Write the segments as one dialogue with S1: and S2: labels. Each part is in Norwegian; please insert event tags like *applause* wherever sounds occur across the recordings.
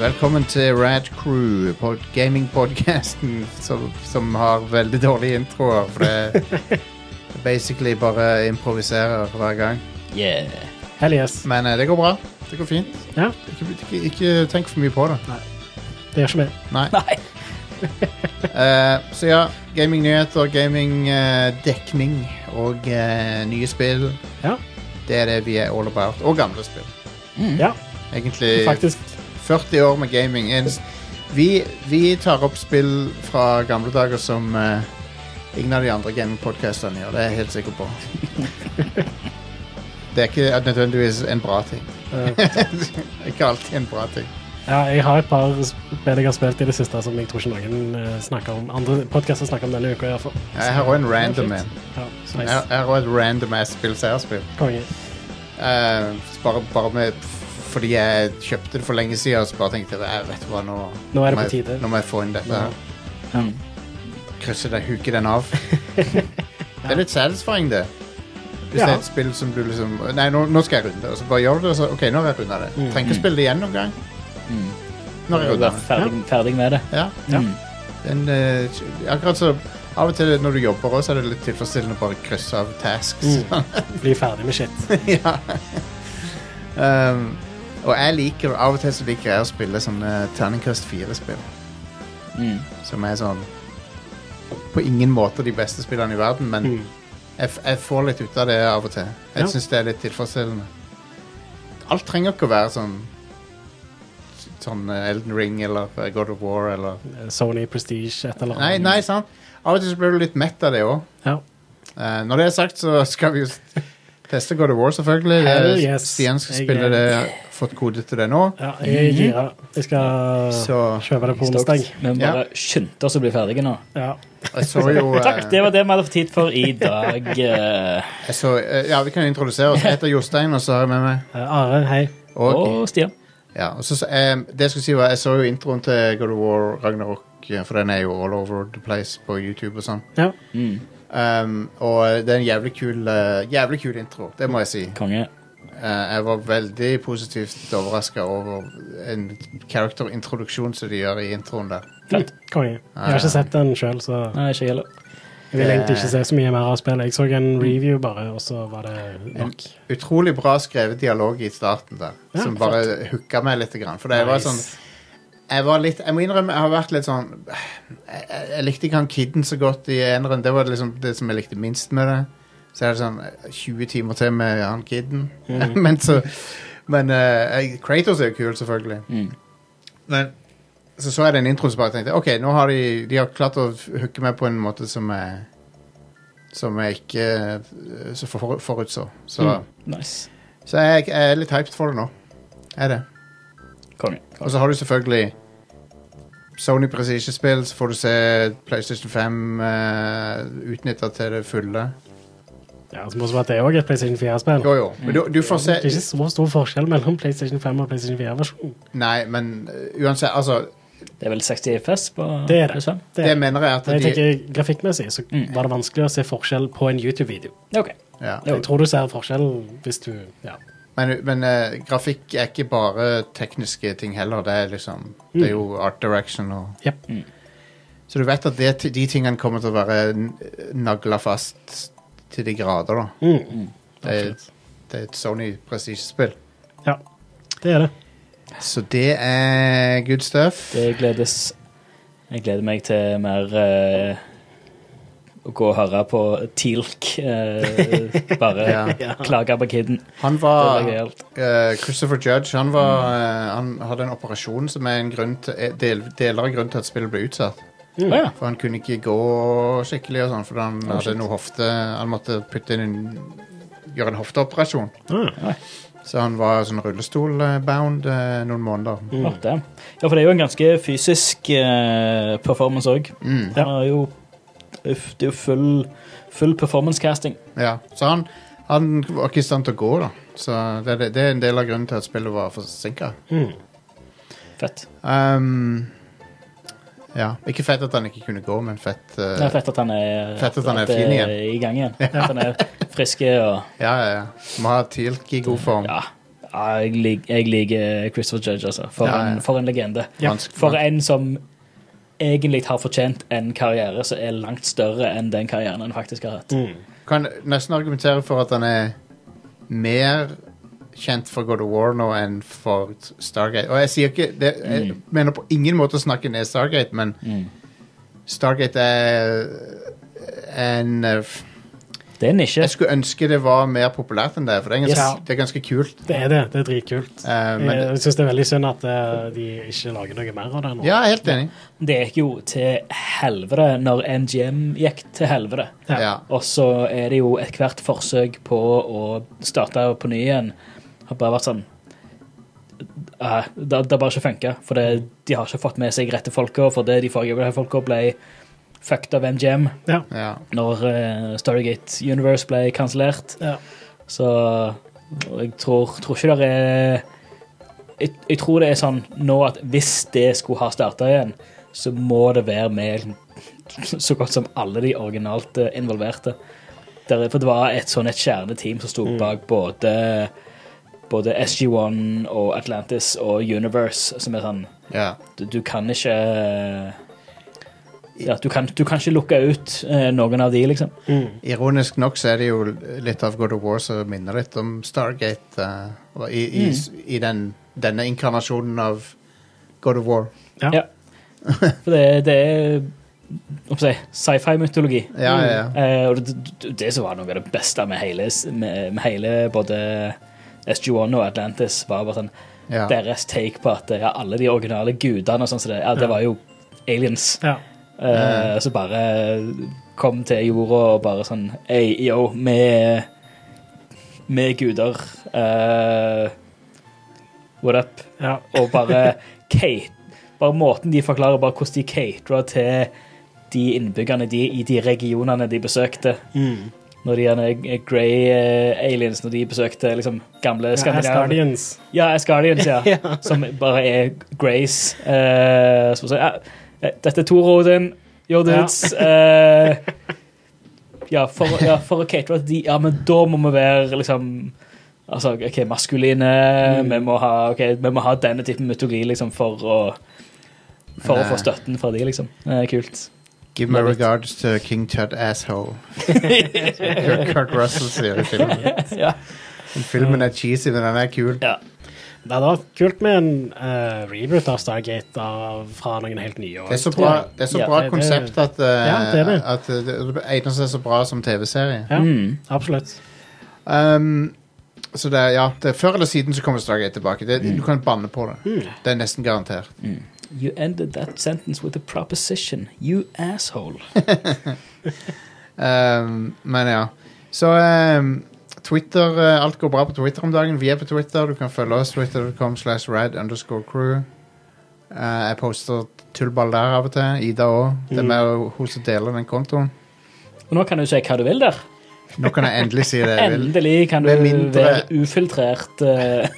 S1: Velkommen til Rad Crew, pod gamingpodcasten som, som har veldig dårlige introer. For det
S2: *laughs*
S1: er basically bare improviserer hver gang.
S3: Yeah.
S2: Hell yes.
S1: Men eh, det går bra. Det går fint.
S2: Ja,
S1: Ikke, ikke, ikke tenk for mye på det.
S2: det gjør ikke meg.
S1: Nei. *laughs*
S3: Nei.
S1: Eh, så ja, gamingnyheter, gamingdekning eh, og eh, nye spill.
S2: Ja.
S1: Det er det vi er all about. Og gamle spill.
S2: Ja,
S1: Egentlig
S2: faktisk.
S1: 40 år med gaming. En, vi, vi tar opp spill fra gamle dager som eh, ingen av de andre gamingpodkastene gjør. Det er jeg helt sikker
S2: *laughs*
S1: på. Det er ikke nødvendigvis en bra ting. *laughs*
S2: Eh,
S1: Ikke alltid en bra ting.
S2: ja, jeg har et par spill jeg har spilt i det siste som jeg tror ikke noen eh, snakker om. Andre podkaster snakker om denne uka, iallfall.
S1: Jeg har også en random en.
S2: Ja,
S1: Jeg
S2: nice.
S1: jeg har også et random ass spill som jeg har spilt.
S2: Konge.
S1: Eh, bare, bare med f- fordi jeg kjøpte det for lenge siden og så bare tenkte jeg, jeg vet du hva, nå,
S2: Nå er det
S1: må
S2: på
S1: jeg-
S2: tide.
S1: Nå må jeg få inn dette. her.
S3: Mm.
S1: krysse deg, huke den av. Det er litt satisfying, det. Hvis
S2: Ja.
S1: det er et spill som du liksom Nei, nå, nå skal jeg runde. Og så bare gjør du det, og så OK, nå har jeg runda det. Trenger ikke spille det igjen noen gang.
S3: Mm.
S1: Nå har jeg
S3: Du
S1: runda
S3: er
S1: det.
S3: ferdig, ferdig med det.
S1: Ja.
S2: Ja.
S3: Mm.
S1: Den, eh, akkurat så Av og til når du jobber òg, så er det litt tilfredsstillende å bare krysse av tasks.
S2: Mm. Bli ferdig med shit.
S1: *laughs*
S2: Eh,
S1: ja. um, og jeg liker Av og til så liker jeg å spille sånne terningkast fire-spill.
S3: Mm.
S1: Som er sånn På ingen måte de beste spillene i verden, men
S2: Mm.
S1: jeg, f- jeg får litt ut av det av og til. Jeg
S2: Ja.
S1: syns det er litt tilfredsstillende. Alt trenger ikke å være sånn Sånn eh, Elden Ring eller eh, God of War eller
S2: Eh, Sony Prestige, et eller
S1: Nei,
S2: annet.
S1: nei, sant? Av og til så blir du litt mett av det òg.
S2: Ja.
S1: når det er sagt, så skal vi jo s- teste God of War, selvfølgelig. Det er-
S2: Hell yes.
S1: Stian skal
S2: Jeg
S1: spille
S2: er-
S1: det. Jeg har Fått kode til det nå.
S2: ja, jeg er gira. Jeg skal
S1: Mm. Så-
S2: kjøpe det på onsdag.
S3: Vi må
S1: Ja.
S3: bare skynde oss å bli ferdige nå.
S2: Ja.
S1: Jeg så jo
S2: *laughs*
S1: eh,
S3: Takk, det var det vi hadde fått tid for i dag. *laughs* eh.
S1: jeg så, eh, Ja, vi kan introdusere oss. Jeg heter Jostein, og så har jeg med meg
S2: Eh, Are, hei.
S1: og
S3: Og Stian.
S1: Ja, og så, så, eh, det jeg skulle si var Jeg så jo introen til God of War Ragnarok eh, For den er jo all over the place På YouTube og sånn
S2: Ja.
S3: Mm.
S1: um, Og det er en jævlig kul eh, Jævlig kul intro, det må jeg si
S3: Konge.
S1: Eh, Jeg var veldig positivt overrasket Over en karakterintroduksjon Som de gjør i introen der
S3: Fett.
S2: Konge. Jeg har ikke
S1: Ah.
S2: sett den sjøl, så
S3: Nei, ikke jeg heller.
S2: jeg vil egentlig
S1: Eh.
S2: ikke se så mye mer av spillet. Jeg så en review bare, og så var det nok.
S1: Utrolig bra skrevet dialog i starten der
S2: Ja,
S1: Som bare hooka meg litt grann, For det var
S2: Nice.
S1: sånn jeg, var litt, jeg må innrømme, jeg har vært litt sånn Jeg, jeg- jeg likte ikke han kidden så godt i eneren. Det var liksom det som jeg likte minst med det. Så er det sånn eh, 20 timer til med han kidden. *laughs* men så Men eh, jeg- Kratos er jo kul, selvfølgelig.
S3: Mm.
S1: Men så så jeg den introen som bare tenkte OK, nå har de, de har klart å hooke meg på en måte som jeg Som jeg ikke eh, så for, forutså. Så,
S3: Nice.
S1: så jeg, jeg er litt hyped for det nå. Er det.
S3: Konge.
S1: Og så har du selvfølgelig Sony Precision Spill, så får du se PlayStation 5 uh, utnytta til det fulle.
S2: Ja, som også var at det òg er et PlayStation 4-spill.
S1: Jo, jo. Men du, du får
S2: Det er
S1: se
S2: ikke så stor forskjell mellom PlayStation 5 og PlayStation 4-versjonen.
S1: Nei, men eh, uansett, altså
S3: Det er vel 60 FPS på
S2: Det er det.
S3: PS5?
S1: Det mener jeg at
S2: Men
S1: de
S2: jeg tenker Grafikkmessig så
S3: Mm.
S2: var det vanskelig å se forskjell på en YouTube-video.
S3: OK.
S1: ja.
S3: Jo.
S2: Jeg tror du ser forskjell hvis du Ja.
S1: Men, men eh, grafikk er ikke bare tekniske ting heller. Det er liksom Det er jo art direction og
S2: Mm. Jep.
S1: Så du vet at det, de tingene kommer til å være eh, nagla fast til de grader, da.
S2: Mm.
S1: Det er, det er et Sony prestisjespill.
S2: ja. Det er det.
S1: Så det er good stuff.
S3: Det gledes. Jeg gleder meg til mer eh, å gå og høre på Teal'c. *laughs* eh, bare
S1: Ja. Ah.
S3: klage på kiden.
S1: Han
S3: Det
S1: var
S3: er gøyalt.
S1: eh, Christopher Judge han, var, eh, han hadde en operasjon som er en grunn til, eh, del, deler av grunnen til at spillet ble utsatt.
S3: Å ja.
S1: For han kunne ikke gå skikkelig, og sånn, for han
S3: Oh,
S1: hadde
S3: shit.
S1: noe hofte Han måtte putte inn en, gjøre en hofteoperasjon.
S2: Ah.
S1: Så han var sånn rullestolbound eh, noen måneder.
S3: Ja, damn. Ja, for det er jo en ganske fysisk eh, performance òg.
S1: Mm,
S2: Ja.
S3: Det er jo, det er jo full, full performance casting.
S1: ja. Så han, han var ikke i stand til å gå, da. Så det, det, det er en del av grunnen til at spillet var forsinka.
S2: Mm.
S3: Fett.
S1: Um, ja. Ikke fett at han ikke kunne gå, men fett eh,
S3: Det er fett at han er,
S1: Fett at han er
S3: det
S1: fin igjen. *laughs*
S3: i gang igjen. At han er frisk og
S1: Ja, ja, ja. Må ha Tilk i god form.
S3: ja, Ja, jeg, lik, jeg liker Christopher Judge, altså. For,
S1: Ja, ja.
S3: En, for en legende.
S2: Ja,
S1: Vanskelig-
S3: For en som egentlig har fortjent en karriere som er langt større enn den karrieren han faktisk har hatt.
S1: Mm.
S2: Mm.
S1: Kan nesten argumentere for at han er mer kjent for God of War nå enn for Stargate. Og jeg sier ikke det, Jeg mener på ingen måte å snakke ned Stargate, men Stargate er en eh, f-
S3: Det er en nisje.
S1: Jeg skulle ønske det var mer populært enn det, for det er ganske,
S2: Yes.
S1: det er ganske kult.
S2: Det er det. Det er dritkult.
S1: Eh, men,
S2: Jeg syns det er veldig synd at eh, de ikke lager noe mer av det
S1: ja,
S2: nå.
S1: jeg er helt enig.
S3: Det gikk jo til helvete når NGM gikk til helvete.
S2: Ja.
S1: Ja.
S3: Og så er det jo ethvert forsøk på å starte på ny igjen har bare vært sånn eh, Det det har bare ikke funka. For det, de har ikke fått med seg rette folka, for det de forrige folka ble fucked av NGM
S2: Ja.
S1: Ja.
S3: når eh, Stargate Universe ble kansellert.
S2: Ja.
S3: Så og jeg tror, tror ikke det er jeg, jeg tror det er sånn nå at hvis det skulle ha starta igjen, så må det være med så godt som alle de originalt eh, involverte. Der, for det var et sånn et kjerneteam som sto bak både, både SG1 og Atlantis og Universe, som er sånn
S1: ja.
S3: du, du kan ikke ja, du, kan, du kan ikke lukke ut eh, noen av de, liksom.
S2: Mm.
S1: Ironisk nok så er det jo litt av God of War som minner litt om Stargate. eh, og I
S2: Mm.
S1: i, i den, denne inkarnasjonen av God of War.
S2: Ja.
S3: Ja. For det, det er hva skal jeg si, sci-fi-mytologi.
S2: Mm.
S1: Ja, ja, ja.
S3: Eh, og det, det, det som var noe av det beste med hele, med, med hele både SG1 og Atlantis, var bare sånn,
S1: Ja.
S3: deres take på at ja, alle de originale gudene og sånn, så det, ja, det var jo aliens.
S2: ja.
S3: Eh, Så bare kom til jorda og bare sånn Ei, yo, vi er- vi er guder. eh, what up?
S2: ja.
S3: Og bare Kate Bare måten de forklarer bare hvordan de catera til de innbyggerne de, i de regionene de besøkte.
S2: Mm.
S3: Når de gjerne grey eh, aliens når de besøkte liksom, gamle
S2: ja
S3: Skandinavia.
S2: Asgardians.
S3: Ja, Asgardians, *laughs* ja. Som bare er Grace. eh, som sier ja, Dette er Tor Odin, your dudes. eh, ja, for, å- ja, for å catere til de Ja, men da må vi være liksom Altså, OK, maskuline. Vi, må ha, ok, vi må ha denne typen mytologi liksom, for å For å
S1: Men, eh,
S3: få støtten fra de, liksom. Det er kult. *laughs*
S1: Give my
S3: Love it.
S1: regards to King Tut
S2: *laughs*
S1: Asshole. *laughs* Kirk, Kirk Russell sier i filmen.
S3: Ja.
S1: Den filmen er cheesy, men den er kul.
S3: ja.
S2: Det hadde vært kult med en eh, reboot av Stargate av, fra noen helt nye år.
S1: Det er så
S2: tror
S1: bra,
S2: jeg.
S1: det er så
S3: Ja,
S1: bra
S2: det- det-
S1: konsept at, eh,
S2: Ja, det er det.
S1: at eh, det det egner seg så bra som TV-serie.
S2: Ja,
S3: Mm.
S2: absolutt.
S1: Um, så det er, ja, det er Før eller siden så kommer Stargate tilbake. Det,
S2: Mm.
S1: Du kan banne på det. Det er nesten garantert.
S3: Mm. You ended that sentence with a proposition, you asshole.
S1: Um, men ja. Så um, Twitter eh, Alt går bra på Twitter om dagen. Vi er på Twitter. Du kan følge oss. Twitter.com slash rad underscore crew. Eh, jeg poster tullball der av og til. Ida òg. Det er
S2: Mm.
S1: meg og hun som deler den kontoen.
S3: Og nå kan du si hva du vil der.
S1: Nå kan jeg endelig si det jeg vil.
S3: *laughs* Endelig kan du
S1: Med mindre-
S3: være ufiltrert. eh,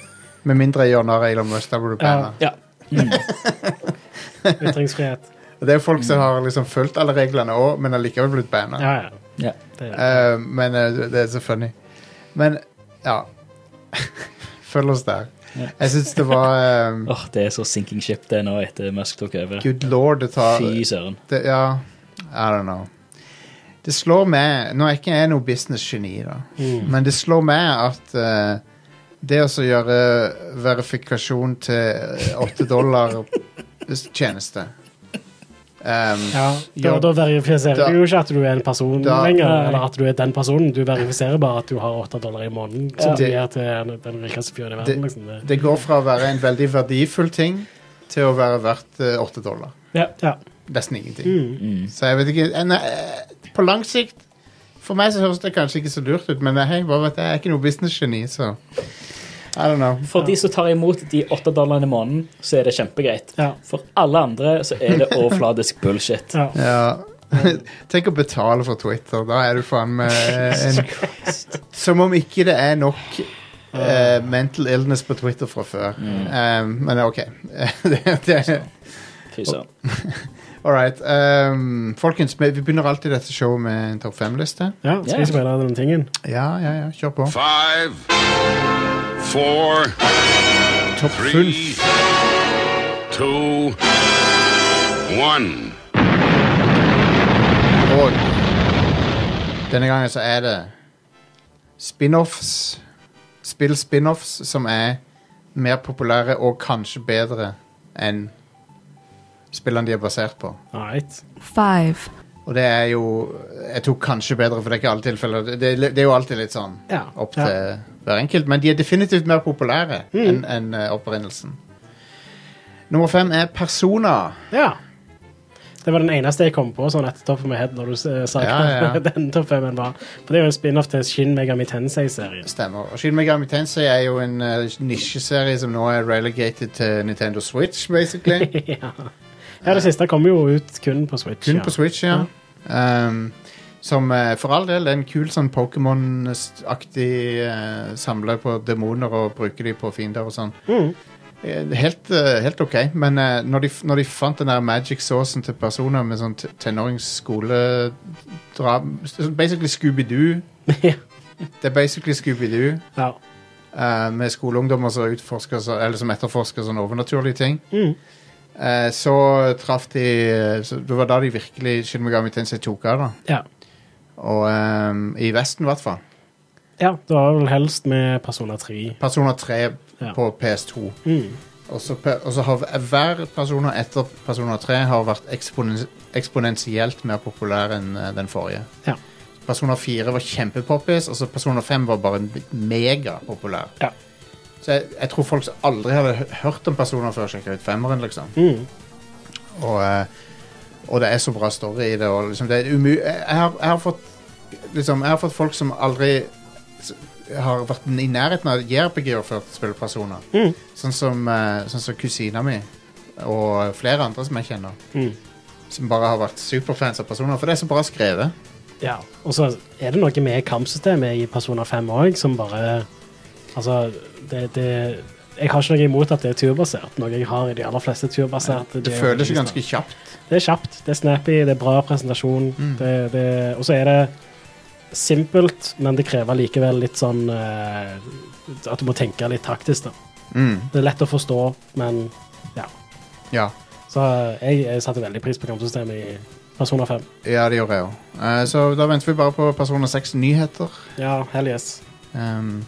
S1: Med mindre jeg gjør narr av Elon Musk. Da blir du banna.
S3: ja. Mm.
S2: Ytringsfrihet.
S1: Og Det er folk som har liksom fulgt alle reglene òg, men allikevel blitt banna.
S2: Ja, ja.
S3: Ja.
S2: Det,
S1: Eh, men eh, det- det er så funny. Men ja. *laughs* Følg oss der. Jeg syns det var
S3: *laughs*
S1: um,
S3: Åh, det er så sinking ship det er nå etter Musk tok over.
S1: Good lord, det tar
S3: Fy søren.
S1: det, Ja, I don't know. Det slår meg Nå er ikke jeg noe businessgeni, da,
S2: Mm.
S1: men det slår meg at eh, det å så gjøre verifikasjon til eh, åtte dollar *laughs* tjeneste um,
S2: ja. Da,
S1: Ja.
S2: da verifiserer
S1: Da-
S2: du jo ikke at du er en person
S1: Da-
S2: lenger,
S3: Nei.
S2: eller at du er den personen. Du verifiserer bare at du har åtte dollar i måneden, som
S1: Ja.
S2: du
S1: Det-
S2: gir til den- den rikeste fyren i verden. Liksom. Det,
S1: Det går fra å være en veldig verdifull ting til å være verdt eh, åtte dollar.
S2: ja.
S1: Nesten ingenting.
S2: Mm.
S3: Mm.
S1: Så jeg vet ikke eh, nei, eh, På lang sikt For meg så høres det kanskje ikke så lurt ut, men hei, hva vet jeg, jeg er ikke noe businessgeni, så I don't know.
S3: For de som tar imot de åtte dollarene i måneden, så er det kjempegreit.
S2: Ja.
S3: For alle andre så er
S1: *laughs*
S3: det overfladisk bullshit.
S2: Ja.
S1: Ja. *laughs* Tenk å betale for Twitter. Da er du faen meg eh, en *laughs* Som om ikke det er nok eh, mental illness på Twitter fra før. Um, men OK. *laughs* det, det,
S3: Fy søren.
S1: all right. Um, folkens, vi vi begynner alltid dette showet med en topp fem-liste.
S2: ja. Skal vi ikke bare ha den tingen?
S1: Ja, ja, ja. Kjør på.
S4: Five, four,
S1: Topp full.
S4: three, two, one.
S1: Og denne gangen så er det spin-offs. Spill-spin-offs som er mer populære og kanskje bedre enn spillene de er basert på.
S2: Alright.
S5: five,
S1: Og det er jo Jeg tok kanskje bedre, for det er ikke alle tilfeller. Det, det, det er jo alltid litt sånn
S2: Ja.
S1: opp
S2: Ja.
S1: til hver enkelt, men de er definitivt mer populære enn enn, eh, opprinnelsen. Nummer fem er Persona.
S2: Ja. Det var den eneste jeg kom på sånn etter Top of my head når du eh, sa
S1: Ja,
S2: hva
S1: ja.
S2: *laughs* den topp femmen var. For det er jo en spin-off til Shin Megami Tensei-serien.
S1: Stemmer. Og Shin Megami Tensei er jo en eh, nisjeserie som nå er relegated til Nintendo Switch, basically.
S2: *laughs* ja. ja, det siste kommer jo ut kun på Switch.
S1: Kun
S2: ja.
S1: på Switch, ja. Um, som eh, for all del er en kul sånn Pokémon-aktig eh, samler på demoner og bruker de på fiender og sånn.
S2: Mm.
S1: Eh, Helt, eh, helt ok, men eh, når, de, når de fant den der magic saucen til personer med sånn t- tenåringsskoledrap sånn Basically Scooby-Doo.
S2: *laughs* Ja.
S1: Det er basically Scooby-Doo
S2: Ja.
S1: eh, med skoleungdommer som, utforsker, så- eller som etterforsker sånne overnaturlige ting.
S2: Mm.
S1: Eh, så traff de eh, så Det var da de virkelig Shin Megami Tensei tok av, da.
S2: ja.
S1: Og ehm, i Vesten, i hvert fall.
S2: Ja, det var vel helst med Persona 3.
S1: Personer 3
S2: Ja.
S1: på PS2.
S2: Mm.
S1: Og så pe- og så har v- hver personer etter personer 3 har vært eksponen eksponentielt mer populær enn eh, den forrige.
S2: Ja.
S1: Personer 4 var kjempepoppis, altså og så personer 5 var bare megapopulær.
S2: Ja.
S1: Så jeg, jeg tror folk som aldri hadde hø- hørt om personer før, sjekka ut femmeren, liksom.
S2: Mm.
S1: Og, eh, og det er så bra story i det. Og liksom, det er umu jeg, jeg, har, jeg, har fått, liksom, jeg har fått folk som aldri s- har vært i nærheten av JRPG-er før spiller personer.
S2: Mm.
S1: Sånn som, eh, sånn som kusina mi og flere andre som jeg kjenner.
S2: Mm.
S1: Som bare har vært superfans av personer. For det er så bra skrevet.
S2: Ja. Og så er det noe med kampsystemet i Persona 5 òg som bare Altså, det, det Jeg har ikke noe imot at det er turbasert, noe jeg har i de aller fleste turbaserte.
S1: Det
S2: er-
S1: føles jo ganske kjapt.
S2: Det er kjapt, det er snappy, det er bra presentasjon. Det, det, og så er det simpelt, men det krever likevel litt sånn eh, At du må tenke litt taktisk. da.
S1: Mm,
S2: Det er lett å forstå, men ja.
S1: ja.
S2: Så eh, jeg, jeg satte veldig pris på kampsystemet i Persona 5.
S1: ja, det gjorde jeg òg. så da venter vi bare på Personer 6 nyheter.
S2: Ja, hell yes.
S1: Ehm,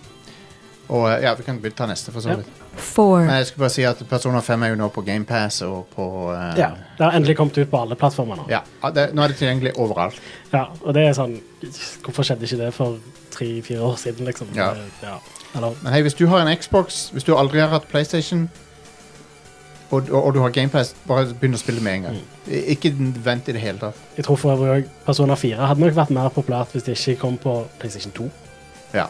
S1: og eh, ja, vi kan ta neste, for så
S2: Ja.
S1: vidt. Men
S5: four,
S1: jeg skulle bare si at Persona 5 er jo nå på GamePass og på eh,
S2: Ja, Det har endelig kommet ut på alle plattformer nå.
S1: ja, det, Nå er det tilgjengelig overalt.
S2: Ja, og det er sånn Hvorfor skjedde ikke det for tre-fire år siden, liksom?
S1: Ja.
S2: Det- ja. Eller,
S1: Men hei, hvis du har en Xbox, hvis du aldri har hatt PlayStation, og, og, og du har GamePass, bare begynn å spille med en gang. I- Ikke vent i det hele tatt.
S2: jeg tror for øvrig òg Persona 4 hadde nok vært mer populært hvis det ikke kom på PlayStation 2.
S1: Ja.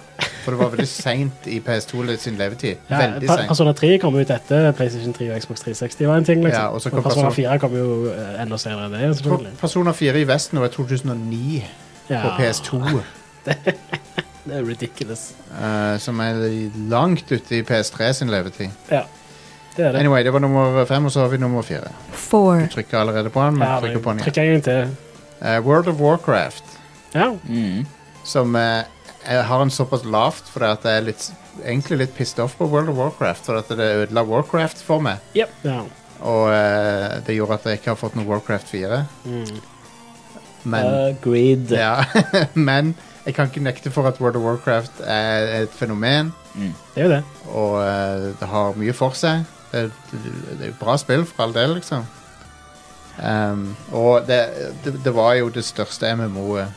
S1: For det var veldig seint i PS2 litt sin levetid.
S2: Ja, altså,
S1: veldig
S2: Pa-
S1: seint.
S2: Persona 3 kom ut etter PlayStation 3 og Xbox 360 var en ting, liksom.
S1: Ja, og så kom
S2: Men Persona
S1: Persona-
S2: 4 kom jo eh, enda senere enn det, selvfølgelig.
S1: Persona 4 i Vesten var i 2009
S2: Ja,
S1: på PS2,
S2: Det er ridiculous.
S1: eh, som er langt ute i PS3 sin levetid.
S2: Ja, det er det.
S1: Anyway, det var nummer fem, og så har vi nummer fire.
S5: four,
S1: Trykker allerede på den, men
S2: ja,
S1: trykker på den igjen.
S2: trykker en gang til.
S1: Eh, World of Warcraft.
S2: Ja,
S1: Mm. som eh, jeg har en såpass lavt fordi at jeg er litt, egentlig litt pissed off på World of Warcraft, for at det ødela Warcraft for meg.
S2: ja.
S1: Og eh, det gjorde at jeg ikke har fått noe Warcraft 4.
S2: Mm.
S1: Men,
S3: Eh, Agreed.
S1: ja, *laughs* men jeg kan ikke nekte for at World of Warcraft er et fenomen,
S2: Det er jo det.
S1: og eh, det har mye for seg. Det, det, det er jo bra spill for all del, liksom. Ehm, og det, det, det var jo det største MMO-et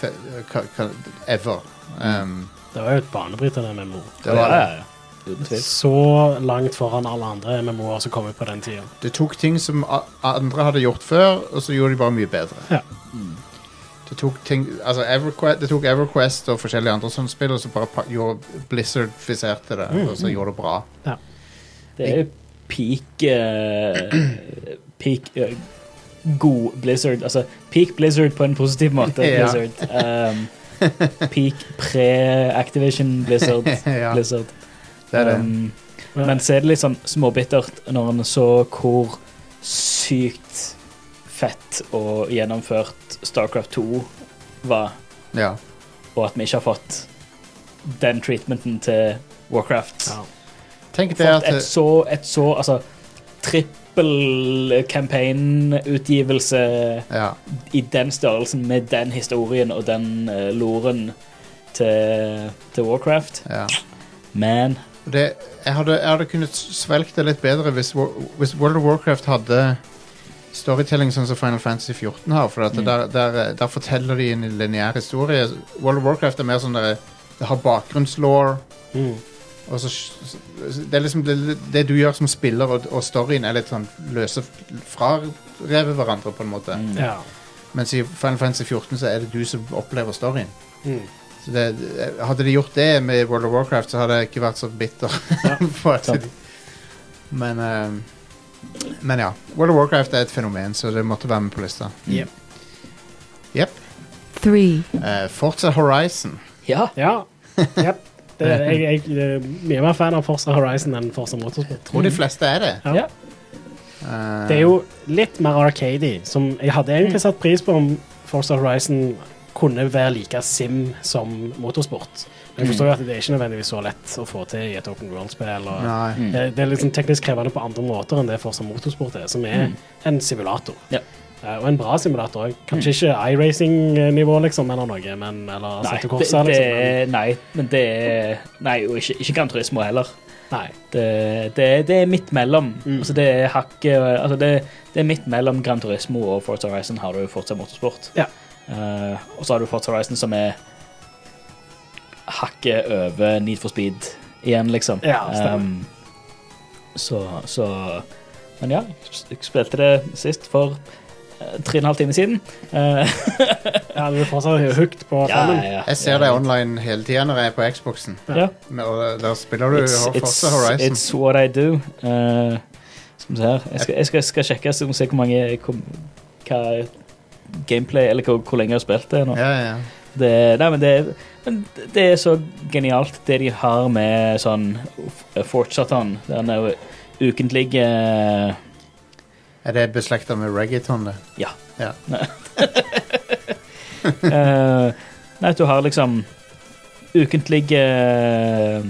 S1: fe- ka- ka- ever. Um,
S2: Det var jo et banebrytende MMO.
S1: det var det.
S3: Mm. Ja, ja, ja. Uten tvil.
S2: Så langt foran alle andre MMO-er som kom ut på den tida.
S1: Det tok ting som a- andre hadde gjort før, og så gjorde de bare mye bedre.
S2: Ja.
S1: Det tok, ting, altså Everquest, det tok Everquest og forskjellige andre sånne spill, og så bare pa- gjorde Blizzard-fiserte det, og så gjorde det bra.
S3: Det er jo peak eh, Peak eh, god Blizzard. Altså peak Blizzard på en positiv måte.
S1: *laughs* Ja.
S3: Blizzard. Um, peak pre-Activision Blizzard.
S1: *laughs* ja,
S3: Blizzard.
S1: det er det.
S3: Um, men så er det litt sånn småbittert når en så hvor sykt fett og gjennomført Starcraft 2 var,
S1: Ja.
S3: og at vi ikke har fått den treatmenten til Warcraft.
S2: Ja.
S1: Tenk det
S3: Fått
S1: at
S3: et så, et så altså, trippel campaign-utgivelse
S1: ja,
S3: i den størrelsen, med den historien og den eh, loren til, til Warcraft.
S1: ja.
S3: Man.
S1: Og Det, jeg, hadde, jeg hadde kunnet svelge det litt bedre hvis, War- hvis World of Warcraft hadde storytelling sånn som Final Fantasy 14 har. For at
S3: Mm.
S1: der, der, der forteller de en lineær historie. World of Warcraft er mer sånn der, det har bakgrunnslaw.
S2: Mm.
S1: Og så, det er liksom det, det du gjør som spiller, og, og storyen er litt sånn løse frareve hverandre, på en måte.
S3: mm,
S2: ja.
S1: Mens i Final Fantasy 14 så er det du som opplever storyen.
S2: Mm.
S1: Så det, hadde de gjort det med World of Warcraft, så hadde jeg ikke vært så bitter. *laughs* for at
S3: sant.
S1: de, men, eh, men ja. World of Warcraft er et fenomen, så det måtte være med på lista.
S2: Yep.
S1: Jep.
S5: three,
S1: Eh, Forza Horizon.
S3: Ja.
S2: Ja.
S1: *laughs*
S2: Jep. Det, jeg, jeg, er mye mer fan av Forza Horizon enn Forza Motorsport. Mm.
S1: Tror de fleste er det.
S2: Ja.
S3: Ja.
S1: Eh,
S2: Det er jo litt mer arcadey, som jeg hadde
S3: Mm.
S2: egentlig satt pris på om Forza Horizon kunne være like sim som motorsport. Men jeg
S3: Mm.
S2: forstår jo at det er ikke nødvendigvis så lett å få til i et Open World-spill. og-
S1: Eh, Nei.
S3: Mm.
S2: Det, det er liksom teknisk krevende på andre måter enn det Forza Motorsport er, som er en simulator.
S3: Mm. Ja. Mm.
S2: Eh, Og en bra simulator òg. Kanskje ikke iRacing-nivå, liksom, eller noe, men eller
S3: Nei,
S2: Assetto
S3: det,
S2: Corsa,
S3: det
S2: liksom. Men,
S3: er, nei, men det er Nei, og ikke, ikke Gran Turismo heller.
S2: nei.
S3: eh, Det, det, er- det er midt mellom.
S2: Mm.
S3: Altså, det er hakket altså det, det er midt mellom Gran Turismo og Forza Horizon har du Forza Motorsport.
S2: Ja.
S3: Eh, og så har du Forza Horizon som er hakket over Need for Speed igjen, liksom.
S2: Ja, stemmer.
S3: Ehm, så, så Men ja, jeg spilte det sist for eh, tre og en halv time siden. Eh, *laughs*
S2: Ja, du er fortsatt hooked på femmen.
S3: ja.
S1: Jeg ser det online hele tida når jeg er på Xboxen.
S3: Ja.
S1: Men- Og der spiller du
S3: It's-
S1: Forza
S3: it's-
S1: Horizon.
S3: It's what I do. Eh, skal vi se her. Jeg skal, jeg skal, skal sjekke så må vi se hvor mange hvor, hva gameplay Eller hvor, hvor lenge jeg har spilt det nå.
S1: Ja, ja, ja.
S3: Det, er- nei, men det, er- men det er så genialt, det de har med sånn F- Fortsathon. Den er jo ukentlige eh,
S1: Er det beslekta med reggaeton, det?
S3: Ja.
S1: Ja.
S3: eh, Nei, du har liksom ukentlige eh,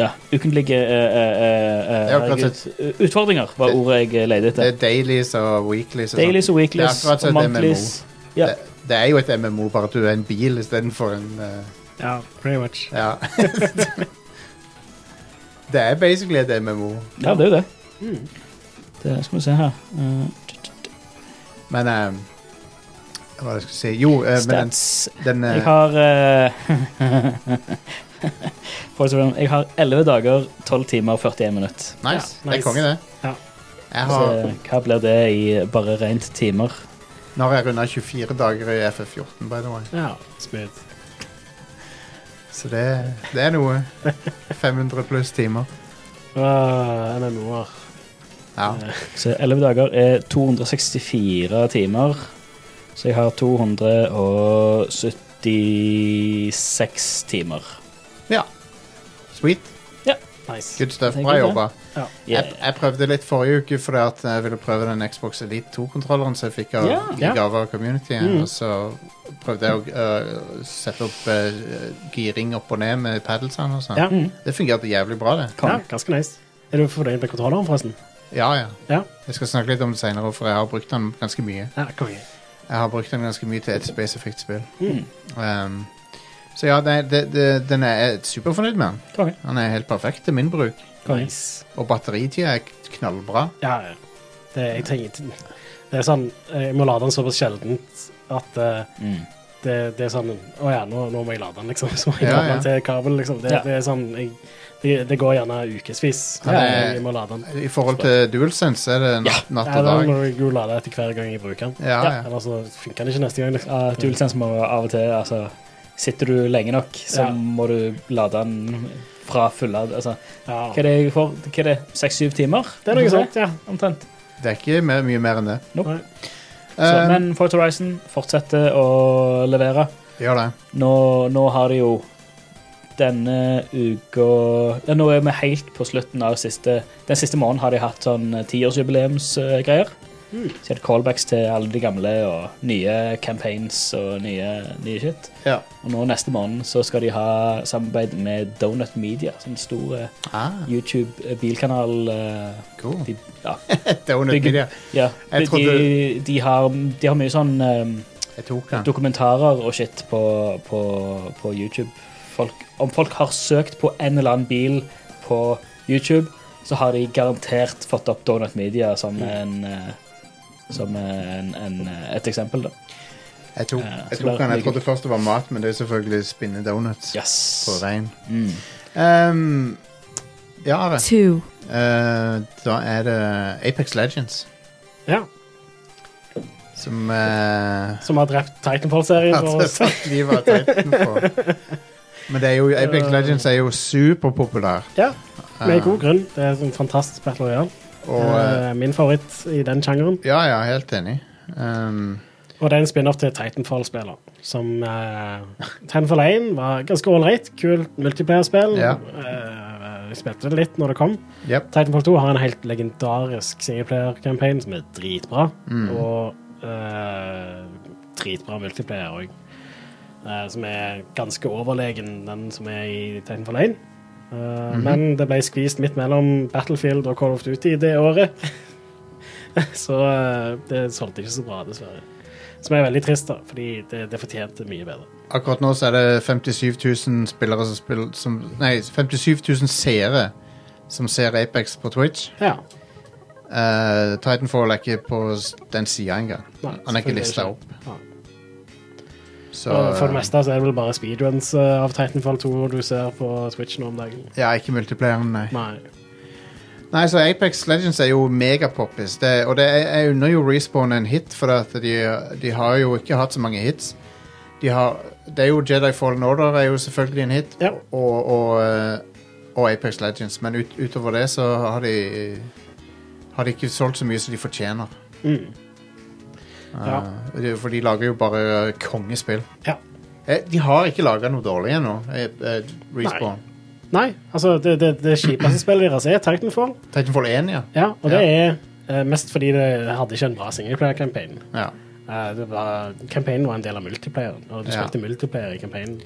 S3: Ja, ukentlige eh, eh, eh,
S1: Det er akkurat
S3: herregud, Utfordringer var
S1: Det-
S3: ordet jeg leide
S1: Det
S3: etter.
S1: er dailies og weeklies og sånt.
S3: Dailies og weeklies
S1: Det er akkurat
S3: og
S1: som et MMO.
S3: monthlies. Ja.
S1: Det, det er jo et MMO, bare at du er en bil istedenfor en eh,
S2: Ja, pretty much.
S1: Ja. *laughs* det er basically et MMO.
S3: Ja, det er jo det. det skal vi se her. Eh,
S1: Men eh, Hva var det jeg skulle si? Jo, eh, men
S3: stats.
S1: den, den eh,
S3: Jeg har eh, *laughs* Forrest Run, Jeg har 11 dager, 12 timer og 41 minutter.
S1: nice. Det er
S2: nice.
S1: konge, det.
S2: Ja.
S1: Jeg har,
S3: Så, hva blir det i bare rent timer?
S1: nå har jeg runda 24 dager i FF14, by the way.
S2: Ja, smooth.
S1: Så det, det er
S3: *laughs*
S1: noe. 500 pluss timer.
S2: Uh, MMO-er.
S1: Ja.
S3: Så 11 dager er 264 timer. Så jeg har 276 timer.
S1: ja. Sweet.
S2: *laughs* Nice.
S1: Good stuff.
S3: Det er
S1: Bra
S3: good, det.
S1: jobba.
S3: Yeah.
S1: Jeg, jeg prøvde litt forrige uke fordi at jeg ville prøve den Xbox Elite 2-kontrolleren som jeg fikk av,
S3: Ja.
S1: i
S2: Ja.
S1: gave av community.
S2: Mm.
S1: Og så prøvde jeg å øh, sette opp øh, giring opp og ned med paddelsene og sånn.
S2: Ja.
S3: Mm.
S1: Det fungerte jævlig bra, det.
S3: Kom.
S2: ja, ganske nice. Er du fornøyd med kontrolleren, forresten?
S1: Ja, ja.
S2: Ja.
S1: Jeg skal snakke litt om det seinere, for jeg har brukt den ganske mye.
S2: Ja, konge.
S1: Jeg har brukt den ganske mye til et spesifikt spill.
S3: Mm.
S1: Um, så ja, det, det, det, den er jeg er superfornøyd med. den.
S3: Konge.
S1: Den er helt perfekt til min bruk.
S3: Konge.
S2: Nice.
S1: Og batteritida er knallbra.
S2: Ja, ja. det, jeg trenger Det er sånn Jeg må lade den såpass sjeldent at eh,
S3: Mm.
S2: det, det er sånn Å ja, nå, nå må jeg lade den, liksom. *laughs* Så må jeg
S1: Ja,
S2: lade
S1: ja.
S2: den til kabel, liksom. Det,
S3: Ja.
S2: det er sånn jeg, det, det går gjerne ukevis
S1: Ja,
S2: før
S1: ja, ja.
S2: jeg må lade den.
S1: I forhold til DualSense er det
S3: Ja.
S1: natt, natt
S2: Ja,
S1: og
S2: da
S1: dag.
S2: må jeg jo lade etter hver gang jeg bruker den.
S1: Ja, ja.
S2: Eller så funker den ikke neste gang. Liksom.
S3: Uh, DualSense må av og til altså, Sitter du lenge nok, så
S2: Ja.
S3: må du lade den fra full av altså, Hva
S2: Ja.
S3: er det jeg får? Hva er det? Seks-syv timer?
S2: Det er noe sånt, ja.
S3: Omtrent.
S1: Det er ikke mer, mye mer enn det.
S3: Nope.
S2: Nei.
S3: Så,
S1: Um,
S3: men Fort Horizon fortsetter å levere.
S1: Gjør det.
S3: Nå, nå har de jo denne uka ja, Nå er vi helt på slutten av siste Den siste måneden har de hatt sånn eh, tiårsjubileumsgreier.
S1: Mm.
S3: Så jeg hadde callbacks til alle de gamle og nye campaigns og nye, nye shit.
S1: Ja.
S3: Og nå neste måned så skal de ha samarbeid med Donut Media, som en stor eh,
S1: Ah,
S3: YouTube-bilkanal. eh,
S1: cool.
S3: De,
S1: *laughs*
S3: ja,
S1: Donut
S3: Bygge-
S1: Media.
S3: ja.
S1: Jeg
S3: De, de,
S1: trodde-
S3: de, har, de har mye sånn eh,
S1: Jeg tok den.
S3: dokumentarer og shit på, på, på YouTube. Folk, om folk har søkt på en eller annen bil på YouTube, så har de garantert fått opp Donut Media som,
S2: Mm.
S3: en, eh, som en, en, eh, et eksempel. Da.
S1: Jeg tok,
S3: Ja,
S1: jeg
S3: så
S1: tok
S3: bare
S1: den. Jeg
S3: ligge.
S1: trodde først det var mat, men det er selvfølgelig spinne donuts på
S3: Yes.
S1: regn.
S3: Mm.
S1: Ehm, ja, Are.
S5: Two.
S1: Eh, da er det Apex Legends
S2: Ja,
S1: som eh,
S2: Som har drept Titanfall-serien for oss.
S1: Altså, livet har tatt den på. Men det er jo, Apex Legends er jo superpopulær.
S2: Ja, med
S1: Eh,
S2: god grunn. Det er en fantastisk battle royale.
S1: Og, eh,
S2: Eh, Min favoritt i den sjangeren.
S1: ja, ja, helt enig. Um,
S2: Og det er en spin-off til Titanfall-spiller. Som eh, Titanfall 1 var ganske ålreit. Kult multiplayer-spill.
S1: Ja.
S2: Eh, jeg spilte det litt når det kom.
S1: yep.
S2: Titanfall 2 har en helt legendarisk singleplayer-campaign som er dritbra.
S1: Mm.
S2: Og eh, dritbra multiplayer òg. som er ganske overlegen den som er i Titanfall 1. Eh,
S1: Mhm.
S2: Men det ble skvist midt mellom Battlefield og Call of Duty det året. *laughs* så eh, det solgte ikke så bra, dessverre. Som er veldig trist, da, fordi det, det fortjente mye bedre.
S1: Akkurat nå så er det 57 000 spillere som spiller som, Nei, 57 000 seere som ser Apex på Twitch.
S2: Ja.
S1: Eh, Titanfall er ikke på s- den sida engang.
S2: Nei,
S1: Han er ikke
S2: selvfølgelig
S1: lista
S2: ikke.
S1: opp.
S2: Ja.
S1: Så
S2: Og Eh, for det meste så er det vel bare speedruns eh, av Titanfall 2 du ser på Twitch nå om dagen.
S1: Ja, ikke multiplayeren, nei.
S2: Nei.
S1: Nei, så Apex Legends er jo megapoppis, det, og det er, jeg unner jo Respawn en hit, for at de, de har jo ikke hatt så mange hits. De har, det er jo Jedi Fallen Order er jo selvfølgelig en hit,
S2: Ja.
S1: og, og, eh, og Apex Legends, men ut, utover det så har de, har de ikke solgt så mye som de fortjener.
S2: Mm. Ja.
S1: Eh, det- for de lager jo bare eh, kongespill.
S2: Ja.
S1: Eh, De har ikke laga noe dårlig ennå, eh, eh, Respawn.
S2: Nei, altså det, det, det kjipeste spillet deres er Titanfall.
S1: Titanfall 1, ja.
S2: Ja, og det er eh, mest fordi det hadde ikke en bra singleplayer-campaign.
S1: ja.
S2: Eh, det var, campaignen var en del av multiplayeren, og du
S1: Ja.
S2: spilte multiplayer i campaignen.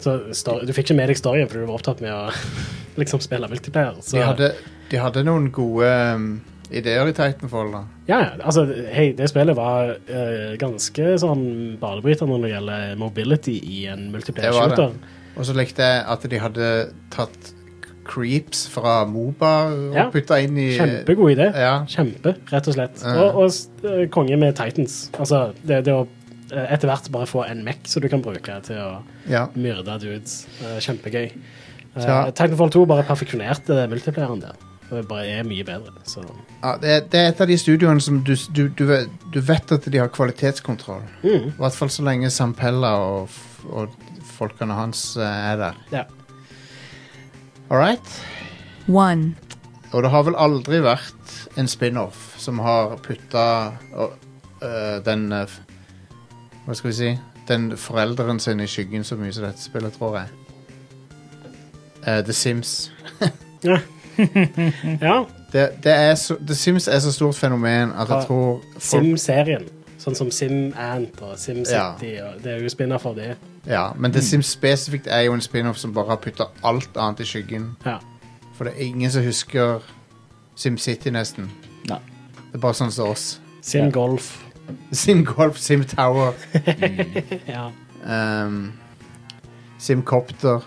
S2: Så sto- du fikk ikke med deg storyen fordi du var opptatt med å *laughs* liksom spille multiplayer. Så,
S1: De, hadde, de hadde noen gode eh, ideer i Titanfall, da.
S2: ja, ja, altså, hei, det spillet var eh, ganske sånn banebryter når det gjelder mobility i
S1: Det var
S2: en
S1: det.
S2: multiplayer-shooter.
S1: Og så likte jeg at de hadde tatt creeps fra Moba og
S2: Ja.
S1: putta inn i
S2: Kjempegod idé.
S1: Ja.
S2: Kjempe, rett og slett.
S1: Ja.
S2: Og, og s- eh, konge med Titans. Altså, det, det å eh, etter hvert bare få en Mac som du kan bruke til å
S1: ja.
S2: myrde dudes. Eh, Kjempegøy. Eh,
S1: Ja.
S2: Titanfall 2 bare perfeksjonerte multiplayeren der. Det bare er mye bedre. Så.
S1: ja det, det er et av de studioene som du, du, du, vet- du vet at de har kvalitetskontroll.
S2: Mm,
S1: I hvert fall så lenge Sampella og, f- og folkene hans eh, er der.
S2: ja.
S1: All right?
S5: One.
S1: Og det har vel aldri vært en spin-off som har putta og, øh, den øh, f- Hva skal vi si Den forelderen sin i skyggen så mye som dette spillet, tror jeg. Eh, The Sims.
S2: ja.
S1: Det, det er så, The Sims er så stort fenomen at jeg
S2: Ja.
S1: tror folk,
S2: Sim-serien. Sånn som SimAnt og SimCity. og Det er jo spinner for det.
S1: ja, Men
S2: Mm.
S1: The Sims spesifikt er jo en spin-off som bare har putta alt annet i skyggen.
S2: Ja.
S1: For det er ingen som husker SimCity, nesten.
S3: Nei.
S1: Det er bare sånn som oss.
S3: Ja.
S2: SimGolf.
S1: SimGolf, SimTower.
S2: Ja.
S1: Ehm, Simcopter.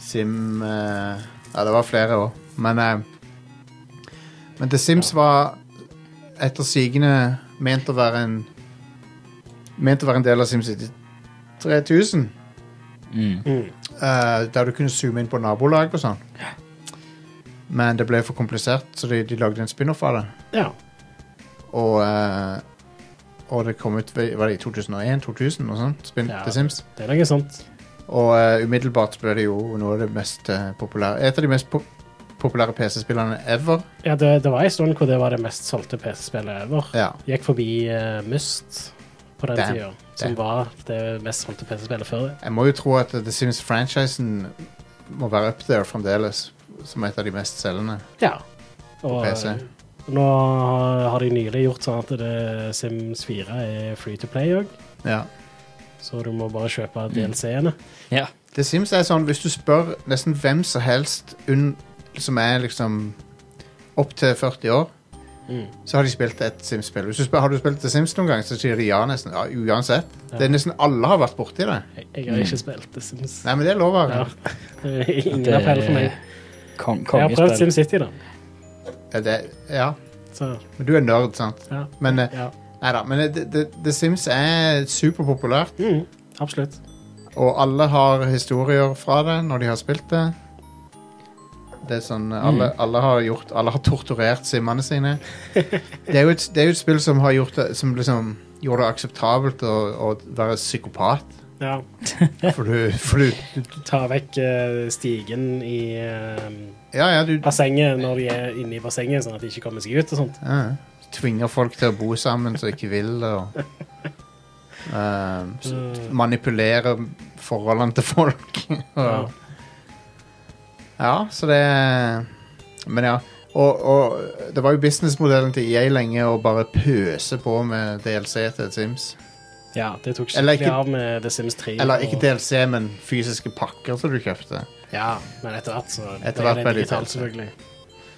S1: Sim eh, Ja, det var flere òg, men eh, Men The Sims var etter sigende ment å være en Ment å være en del av SimCity 3000.
S3: Mm.
S2: Mm.
S1: eh, der du kunne zoome inn på nabolag og sånn. Men det ble for komplisert, så de, de lagde en spin-off av det.
S2: ja.
S1: Og, eh, og det kom ut ved- var det i 2001-2000 og sånn. Spin
S2: Ja.
S1: The Sims.
S2: Det er noe sånt.
S1: Og eh, umiddelbart ble det jo noe av det mest eh, populære Et av de mest po populære PC-spillene ever.
S2: Ja, det, det var en stund hvor det var det mest solgte PC-spillet ever.
S1: Ja.
S2: Gikk forbi eh, Myst på den
S1: Damn.
S2: tida, som
S1: Damn.
S2: var det mest solgte PC-spillet før det.
S1: Jeg må jo tro at eh, The Sims-franchisen må være up there fremdeles. Som et av de mest selgende.
S2: Ja. Og
S1: PC.
S2: eh, Nå har de nylig gjort sånn at det Sims 4 er free to play òg,
S1: Ja.
S2: så du må bare kjøpe DLC-ene.
S3: Ja.
S1: Det Sims er sånn, hvis du spør nesten hvem som helst unn, som er liksom opp til 40 år,
S2: Mm.
S1: så har de spilt et Sims-spill. Hvis du spør har du spilt The Sims noen gang, så sier de ja nesten. Ja, uansett.
S2: Ja.
S1: Det er nesten alle har vært borti det.
S2: Jeg, jeg har ikke spilt The Sims.
S1: Nei, men det er lov. *laughs*
S2: Ja.
S1: Ja.
S2: Det er Ingen appell for meg.
S3: Kong,
S2: Jeg har prøvd
S3: kongespill.
S2: SimCity, da.
S1: Ja, det, ja.
S2: Så,
S1: Men du er nerd, sant?
S2: ja.
S1: Men, eh,
S2: ja.
S1: neida, men eh, det- det- The Sims er superpopulært,
S2: Mm, absolutt.
S1: og alle har historier fra det når de har spilt det. Det er sånn, eh, alle,
S2: Mm.
S1: alle, har gjort, alle har torturert simmene sine. Det er jo et, det er jo et spill som har gjort det, som liksom gjorde det akseptabelt å, å være psykopat.
S2: Ja.
S1: For du, for du
S2: Du tar vekk eh, stigen i eh,
S1: Ja, ja, du
S2: bassenget når de er inne i bassenget, sånn at de ikke kommer seg ut og sånt.
S1: ja, ja. tvinger folk til å bo sammen som ikke vil det. Og, Ehm, så
S2: Mm.
S1: manipulerer forholdene til folk. *laughs*
S2: Ja.
S1: og, ja, så det Men ja. Og, og det var jo businessmodellen til EA lenge å bare pøse på med DLC til Sims.
S2: ja, det tok
S1: Eller ikke-
S2: skikkelig av med The Sims 3.
S1: Eller ikke
S2: og-
S1: DLC, men fysiske pakker som du kjøpte.
S2: Ja, men etter hvert så
S1: Etter
S2: ble
S1: hvert
S2: det
S1: ble det
S2: digitalt,
S1: digitalt,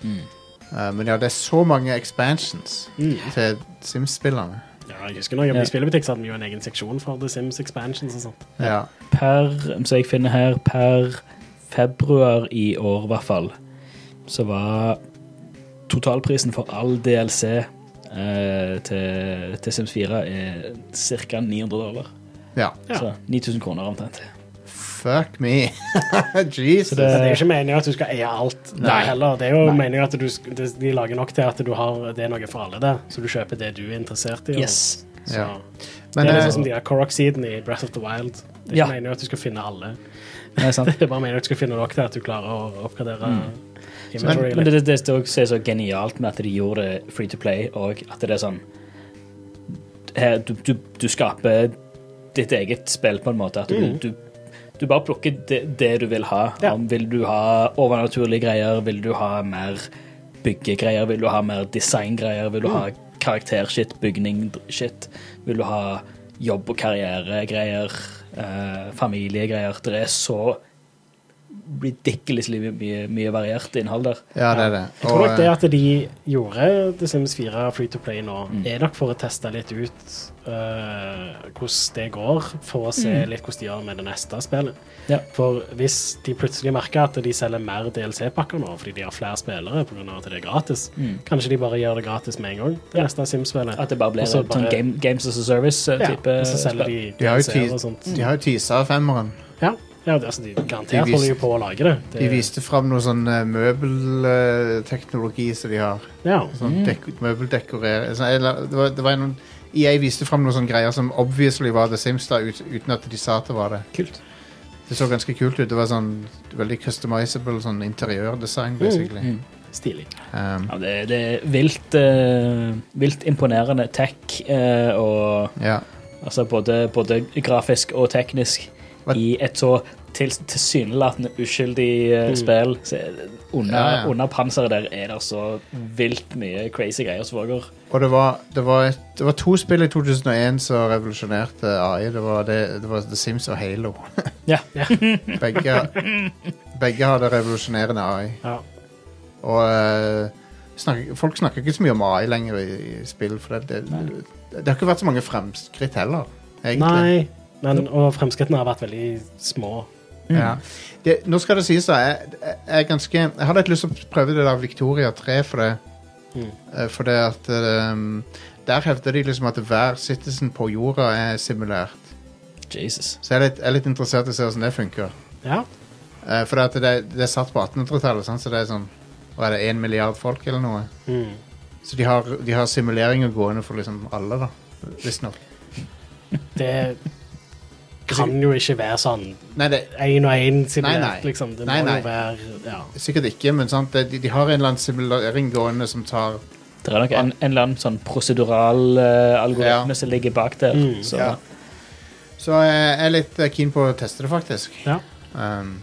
S2: selvfølgelig.
S1: Eh, men ja, det er så mange expansions
S2: Mm.
S1: til Sims-spillerne.
S2: Ja, jeg husker når jeg
S3: Ja.
S2: jobbet i spillebutikk, så hadde vi jo en egen seksjon for The Sims Expansions og sånt.
S1: Ja.
S3: Per, så jeg finner her, per februar i år i hvert fall, så var totalprisen for all DLC eh, til, til Sims eh, 4 er ca. 900 dollar.
S1: ja.
S2: Ja.
S3: Så 9000 kroner omtrent.
S1: Fuck me. *laughs* Jesus.
S3: Så det-
S2: Men det er jo ikke meningen at du skal eie alt
S1: Nei.
S2: der heller. Det er jo
S3: Nei.
S2: meningen at du, sk- de de lager nok til at du har, det er noe for alle der, så du kjøper det du er interessert i. og-
S3: Yes.
S2: Så.
S1: Ja.
S2: Det
S1: Men,
S2: er
S1: eh,
S2: liksom som de der Korok-sidene i Breath of the Wild. Det er ikke
S3: Ja.
S2: meningen at du skal finne alle.
S3: Nei, sant?
S2: Det er bare meningen at du skal finne nok til at du klarer å oppgradere inventory.
S3: Mm. Men det, det, det er også så genialt med at de gjorde det free to play, og at det er sånn her, du, du, du skaper ditt eget spill, på en måte. At du, du, du bare plukker det, det du vil ha.
S2: Ja.
S3: Om, vil du ha overnaturlige greier? Vil du ha mer byggegreier? Vil du ha mer designgreier? Vil du ha karaktershit, bygningsshit? Vil du ha jobb- og karrieregreier? Eh, familiegreier? Det er så ridiculously mye, mye variert innhold der.
S1: Ja, det er det.
S2: Jeg tror
S1: Og, eh,
S2: nok det at de gjorde The Sims 4 free to play nå, er nok for å teste litt ut øh, hvordan det går, for å se litt hvordan de gjør med det neste spillet.
S3: Ja.
S2: For hvis de plutselig merker at de selger mer DLC-pakker nå fordi de har flere spillere pga. at det er gratis, kanskje de bare gjør det gratis med en gang, det neste Sims-spillet.
S3: At det bare blir
S2: Og så
S3: en sånn
S2: bare-
S3: game, Games as a eh,
S2: ja,
S3: Service-type
S2: og så selger de
S1: De har jo
S2: DLC-er og
S1: tis-
S2: sånt.
S1: De har jo tisa femmeren.
S2: Ja, ja det- altså de garantert
S1: De vis-
S2: holder jo på å lage det. det
S1: De viste fram noe sånn møbelteknologi som de har.
S2: ja.
S1: Sånn dek møbeldekorere sånn, eller, det, var, det var noen EA viste fram noen sånne greier som obviously var The Sims, da, ut, uten at de sa at det var det.
S3: Kult.
S1: Det så ganske kult ut. Det var sånn veldig customizable sånn interiørdesign, basically.
S2: Stilig.
S1: Um,
S3: Ja, det, det er vilt, eh, vilt imponerende tech, eh, og
S1: ja.
S3: altså både, både grafisk og teknisk,
S1: Hva-
S3: i et så til, tilsynelatende uskyldig
S2: Mm.
S3: eh, spill. Så er det- under,
S1: Ja, ja.
S3: under panseret der er det så vilt mye crazy greier som foregår.
S1: Og det var, det, var et, det var to spill i 2001 som revolusjonerte AI. Det var, det, det var The Sims og Halo.
S3: Ja.
S1: *laughs* Begge, begge hadde revolusjonerende AI.
S2: Ja.
S1: Og eh, snakker, folk snakker ikke så mye om AI lenger i, i spill, for det, det, det, har ikke vært så mange fremskritt heller, egentlig.
S2: Nei, men, og fremskrittene har vært veldig små.
S1: Ja. Det, nå skal det sies, da. Jeg, jeg, jeg, er ganske, jeg hadde litt lyst til å prøve det der Victoria 3 for det.
S2: Mm.
S1: Eh, For det at ehm, Der hevder de liksom at hver citizen på jorda er simulert.
S3: Jesus.
S1: Så jeg er litt, jeg er litt interessert i å se hvordan det funker.
S2: Ja.
S1: Eh, for det, at det, det er satt på 1800-tallet, sant, så det er sånn Hva er det, én milliard folk, eller noe?
S2: Mm.
S1: Så de har, de har simuleringer gående for liksom alle, da. Visstnok.
S2: Det kan jo ikke være sånn
S1: Nei, det
S2: én og én simulert,
S1: Nei, nei.
S2: liksom. Det må
S1: Nei, nei.
S2: jo være ja.
S1: er sikkert ikke, men sant? De, de har en eller annen simulering gående som tar
S3: Det er nok en, en eller annen sånn prosedural eh, algoritme
S1: Ja.
S3: som ligger bak der.
S2: Mm.
S3: så,
S1: Ja. sånn, Så jeg er litt eh, keen på å teste det, faktisk.
S2: ja.
S1: Um,
S2: Mm.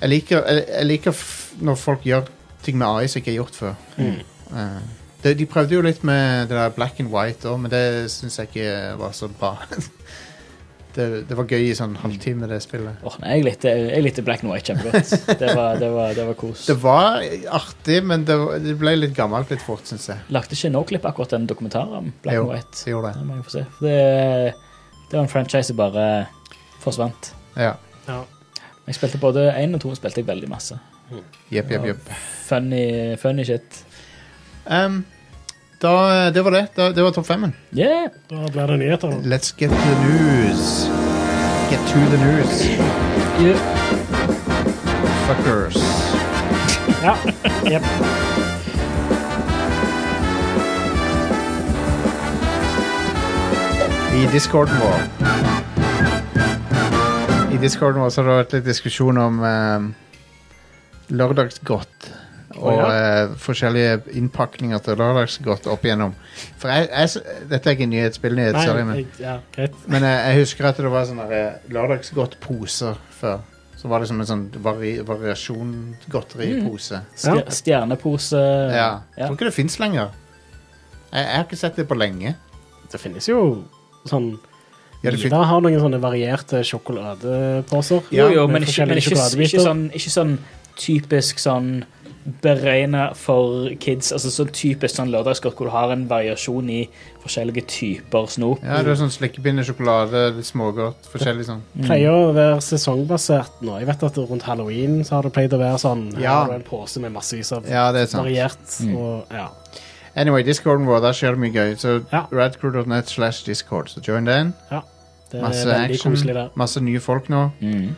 S1: jeg liker, jeg, jeg liker f når folk gjør ting med AI som ikke er gjort før. Eh, de, de prøvde jo litt med det der black and white òg, men det syns jeg ikke var så bra. *laughs* det, det var gøy i sånn halvtime, det spillet.
S3: Åh, nei, jeg likte, jeg likte Black and White kjempegodt. Det var, det var, det var kos.
S1: Det var artig, men det, var- det ble litt gammelt litt fort, syns jeg.
S3: Lagde ikke Noclip akkurat en dokumentar om Black
S1: Jo,
S3: and White?
S1: det gjorde det.
S3: Det må jeg få se. Det, det var en franchise som bare forsvant.
S1: Ja.
S2: Ja.
S3: Jeg spilte både én og to spilte jeg veldig masse.
S1: Jepp, jepp, jepp.
S3: Funny, funny shit.
S1: Ehm, da, det var det. Da, det var topp femmen.
S3: Yeah!
S2: Da blir det nyheter. nå.
S1: Let's get to the news. Get to the news,
S3: yeah.
S1: fuckers.
S2: Ja. Jep.
S1: I discorden vår. I discorden vår så har det vært litt diskusjon om ehm, lørdagsgodt. Og
S2: Å,
S1: eh, forskjellige innpakninger til lørdagsgodt opp igjennom. For jeg, jeg, s- dette er ikke en nyhet, spillnyhet,
S2: Nei,
S1: sorry, men
S2: jeg, ja, greit.
S1: Men jeg, jeg husker at det var sånne der, eh, lørdagsgodtposer før. Så var det som en sånn vari, variasjon godteripose.
S3: Stjer-
S2: Ja.
S3: Stjernepose.
S1: Mm. Ja.
S3: Ja.
S1: Tror ikke det fins lenger. Jeg, jeg har ikke sett det på lenge.
S2: Det finnes jo sånn
S1: Ja, det fin-
S2: Ida har noen sånne varierte sjokoladeposer.
S3: Jo, jo,
S2: med
S3: men, ikke,
S2: forskjellige
S3: men ikke,
S2: sjokoladebiter.
S3: ikke, sånn, ikke sånn typisk sånn beregna for kids. altså Sånn typisk sånn lørdagsgodt hvor du har en variasjon i forskjellige typer snop.
S1: Ja, det er sånn slikkepinne, sjokolade, litt smågodt, forskjellig sånn.
S3: Mm.
S2: pleier å være sesongbasert nå. Jeg vet at rundt halloween så har det pleid å være sånn Her
S1: Ja.
S2: har du en pose med massevis av
S1: Ja, det er sant. Mm.
S2: variert og ja.
S1: Anyway, discorden vår, der skjer det mye gøy. Så
S2: Ja.
S1: radcrew.net slash discord. Så join den.
S2: ja. Det er
S1: Masse
S2: veldig
S1: action.
S2: koselig der.
S1: Masse nye folk nå
S3: Mm.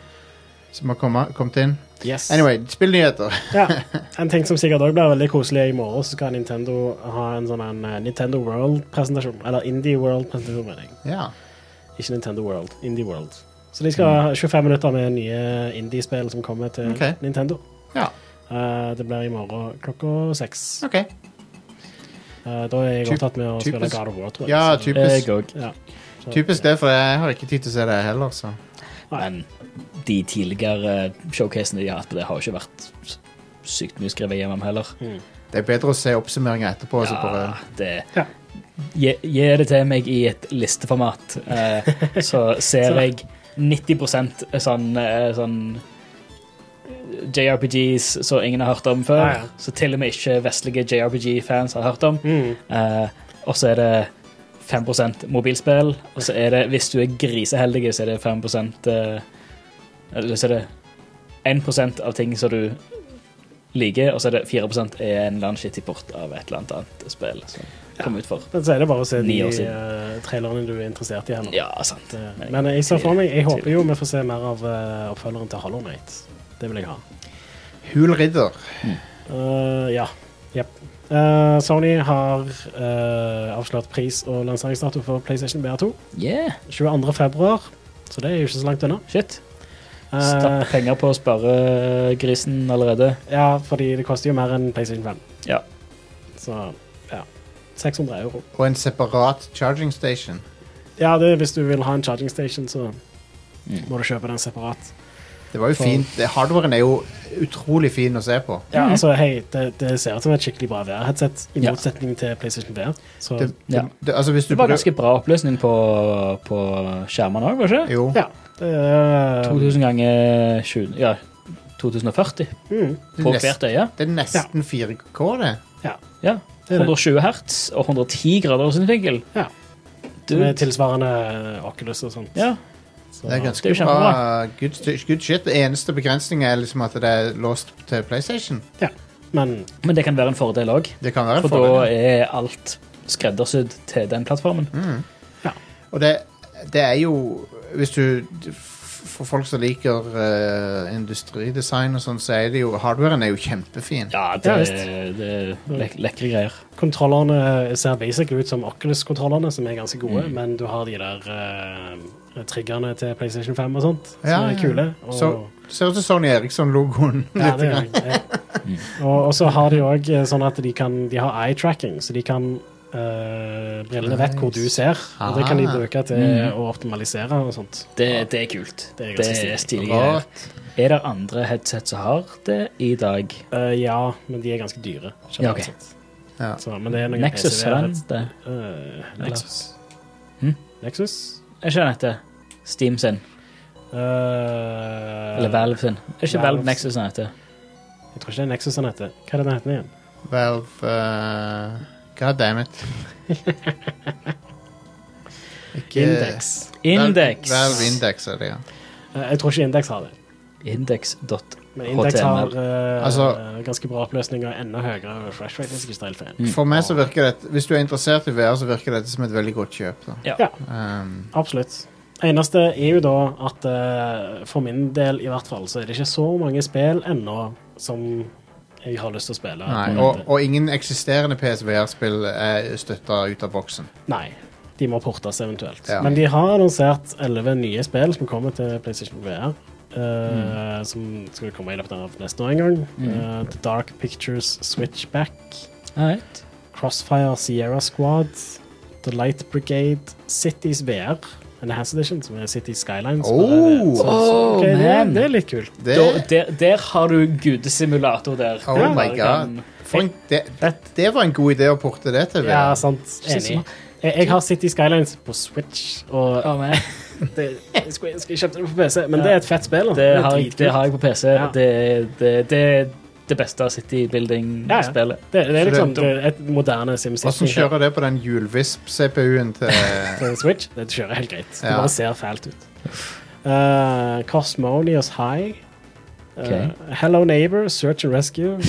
S1: som har kommet, kommet inn.
S2: Yes.
S1: Anyway, spillnyheter.
S2: ja. *laughs* En ting som sikkert òg blir veldig koselig er i morgen, så skal Nintendo ha en sånn en eh, Nintendo World-presentasjon. Eller Indie World-presentasjon, mener jeg.
S1: *laughs* Ja.
S2: Ikke Nintendo World. Indie World. Så de skal ha 25 minutter med nye indie-spill som kommer til
S1: Mm. Ok.
S2: Nintendo.
S1: ja.
S2: Eh, det blir i morgen klokka seks.
S1: OK.
S2: Eh, da er jeg
S1: Typ-
S2: opptatt med å spille
S1: typisk-
S2: God of War, tror jeg.
S1: Ja,
S2: så-
S1: typisk,
S3: Jeg òg.
S2: ja. Så-
S1: typisk det, for jeg har ikke tid til å se det heller, så.
S3: Men de tidligere showcasene de har hatt på det, har jo ikke vært s- sykt mye skrevet hjem om heller.
S1: Det er bedre å se oppsummeringa etterpå. Ja. Bare,
S3: det
S2: Ja.
S3: Gi gi det til meg i et listeformat, eh, så
S2: *laughs*
S3: ser jeg 90 sånn, eh, sånn eh, JRPGs som ingen har hørt om før.
S2: Ah, Ja, ja.
S3: Så til og med ikke vestlige JRPG-fans har hørt om.
S2: Mm.
S3: Eh, og så er det 5 mobilspill. Og så er det, hvis du er griseheldig, så er det 5 eh, Eller så er det 1 av ting som du liker, og så er det 4 er en eller annen shitty port av et eller annet annet spill som kom ut for
S2: Men så er det bare å se
S3: Ni
S2: de
S3: år siden.
S2: eh, trailerne du er interessert i. Her. nå.
S3: Ja, sant.
S2: Det-
S3: Men-
S2: Men jeg ser for meg Jeg håper jo vi får se mer av eh, oppfølgeren til Hollow Knight. Det vil jeg ha.
S1: Hul Ridder.
S2: Eh, ja. Jepp. Eh, Sony har eh, avslørt pris og lanseringsdato for PlayStation BR2.
S3: Yeah,
S2: 22. februar, så det er jo ikke så langt unna.
S3: shit.
S2: Eh,
S3: Stapp penger på å spare grisen allerede.
S2: ja, fordi det koster jo mer enn PlayStation 5.
S3: Ja.
S2: Så ja. 600 euro.
S1: Og en separat charging station.
S2: Ja, det, er hvis du vil ha en charging station, så
S3: Mm.
S2: må du kjøpe den separat.
S1: Det var jo fint. Det- Hardwaren er jo utrolig fin å se på.
S2: Ja, altså, hei, det, det ser ut som et skikkelig bra VR-headset, i
S3: Mhm. Ja.
S2: motsetning til PlayStation VR. Så,
S1: Det, det,
S3: Ja.
S1: det, altså hvis du
S3: Det var
S1: bruker-
S3: ganske bra oppløsning på, på skjermene òg, var det ikke?
S1: Jo.
S2: ja, det er
S3: 2000 ganger 20, ja, 2040
S2: mm,
S1: Det
S3: på
S1: er, nest,
S3: hvert øye.
S1: det er nesten 4K, det.
S2: ja,
S3: Ja,
S2: er det.
S3: 120 hertz og 110 grader synsvinkel.
S2: ja.
S3: Du-
S2: Med tilsvarende Oculus og sånt.
S3: Ja,
S2: Så,
S1: Det er
S3: det
S1: ganske
S3: er jo
S1: bra. Good, st- good shit. Det eneste begrensningen er liksom at det er låst til PlayStation.
S2: ja. Men
S3: men det kan være en fordel òg,
S1: Det kan være en
S3: for da
S1: fordel.
S3: er alt skreddersydd til den plattformen.
S1: Og det, det er jo Hvis du For folk som liker eh, industridesign og sånn, så er det jo Hardwaren er jo kjempefin.
S3: Ja, det,
S2: Ja, visst.
S3: det er lek lekre greier.
S2: kontrollerne eh, ser basic ut som Oculus-kontrollerne, som er ganske gode,
S1: Mm.
S2: men du har de der eh, triggerne til PlayStation 5 og sånt, som
S1: Ja,
S2: er
S1: ja.
S2: kule. Og,
S1: Så ser ut som Sony Eriksson-logoen.
S2: Ja,
S1: litt
S2: det
S1: grann.
S3: *laughs*
S2: gjør jeg. Ja.
S3: Mm.
S2: Og, og så har de òg sånn at de, kan, de har eye tracking, så de kan eh, Brillene vet hvor du ser, og det kan de
S1: Ah.
S2: bruke til å optimalisere og sånt.
S3: Mm. Det, det er kult.
S2: Det er
S3: Det
S2: ganske
S3: er
S2: stilig.
S3: stilig. greier.
S1: Rått.
S3: Er det andre headset som har det i dag?
S2: Eh, ja, men de er ganske dyre.
S3: Ja, ok.
S2: generelt sett.
S1: Ja.
S2: Så, men det er noen
S3: Nexus,
S2: PC-er
S3: er den
S2: rett-
S3: det?
S2: Øh, Nexus.
S3: Hm?
S2: Nexus?
S3: Er ikke den heter Steam sin?
S2: Øh,
S3: Eller Valve sin? Er ikke
S2: Valve
S3: Valve Nexus den heter?
S2: Jeg tror ikke det er Nexus han heter. Hva er det den heter igjen?
S1: Valve eh, God damn
S2: *laughs*
S1: it. Ikke
S2: Index.
S3: Index.
S1: Valve, Valve Index er det, ja.
S2: Eh, jeg tror ikke Index har det.
S3: Index.html.
S2: Men Index har eh,
S1: Altså-
S2: ganske bra oppløsning og enda høyere refresh rate. hvis jeg ikke tar helt
S3: mm.
S2: feil.
S1: For meg så virker det Hvis du er interessert i VR, så virker dette som et veldig godt kjøp. Da.
S3: Ja.
S2: Ja.
S1: Um,
S2: Absolutt. Eneste er jo da at eh, for min del i hvert fall, så er det ikke så mange spill ennå som jeg har lyst til å spille.
S1: nei,
S2: på
S1: og,
S2: nettet.
S1: og ingen eksisterende PSVR-spill er støtta ut av boksen.
S2: nei. De må portes eventuelt.
S1: Ja.
S2: Men de har annonsert elleve nye spill som kommer til PlayStation VR.
S3: Mm.
S2: eh, Som skal komme i løpet av neste år en gang.
S1: Mm.
S2: Eh, The Dark Pictures Switchback.
S3: Alright.
S2: Crossfire Sierra Squad, The Light Brigade, Cities VR, Enhanced Edition, som er City Skylines.
S1: Oh!
S3: Oh,
S2: det,
S3: man.
S2: det er litt kult.
S1: Det,
S3: Da, der, der har du gudesimulator der.
S1: oh
S3: Der
S1: my
S3: kan-
S1: god. For en, det,
S2: Det-
S1: det var en god idé å porte det til
S2: Ja,
S1: VR.
S2: sant. Enig. Jeg, jeg har City Skylines på Switch, og
S3: Ja, men
S2: det, jeg skulle ønske jeg kjøpte det på PC, men det er et fett spill. da.
S3: Det
S2: er
S3: har, jeg,
S2: dritkult.
S3: det har jeg på PC.
S2: Ja.
S3: Det, det, det er det beste City
S2: Ja, ja.
S3: Building-spillet.
S2: Det, det er liksom
S1: Så det-
S2: det er et moderne SimCity.
S1: Hvordan kjører det på den hjulvisp-CPU-en
S2: *laughs*
S1: til
S2: til Switch. Det kjører helt greit. Det
S1: Ja.
S2: bare ser fælt ut. Uh, Cosmonius High. Uh,
S3: Ok.
S2: Hello Neighbor, Search and Rescue.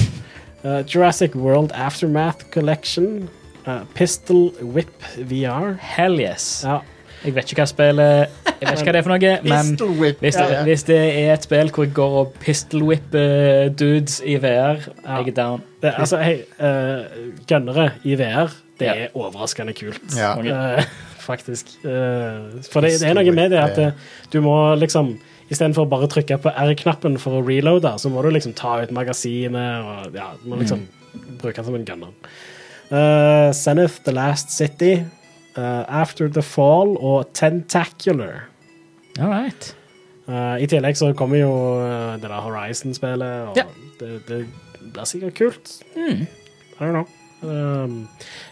S2: Uh, Jurassic World Aftermath Collection. Uh, Pistol Whip VR.
S3: Hell yes.
S2: Ja,
S3: Jeg vet ikke hva spillet Jeg vet ikke hva det er for noe, men
S1: Pistol Whip?
S3: hvis det,
S1: Ja.
S3: hvis det er et spill hvor jeg går og pistol-whipper dudes i VR, jeg er down.
S2: det, altså, hei, uh, gønnere i VR, det
S3: Ja.
S2: er overraskende kult.
S1: Ja.
S2: Eh, faktisk. Eh, for det, det er noe med det at eh, du må liksom Istedenfor bare å trykke på R-knappen for å reloade, så må du liksom ta ut magasinet og ja, du må liksom bruke den som en gunner. Eh, Zenith, The Last City, eh, After The Fall og Tentacular.
S3: All right.
S2: Eh, I tillegg så kommer jo eh, det der Horizon-spillet, og
S3: Ja. Mm.
S2: det, det blir sikkert kult. I don't know. Um,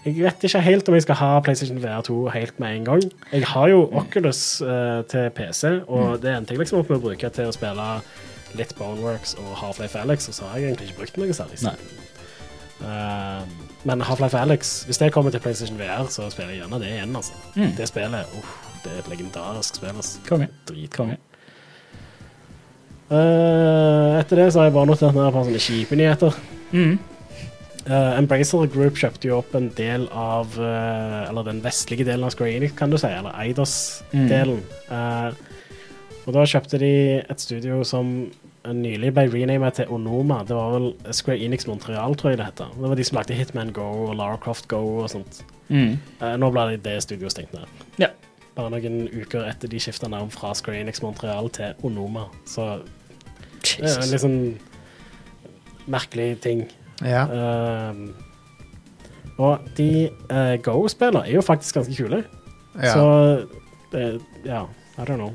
S2: jeg vet ikke helt om jeg skal ha PlayStation VR 2 helt med en gang. Jeg har jo Oculus eh, til PC, og
S3: Mm.
S2: det endte jeg liksom opp med å bruke til å spille litt Boneworks og Half-Life Alex, og så har jeg egentlig ikke brukt noe særlig.
S3: Nei.
S2: Um, men Half-Life Alex, hvis det kommer til PlayStation VR, så spiller jeg gjerne det igjen. Altså. Det spillet, uff, det er et legendarisk spill. Altså.
S3: Mm. Konge.
S2: Dritkonge.
S3: Konge.
S2: Eh, etter det så har jeg bare notert ned på sånne kjipe nyheter.
S3: Mm.
S2: Eh, Embracer Group kjøpte jo opp en del av eh, Eller den vestlige delen av Square Enix, kan du si. Eller Eidos-delen.
S3: Mm.
S2: Eh, og da kjøpte de et studio som nylig ble renamet til Onoma. Det var vel Square Enix Montreal, tror jeg det heter. Det var de som lagde Hitman Go og Lara Croft Go og sånt.
S3: Mm.
S2: Eh, nå ble det, det studioet stengt ned.
S3: Ja.
S2: Bare noen uker etter de skifta navn fra Square Enix Montreal til Onoma. Så det er en
S3: Jesus.
S2: litt sånn merkelig ting.
S1: Ja.
S2: Ehm, og de eh, Go-spillene er jo faktisk ganske kule.
S1: Ja.
S2: Så det, ja, I don't know.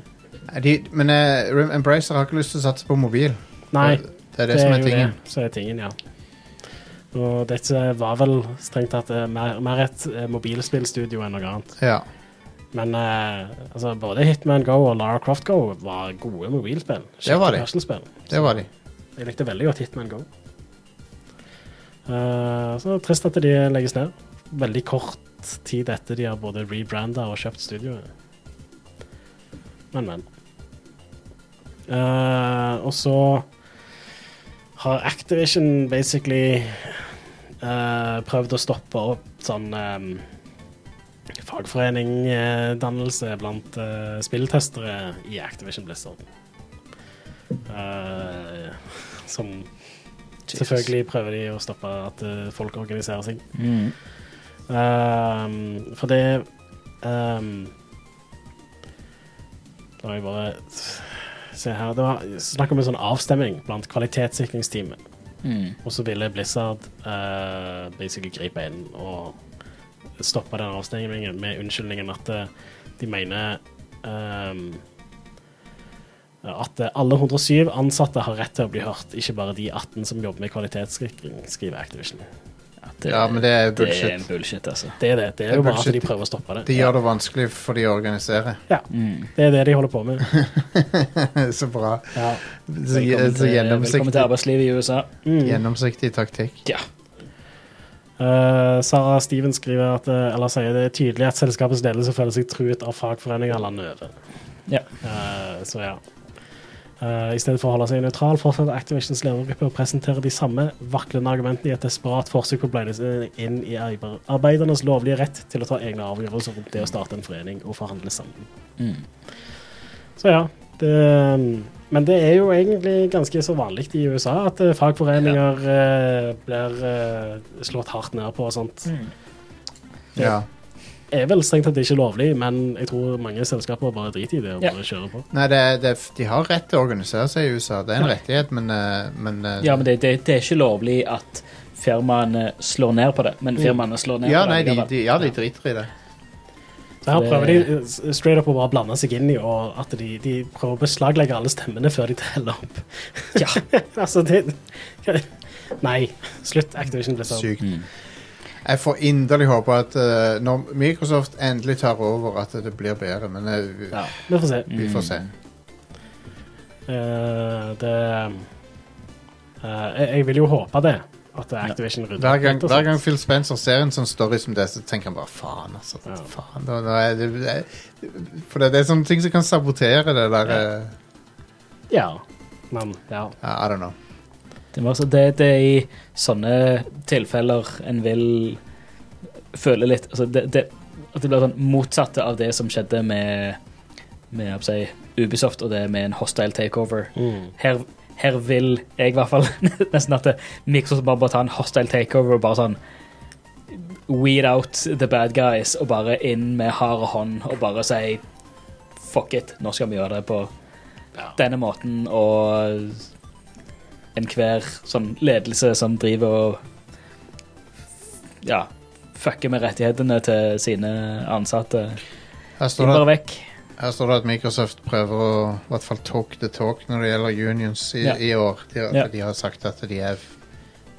S1: De, men eh, Rem- Embracer har ikke lyst til å satse på mobil.
S2: Nei,
S1: det, det er det, som er
S2: jo
S1: tingen.
S2: det som er tingen, ja. Og dette var vel strengt tatt eh, mer, mer et eh, mobilspillstudio enn noe annet.
S1: Ja.
S2: Men eh, altså, både Hitman Go og Lara Croft Go var gode mobilspill.
S1: Det var de.
S2: Kjempepuzzlespill.
S1: Det var de.
S2: Jeg likte veldig godt Hitman Go. Eh, så trist at de legges ned. Veldig kort tid etter de har både rebranda og kjøpt studioet. Men, men. Eh, og så har Activision basically eh, prøvd å stoppe opp sånn um, fagforeningdannelse blant eh, spilltestere i Activision Blizzard. Eh, som selvfølgelig prøver de å stoppe at eh, folk organiserer seg.
S3: Mm.
S2: Ehm, for det ehm, Da må jeg bare se her Det var snakk om en sånn avstemning blant kvalitetssikringsteamet.
S3: Mm.
S2: Og så ville Blizzard eh, basically gripe inn og stoppe den avstemningen med unnskyldningen at eh, de mener ehm, at eh, alle 107 ansatte har rett til å bli hørt, ikke bare de 18 som jobber med kvalitetssikring, skriver Activision.
S3: Ja, Det,
S1: Ja, men det er
S3: Det er en
S1: bullshit.
S3: bullshit, altså.
S2: Det er det. Det er
S1: Det er
S2: jo bare at
S1: bullshit.
S2: de prøver å stoppe det.
S1: De gjør det vanskelig for de å organisere. *laughs*
S2: Ja,
S3: Mm.
S2: det er det de holder på med.
S1: så bra.
S2: Ja.
S1: Så,
S3: Velkommen,
S1: så
S3: til, velkommen til
S1: gjennomsiktig,
S3: arbeidslivet i USA.
S2: Mm.
S1: gjennomsiktig taktikk.
S3: Ja.
S2: Eh, Sarah Stevens skriver at, eh, eller sier det er tydelig at selskapets ledelse føler seg truet av fagforeninger landet over.
S3: Ja.
S2: Eh, så ja. Eh, I stedet for å holde seg nøytral fortsetter Activations ledergruppe å presentere de samme vaklende argumentene i et desperat forsøk på å blande seg inn i arbe- arbeidernes lovlige rett til å ta egne avgjørelser rundt det å starte en forening og forhandle sammen.
S3: Mm.
S2: Så ja. Det, mm, men det er jo egentlig ganske så vanlig i USA at eh, fagforeninger eh, blir eh, slått hardt ned på og sånt.
S3: Mm.
S1: Mm. Ja.
S2: er vel strengt tatt ikke lovlig, men jeg tror mange selskaper bare driter i det og
S3: Ja.
S2: bare kjører på.
S1: Nei, det, er- det, er f- de har rett til å organisere seg i USA. Det er en rettighet, men, eh, men eh,
S3: Ja, men det, det, det er ikke lovlig at firmaene slår ned på det, men firmaene slår ned
S1: Mm. ja,
S3: på det.
S1: nei, de,
S3: likevel.
S1: de, ja, de driter i det.
S2: Så her
S3: Det-
S2: prøver de eh, s- straight up å bare blande seg inn i og at de, de prøver å beslaglegge alle stemmene før de teller opp.
S3: Ja.
S2: *laughs* altså, det Nei. Slutt Activision Blizzard.
S1: Sykt.
S3: Mm.
S1: Jeg får inderlig håpe at eh, når Microsoft endelig tar over, at det blir bedre. Men eh, vi-
S2: Ja, vi får se.
S1: vi får se.
S2: Eh, det eh, jeg, jeg vil jo håpe det. At Activision rydder
S1: Hver gang,
S2: litt og
S1: hver
S2: sånt.
S1: gang Phil Spencer ser en sånn story som det, så tenker han bare faen, altså.
S2: Ja.
S1: Faen, da, da er det, det- for det, det er sånne ting som kan sabotere det der eh,
S2: Ja. Men ja.
S1: I don't know.
S3: Det, må også- det, det er i sånne tilfeller en vil føle litt altså det, det, At det blir sånn motsatte av det som skjedde med, med jeg vil si, Ubisoft og det med en hostile takeover.
S2: Mm.
S3: Her, her vil jeg i hvert fall *laughs* nesten at det- Microsoft bare, bare tar en hostile takeover og bare sånn Weed out the bad guys og bare inn med harde hånd og bare si fuck it, nå skal vi gjøre det på
S2: Ja.
S3: denne måten, og enhver sånn ledelse som driver og ja, fucker med rettighetene til sine ansatte,
S1: Her
S3: de
S1: står, det
S3: bare
S1: Sånn at,
S3: vekk.
S1: her står det at Microsoft prøver å i hvert fall talk the talk når det gjelder unions i,
S3: Ja.
S1: i år. De, har-
S3: Ja.
S1: de har sagt at de er,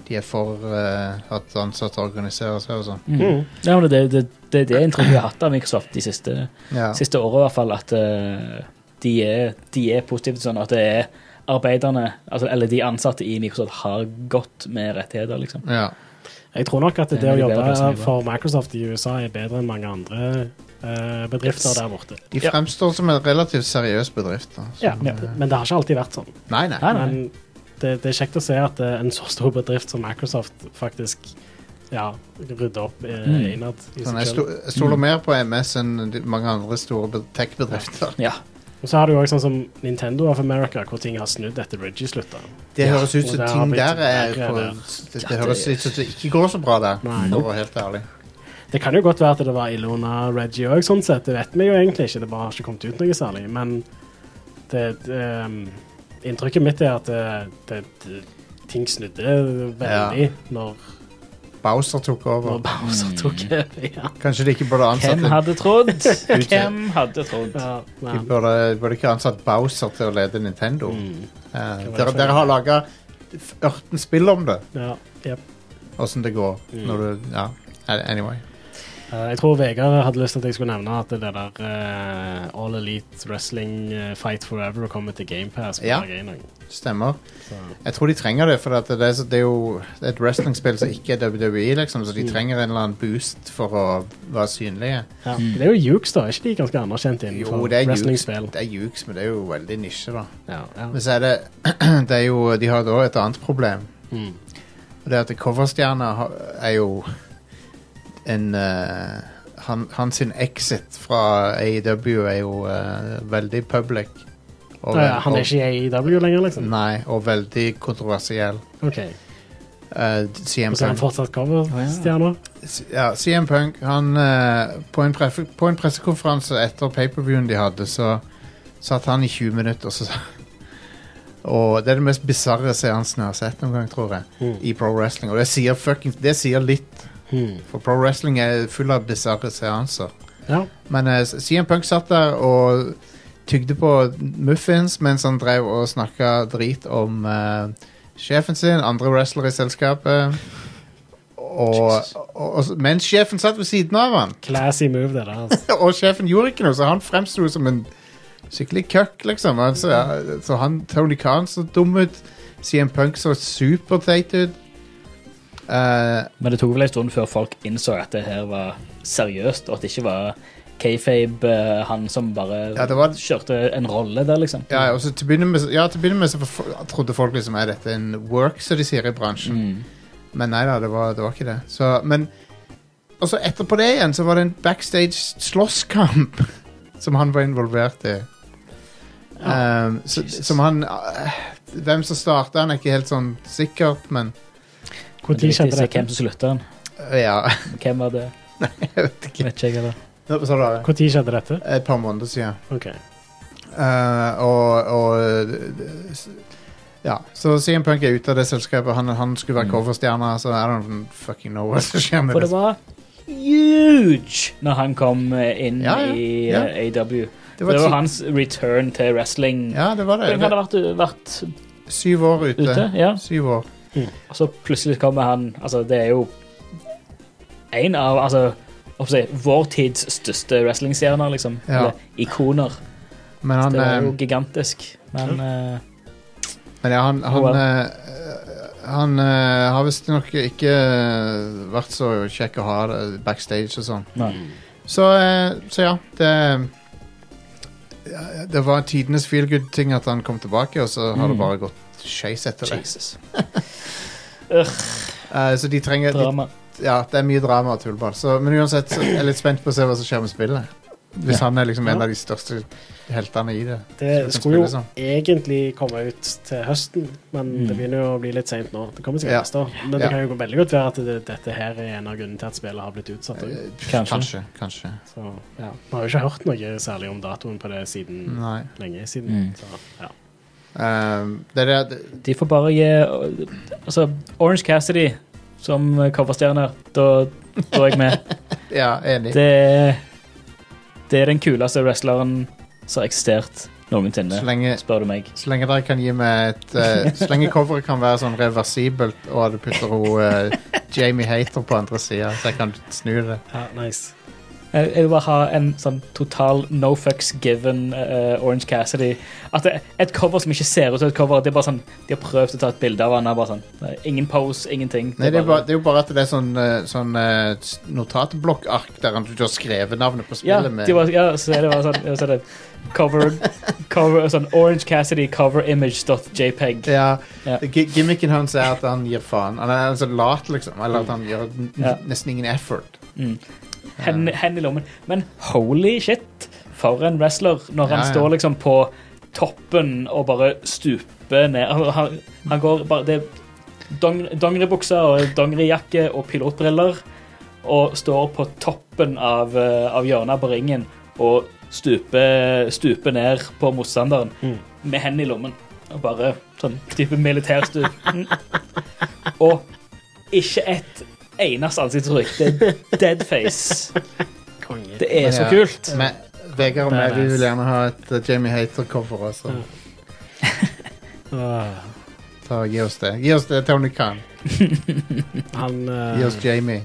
S1: de er for eh, at ansatte organiserer seg og sånn.
S3: Mm. Ja, men det, det, det, det er inntrykket jeg har hatt av Microsoft de siste
S1: Ja.
S3: siste året i hvert fall, at eh, de, er, de er positive til sånn at det er arbeiderne, altså, eller de ansatte i Microsoft har godt med rettigheter, liksom.
S1: ja.
S2: Jeg tror nok at det,
S3: Det er
S2: å
S3: mye bedre
S2: jobbe
S3: løsninger.
S2: for Microsoft i USA er bedre enn mange andre eh, bedrifter
S3: Yes.
S2: der borte.
S1: De
S3: Ja.
S1: fremstår som en relativt seriøs bedrift. Da. Så-
S2: Ja, Men det har ikke alltid vært sånn.
S1: Nei, nei.
S3: Nei, nei.
S2: Men det, det er kjekt å se at eh, en så stor bedrift som Microsoft faktisk ja, rydder opp eh,
S3: Mm.
S2: innad i
S1: Sånn,
S2: seg
S1: jeg, sto,
S2: selv.
S1: jeg stoler mer på MS enn de- mange andre store be- tech-bedrifter.
S3: Ja.
S2: Og så har du jo også sånn som Nintendo of America, hvor ting har snudd etter Reggie slutta.
S1: Det høres ut
S2: og
S1: som
S2: det har
S1: ting
S2: blitt
S1: der er
S2: verre
S1: på,
S2: der.
S1: det, det
S3: Ja, det-
S1: høres ut som det ikke går så bra der,
S2: Nei.
S1: for å være helt ærlig.
S2: Det kan jo godt være at det var Ilona Reggie òg, sånn sett. Det vet vi jo egentlig ikke. Det bare har ikke kommet ut noe særlig. Men det, det ehm, Inntrykket mitt er at det, det, det, ting snudde veldig når,
S1: Bowser tok
S2: når
S1: over.
S2: Bowser tok over. Ja.
S1: *laughs* Kanskje de ikke burde ansatt
S3: Hvem
S1: en-
S3: hadde
S1: *laughs*
S3: trodd? Hvem hadde trodd?
S2: Ja,
S1: de
S2: men,
S1: burde, burde ikke ansatt Bowser til å lede Nintendo. Eh,
S2: Mm. være
S1: dere,
S2: for-
S1: dere har laga 14 spill om det,
S2: ja, jep.
S1: åssen det går. Når du, ja. Anyway.
S2: Eh, Jeg tror Vegard hadde lyst til at jeg skulle nevne at det der eh, All Elite Wrestling eh, Fight Forever kommer til GamePass.
S1: Ja. Stemmer. Jeg tror de trenger det, for at det, er, så- det er jo det er et wrestlingspill som ikke er WWE, liksom, så de trenger en eller annen boost for å være synlige.
S2: Ja. Det er jo Jukes, da. Er ikke de ganske anerkjent
S1: Jo,
S2: innenfor
S1: det er juks,
S2: wrestlingspill?
S1: det er juks, men det er jo veldig nisje, da.
S2: Ja, ja.
S1: Men så er det, *clears throat* det er jo, de har da et annet problem.
S2: Mm.
S1: Og det er at coverstjerna har- er jo en eh, han, han sin exit fra AEW er jo eh, veldig public. Og,
S2: Ja, ja, han er ikke i AEW lenger,
S1: og,
S2: liksom?
S1: Nei, og veldig kontroversiell.
S2: Ok,
S1: Eh, CM
S2: Og så er han
S1: Punk,
S2: fortsatt coverstjerna?
S1: ja, CM Punk han, eh, på, en prefe, på en pressekonferanse etter paperviewen de hadde, så satt han i 20 minutter. Og, så, *laughs* og det er den mest bisarre seansen jeg har sett noen gang, tror jeg,
S2: Mm.
S1: i pro wrestling. Og det sier, fucking, det sier litt
S2: Mm.
S1: For pro wrestling er full av bisarre seanser.
S2: Ja.
S1: Men eh, CM Punk satt der og tygde på muffins mens han drev og snakka drit om eh, sjefen sin, andre wrestlere i selskapet. Og, Og, og, og, mens sjefen satt ved siden av han.
S2: Classy move, det der. Altså.
S1: Og sjefen gjorde ikke noe, så han fremsto som en skikkelig køkk, liksom. Altså, ja, så han, Tony Khan så dum ut. CM Punk så superteit ut. Eh,
S3: Men det tok vel en stund før folk innså at det her var seriøst, og at det ikke var K-Fabe, eh, han som bare
S1: Ja, det var-
S3: kjørte en rolle der, liksom.
S1: ja, og så til å begynne med, så- ja, til å begynne med så for- trodde folk liksom er dette en work, som de sier i bransjen.
S3: Mm.
S1: Men nei da, det var, det var ikke det. Så, men Og så etterpå det igjen, så var det en backstage slåsskamp *laughs* som han var involvert i. Ehm, så,
S3: Jesus.
S1: som han eh, Hvem som starta han, er ikke helt sånn sikkert, men
S3: Men det
S2: Når
S3: viktigste
S2: skjedde
S3: er
S2: dette?
S3: hvem som slutta den.
S1: eh, ja. *laughs*
S3: Hvem var det?
S1: Jeg vet ikke.
S3: Vet ikke jeg, eller.
S1: Hva sa du? Are?
S2: Når skjedde dette?
S1: Et par måneder siden.
S2: Ok.
S1: Eh, og, og Ja, så CM Punk er ute av det selskapet. Han, han skulle være
S3: Mm.
S1: coverstjerne, så I don't fucking know hva som skjer med
S3: For det
S1: det.
S3: var huge når han kom eh, inn
S1: Ja, ja,
S3: i
S1: ja.
S3: eh, AW.
S1: Det
S3: Det var,
S1: var, ti-
S3: hans return til wrestling.
S1: ja, det var det.
S3: Han hadde vært, vært
S1: Det- Syv år ute.
S3: ute, ja.
S1: Syv år.
S3: Og så plutselig kommer han Altså, det er jo en av altså, hva skal jeg si, vår tids største wrestlingstjerner, liksom.
S1: Ja.
S3: Eller ikoner.
S1: Men han,
S3: det er jo
S1: eh,
S3: gigantisk. Men eh,
S1: men ja, han, han,
S3: Oh, well.
S1: eh, han eh, har visstnok ikke eh, vært så kjekk å ha det backstage og sånn.
S3: nei.
S1: Så, eh, så ja, det ja, Det var tidenes feel good-ting at han kom tilbake, og så har det
S3: Mm.
S1: bare gått skeis etter det.
S3: Jesus.
S1: Eh, så de trenger de,
S3: Drama.
S1: Ja, det er mye drama og tullball. Så, men uansett, så er jeg litt spent på å se hva som skjer med spillet. Hvis
S3: Ja.
S1: han er liksom en
S2: Ja.
S1: av de største heltene i det.
S2: Det
S1: Så du kan
S2: skulle jo
S1: spille sånn.
S2: egentlig komme ut til høsten, men
S3: Mm.
S2: det begynner jo å bli litt seint nå. Det kommer
S1: Ja.
S2: sikkert neste år. Men
S1: Ja.
S2: det kan jo gå veldig godt være at det, dette her er en av grunnene til at spillet har blitt utsatt. også.
S1: Eh, pff,
S3: Kanskje.
S1: Kanskje. Kanskje.
S2: Så, ja. Vi har jo ikke hørt noe særlig om datoen på det siden
S1: Nei.
S2: lenge siden.
S3: Mm.
S2: Så, ja.
S1: Eh, det er det
S3: De får bare gi Altså, Orange Cassidy som coverstjerne her, da, da er jeg med.
S1: *laughs* Ja, enig.
S3: Det er, det er den kuleste wrestleren som har eksistert noensinne,
S1: så, lenge,
S3: spør du meg.
S1: så lenge dere kan gi meg et eh, Så lenge coveret kan være sånn reversibelt, og du putter hun eh, Jamie Hater på andre sida, så jeg kan snu det.
S2: ja, nice.
S3: Eh, Jeg jeg vil bare ha en sånn total no fucks given eh, Orange Cassidy. At det, et cover som ikke ser ut som et cover. Det er bare sånn, De har prøvd å ta et bilde av han, er bare sånn, det er Ingen pose, ingenting.
S1: Nei, det er, bare, det er jo bare at det er sånn, eh, sånn eh, s- notatblokkark der han- du har skrevet navnet på
S3: ja,
S1: spillet med.
S3: de bare, ja, så er det bare sånn, så er det cover, cover sånn Orange Cassidy cover image.jpg.
S1: Ja,
S3: Ja.
S1: gi- Gimmicken hans er at han gir faen. Han er så lat, liksom. Eller at han gjør n- n-
S3: Ja.
S1: nesten ingen effort.
S3: Mm. Hen, hen i lommen. Men holy shit, for en wrestler når
S1: Ja,
S3: han
S1: ja.
S3: står liksom på toppen og bare stuper ned. Han, han, han går bare Det er dong- dongeribukser og dongerijakke og pilotbriller og står på toppen av, eh, av hjørnet på ringen og stuper, stuper ned på motstanderen
S2: Mm.
S3: med hendene i lommen. Og bare sånn type militærstup. Mm. Og ikke et eneste ansiktsuttrykk. Det er deadface.
S2: Konge.
S3: Det er så
S1: Ja.
S3: kult.
S1: Eh, Men Vegard og meg vi
S2: Badass.
S1: vil gjerne ha et uh, Jamie Hater-cover også.
S2: Åh.
S1: Ta, gi oss det. Gi oss det, Tony Khan.
S2: han, eh,
S1: Gi oss Jamie.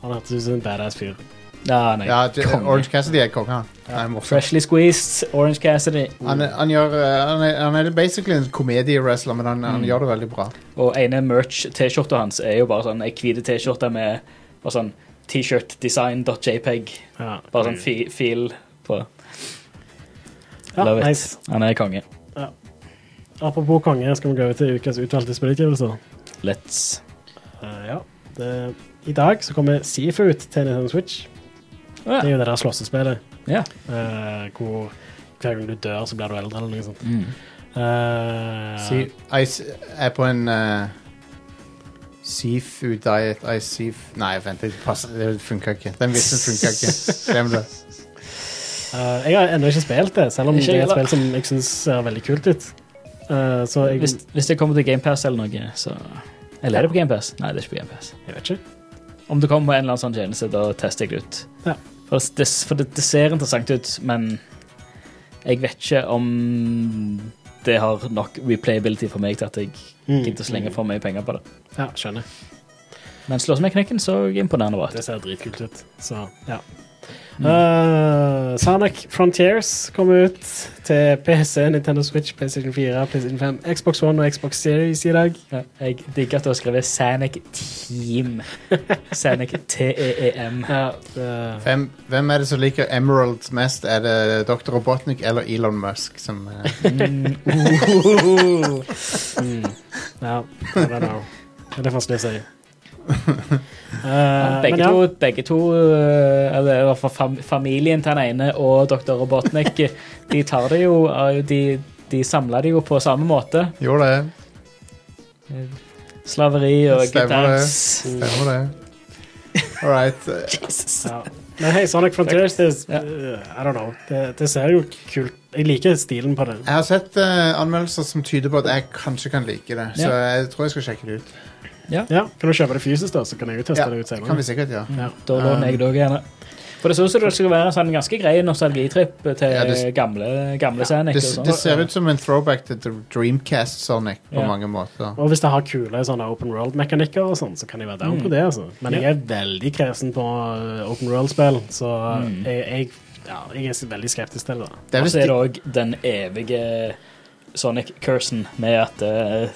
S2: han hørtes ut som en badass fyr.
S3: Ja, nei.
S1: Ja, J
S3: konge.
S1: Orange Cassidy er konge. han. Han er morsom.
S3: Freshly squeezed, Orange Cassidy.
S1: Han, er- han, gjør, uh, han, er, han er basically en komedie-wrestler, men han, han gjør det veldig bra.
S3: Og ene merch-T-skjorta hans er jo bare sånn ei hvit T-skjorte med bare sånn T-shirt-design.jpg.
S2: Ja.
S3: Bare sånn fi, fil på.
S2: Ja,
S3: Love it.
S2: nice.
S3: Han er konge.
S2: Apropos konge, skal vi gå over til ukas utvalgte spillutgivelser.
S3: Let's
S2: Eh, ja. det, I dag så kommer Seafood til Nintendo Switch.
S3: Ja.
S2: Det er jo det der slåssespillet
S3: Ah, Ja.
S2: eh, hvor hver gang du dør, så blir du eldre, eller noe sånt.
S3: Mm.
S2: Eh,
S1: Si- I s- er på en uh, Seafood diet I seaf... Nei, vent, det, passer- det funka ikke. Den vitsen funka ikke. Glem det.
S2: eh, jeg har ennå ikke spilt det, selv om
S3: Ikke
S2: det er et
S3: heller.
S2: spill som jeg syns ser veldig kult ut. Eh, så jeg,
S3: Hvis, hvis det kommer til GamePass eller noe, så Eller er det på GamePass? Nei, det er ikke på GamePass.
S2: jeg vet ikke.
S3: Om det kommer en eller annen sånn tjeneste, da tester jeg det ut.
S2: Ja.
S3: For, det, for det, det ser interessant ut, men jeg vet ikke om det har nok replayability for meg til at jeg
S2: Mm.
S3: gidder å slenge for mye penger på det.
S2: Ja, skjønner.
S3: Men slåssemekanikken så imponerende bra ut.
S2: Det ser dritkult ut. Så, ja.
S3: Mm.
S2: Eh, Sonic Frontiers kom ut til PC, Nintendo Switch, PlayStation 4, PlayStation 5, Xbox One og Xbox Series i dag.
S3: Ja, Eh, jeg digger at du har skrevet Sanic
S1: *laughs*
S3: Team. Sanic E T-E-E-M.
S2: Ja,
S1: *laughs*
S2: det-
S1: Hvem, hvem er det som liker Emeralds mest? Er det Dr. Robotnik eller Elon Musk? Som, eh,
S3: Mm,
S2: mm. ja, I don't know. Det er vanskelig å
S1: *laughs*
S2: si.
S3: ja,
S2: Eh, men
S3: begge,
S2: ja,
S3: to, begge to, eh, eller i hvert fall fam familien til den ene og dr.
S1: *laughs*
S3: Robotnik, de tar det jo eh, De, de samler det jo på samme måte.
S1: gjorde det.
S3: Slaveri og
S1: Stemmer det.
S3: gedans.
S1: Stemmer det. All right. eh,
S2: Ja. Men hei, Sonic Frontiers, det, eh,
S3: Ja.
S2: I don't know. Det, det ser jo kult Jeg liker stilen på det.
S1: Jeg har sett eh, anmeldelser som tyder på at jeg kanskje kan like det, så jeg tror jeg skal sjekke det ut.
S2: Ja, Kan du kjøpe det fysisk, da, så kan jeg jo teste
S1: Ja,
S2: det ut
S1: kan vi
S2: senere.
S1: sikkert, ja.
S2: Ja.
S3: Da
S1: Um.
S3: låner jeg det også gjerne. For det ser ut som det skal være en sånn ganske grei nostalgitripp til
S1: Ja, det-
S3: gamle, gamle Sanic.
S1: Det,
S3: og sånn. sånt.
S1: det ser ut som en throwback til Dr- Dreamcast Sonic på
S3: Ja.
S1: mange måter.
S2: Og hvis det har kule sånne open world-mekanikker, og sånn, så kan jeg være down
S3: Mm.
S2: på det. altså. Men jeg er veldig kresen på uh, open world-spill, så
S3: Mm.
S2: jeg, jeg, ja, jeg er veldig skeptisk til det. *laughs* da.
S1: Det er
S3: Og
S1: visst
S3: så er
S1: de,
S3: det òg den evige Sonic-cursen med at eh,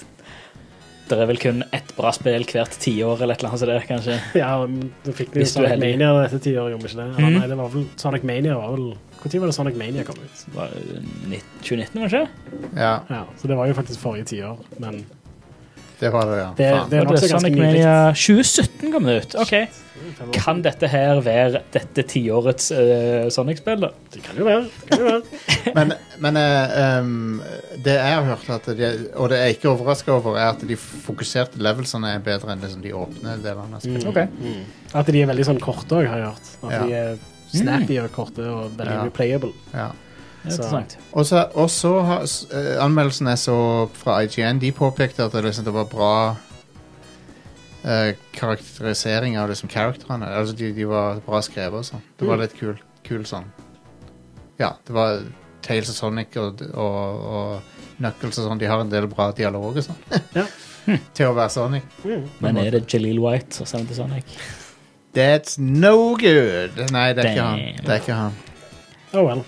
S3: det er vel kun ett bra spill hvert tiår eller et eller annet sånt, der, kanskje.
S2: Ja, men Du fikk jo
S3: Hvis du er
S2: Sonic
S3: heldig. Mm.
S2: Mania dette tiåret, gjorde vi ikke det? Eller, nei, det var vel Sonic Mania var vel Når var det Sonic Mania kom ut?
S3: Var det nitt- 2019, var det ikke?
S1: ja,
S2: Ja, Så det var jo faktisk forrige tiår, men
S1: det var det, ja.
S2: det,
S1: Faen.
S2: det er
S3: Var det
S2: nokså ganske
S3: Sonic
S2: nylig.
S3: Mania 2017 kom det ut. Ok.
S2: Fem år
S3: Kan dette her være dette tiårets eh, Sonic-spill, da?
S2: Det kan jo være. det Kan
S3: *laughs*
S2: jo være.
S1: Men, men eh, um, det jeg har hørt, at de, og det jeg ikke er overraska over, er at de fokuserte levelsene er bedre enn liksom de åpne delene. av
S2: Mm.
S1: spillet.
S3: Mm. Ok.
S2: At de er veldig sånn korte òg, har jeg hørt. At
S1: Ja.
S2: de er snappy og korte og veldig
S1: Ja.
S2: replayable.
S1: Ja.
S3: Interessant.
S1: Og så- Og så har s- eh, anmeldelsen jeg så fra IGN, de påpekte at det, liksom, det var bra eh, karakterisering av liksom, karakterene. Altså, de, de var bra skrevet og sånn. Det var litt kul, kul sånn. Ja, det var Tales of Sonic og, og, og Knuckles og sånn. De har en del bra dialog og sånn. *laughs*
S2: Ja.
S1: Til å være Sonic.
S3: Men er det Jaleel White som sender til Sonic?
S1: That's no good! Nei, det er ikke han.
S3: Damn.
S1: Det er ikke han.
S2: Oh well.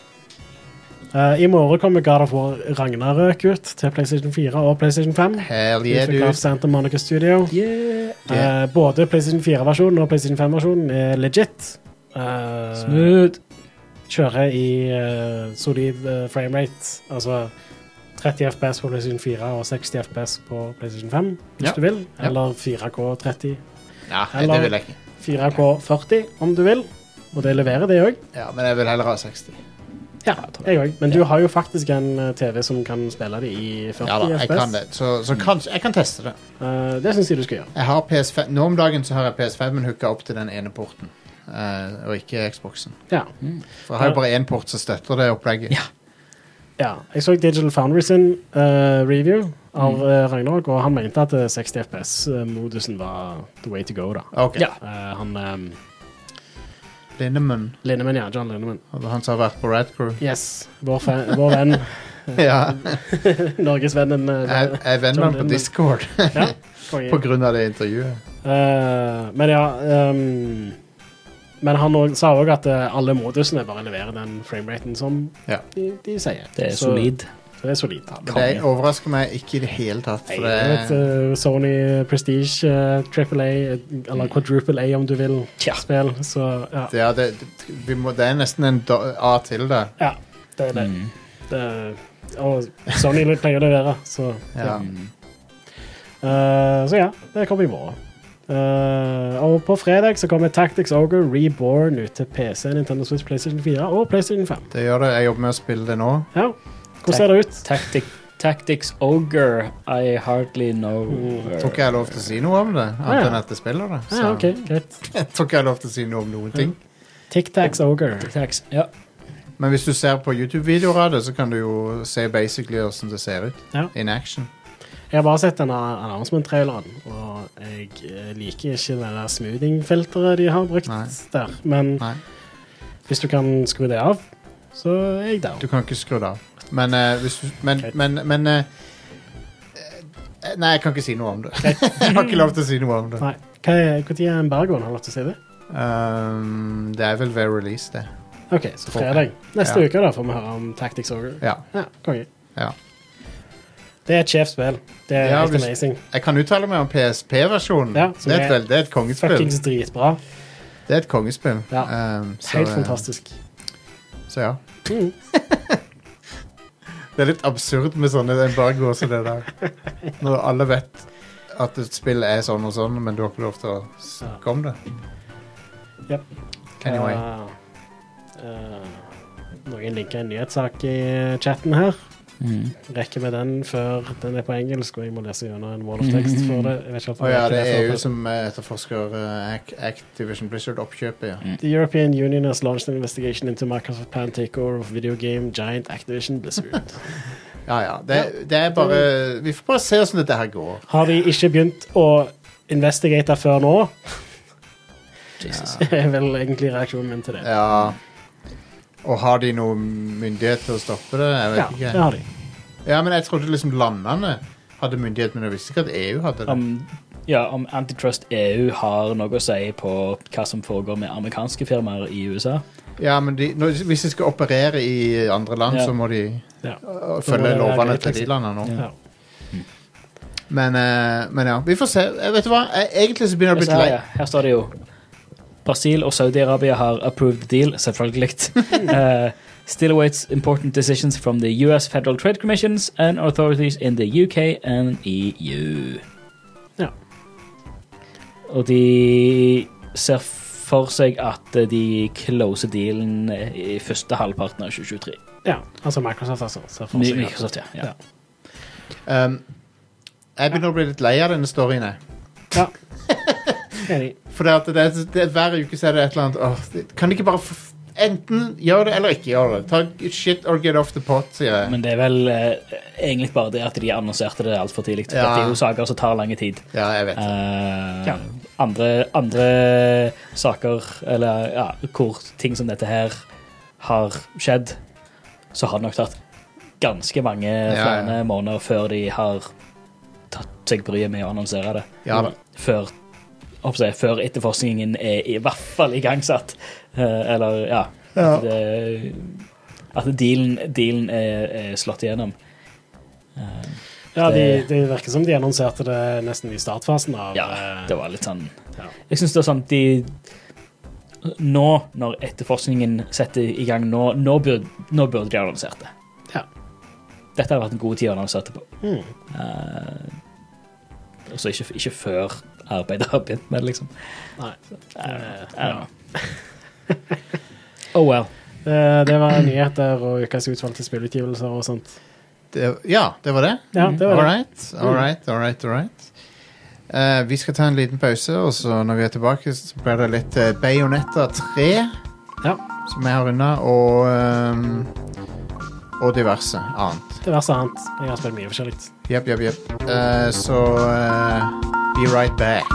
S2: Eh, I morgen kommer God of War Ragnarøk ut til PlayStation 4 og PlayStation 5.
S1: Hell yeah,
S2: Utviklet av
S1: dude.
S2: Santa Monica Studio.
S3: Yeah.
S1: Yeah.
S2: Eh, både PlayStation 4-versjonen og PlayStation 5-versjonen er legit. Eh,
S3: Smooth.
S2: Kjører i eh, solid eh, frame rate. Altså 30 FPS på PlayStation 4 og 60 FPS på PlayStation 5, hvis
S1: Ja.
S2: du vil.
S1: Ja.
S2: Eller 4K 30.
S1: Ja, det vil jeg ikke.
S2: 4K 40, om du vil. Og det leverer, det òg.
S1: Ja, men jeg vil heller ha 60.
S2: Ja, jeg òg. Men du har jo faktisk en eh, TV som kan spille det i 40
S1: Ja da, jeg
S2: FPS.
S1: kan det. Så, så kanskje jeg kan teste det.
S2: Eh, det syns jeg du skal gjøre.
S1: Mm. Jeg har PS5 Nå om dagen så har jeg PS5-en hooka opp til den ene porten, eh, og ikke Xboxen. Mm.
S2: Ja.
S1: For jeg har jo bare én port som støtter det opplegget.
S2: ja. Jeg så Digital Foundry sin eh, review
S1: Mm.
S2: av eh, Ragnarok, og han mente at eh, 60 FPS-modusen var the way to go, da.
S1: Ah, Ok.
S3: Ja.
S2: Eh, han um,
S1: Lindemann,
S2: Linneman, ja. John Linneman.
S1: han som har vært på Rad Crew.
S2: Yes. Vår, fa- vår venn. *laughs*
S1: Ja.
S2: Norgesvennen.
S1: Jeg,
S2: Uh,
S1: jeg venner ham
S2: John
S1: på
S2: Lindemann.
S1: Discord
S2: ja.
S1: på
S2: konge.
S1: grunn av det intervjuet.
S2: Eh, men ja ehm, Men han og- sa òg at eh, alle modusene bare leverer den frameraten som
S1: Ja.
S2: de, de sier.
S3: Det er
S2: Så-
S3: solid.
S2: så Det er solid.
S1: Men det overrasker meg ikke i det hele tatt.
S2: Jeg
S1: For
S2: er et
S1: det,
S2: eh, Sony Prestige eh, Triple A, eller Quadruple A om du vil,
S3: Tja.
S2: spill. Så ja.
S1: det, ja, det, vi må, det er nesten en do, A til det.
S2: ja det er det.
S1: Mm.
S2: det og Sony pleier å levere, så
S1: Ja.
S3: Mm.
S2: Eh, så ja, det kommer i morgen. Eh, og på fredag så kommer Tactics Ogre Reborn ut til PC, Nintendo Switch, PlayStation 4 og PlayStation 5.
S1: Det gjør det. Jeg jobber med å spille det nå.
S2: Ja, Hvordan ser det ut?
S3: Tactic, Tactics Ogre, I hardly know her.
S1: Tror ikke jeg er lov til å si noe om det, annet
S2: ja.
S1: enn at jeg spiller det.
S2: Ja, ok, greit.
S1: jeg tror ikke jeg er lov til å si noe om noen ting.
S2: Tic-tacs ogre.
S3: Tax, ja.
S1: Men hvis du ser på YouTube-videoer av det, så kan du jo se basically hvordan det ser ut.
S2: Ja.
S1: In action.
S2: Jeg har bare sett denne announcement-traileren, og jeg eh, liker ikke det der smoothing-filteret de har brukt
S1: Nei.
S2: der. Men
S1: Nei,
S2: hvis du kan skru det av, så er jeg down.
S1: du kan ikke skru det av. Men, eh, hvis du, men,
S2: Greit.
S1: men, men *laughs* eh, eh, Nei, jeg kan ikke si noe om det. jeg har ikke lov til å si noe om det.
S2: Nei. Hva er, hvor tid er embargoen? Har du lov til å si det?
S1: Um, det er vel ved release, det.
S2: OK, så fredag. Neste
S1: Ja.
S2: uke da får vi høre om Tactics Ogre.
S1: Ja.
S2: Ja, konge.
S1: ja.
S2: Det er et sjefs spill. Det er
S1: Ja,
S2: helt
S1: hvis-
S2: amazing.
S1: Jeg kan uttale meg om PSP-versjonen.
S2: Ja, som
S1: det, er et
S2: er
S1: vel- det er et kongespill.
S2: Fuckings dritbra.
S1: Det er et kongespill.
S2: Ja.
S1: Um, så,
S2: Helt
S1: eh,
S2: fantastisk.
S1: Så ja.
S2: Mm.
S1: Det er litt absurd med sånne embargoer som det der. Når alle vet at et spill er sånn og sånn, men du har ikke lov til å snakke om det.
S2: Yep.
S1: Anyway.
S2: Eh, eh, noen linker en nyhetssak i chatten her. Rekker vi den før den er på engelsk, og jeg må lese gjennom en wall of text for det. Jeg vet ikke helt
S1: Å ja,
S2: hva
S1: det
S2: jeg
S1: er EU
S2: rekker det for.
S1: som eh, etterforsker eh, Ac- Activision Blizzard oppkjøpet, ja.
S2: The European Union has launched an investigation into Microsoft plan takeover of video game giant Activision
S1: *laughs*
S2: Blizzard.
S1: Ja ja. Det, det er bare Vi får bare se åssen dette her går.
S2: Har de ikke begynt å investigate før nå?
S3: Jesus.
S2: *laughs* Det er vel egentlig reaksjonen min til det.
S1: Ja. Og har de noen myndighet til å stoppe det? Jeg
S2: Ja,
S1: vet
S2: det
S1: ikke.
S2: har de.
S1: Ja, men jeg trodde liksom landene hadde myndighet, men jeg visste ikke at EU hadde det.
S3: Om, ja, om Antitrust EU har noe å si på hva som foregår med amerikanske firmaer i USA.
S1: Ja, men de, når, hvis de skal operere i andre land,
S3: Ja.
S1: så må de
S2: Ja.
S1: øh,
S2: Da må
S1: følge
S2: det være
S1: lovene
S2: greit,
S1: til de
S2: liksom.
S1: landene nå.
S2: Ja.
S1: Men, eh, men ja, vi får se. Eh, Vet du hva? Eh, Egentlig så begynner det å bli
S3: her,
S1: lei.
S3: ja, her står det jo Brasil og Saudi-Arabia har approved deal, selvfølgelig. Eh, still awaits important decisions from the US Federal Trade Commissions and authorities in the UK and E EU.
S2: Ja.
S3: Og de ser for seg at de closer dealen i første halvparten av 2023.
S2: ja. Altså Microsoft, altså. ser for seg at-
S3: Microsoft, ja. ja.
S1: Um, jeg begynner å bli litt lei av denne storyen. jeg. *laughs*
S2: Ja. Enig.
S1: For det at det, er- det, er- hver uke så er det et eller annet åh, det- Kan de ikke bare f enten gjøre det eller ikke gjøre det? Ta shit or get off the pot, sier jeg.
S3: Men det er vel eh, egentlig bare det at de annonserte det altfor tidlig. for
S1: Ja.
S3: at Det er jo saker som tar lang tid.
S1: Ja, jeg vet.
S3: Eh,
S2: Ja.
S3: andre, andre saker, eller ja, hvor ting som dette her har skjedd, så har det nok tatt ganske mange
S1: ja.
S3: flere måneder før de har tatt seg bryet med å annonsere det.
S1: Ja da.
S3: Før, håper jeg, før etterforskningen er i hvert fall igangsatt. Eh, eller, ja.
S1: Ja.
S3: At, det, at dealen, dealen er, er slått igjennom.
S2: Ja, de,
S3: Det-
S2: det virker som de annonserte det nesten i startfasen av
S3: Ja,
S2: eh,
S3: det var litt sånn
S2: ja.
S3: Jeg syns det er sånn at de Nå, når etterforskningen setter i gang, nå, nå, burde, nå burde de ha annonsert det.
S2: Ja.
S3: Dette hadde vært en god tid å annonsere det på.
S2: Mm.
S1: Hmm.
S3: Eh, altså ikke, ikke før arbeidet har begynt med det, liksom.
S2: Nei.
S3: Eh, I
S2: Eh,
S3: don't know. Oh well.
S2: eh, det var nyheter og ukas utvalgte spillutgivelser og sånt.
S1: Det, ja, det var det.
S2: Ja, det var
S1: Mm. All
S2: det.
S1: right, all right, all right. All right. Eh, vi skal ta en liten pause, og så når vi er tilbake, så blir det litt uh, Bajonetta 3
S2: Ja,
S1: som jeg har unna, og ehm, og diverse annet.
S2: det verste annet. Jeg har spilt mye forskjellig.
S1: Jepp, jepp, jepp. Eh, så eh, be right back.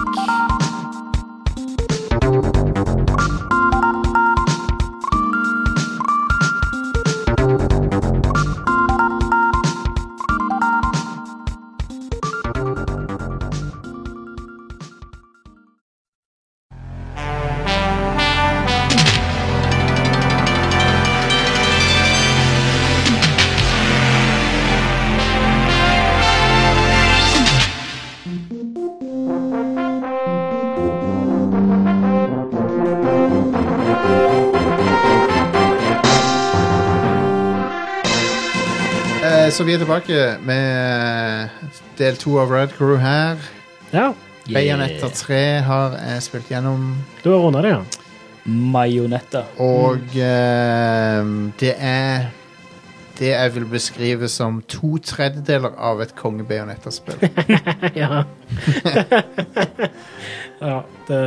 S1: Eh, så vi er tilbake med del to av Red Crew her.
S2: Ja,
S1: Bajonetta 3 har jeg spilt gjennom.
S2: du har runda det,
S1: *laughs*
S2: ja.
S3: Majonetta.
S1: Og ehm, det er det jeg vil beskrive som to tredjedeler av et konge Bayonetta-spill.
S2: ja. *laughs* ja det,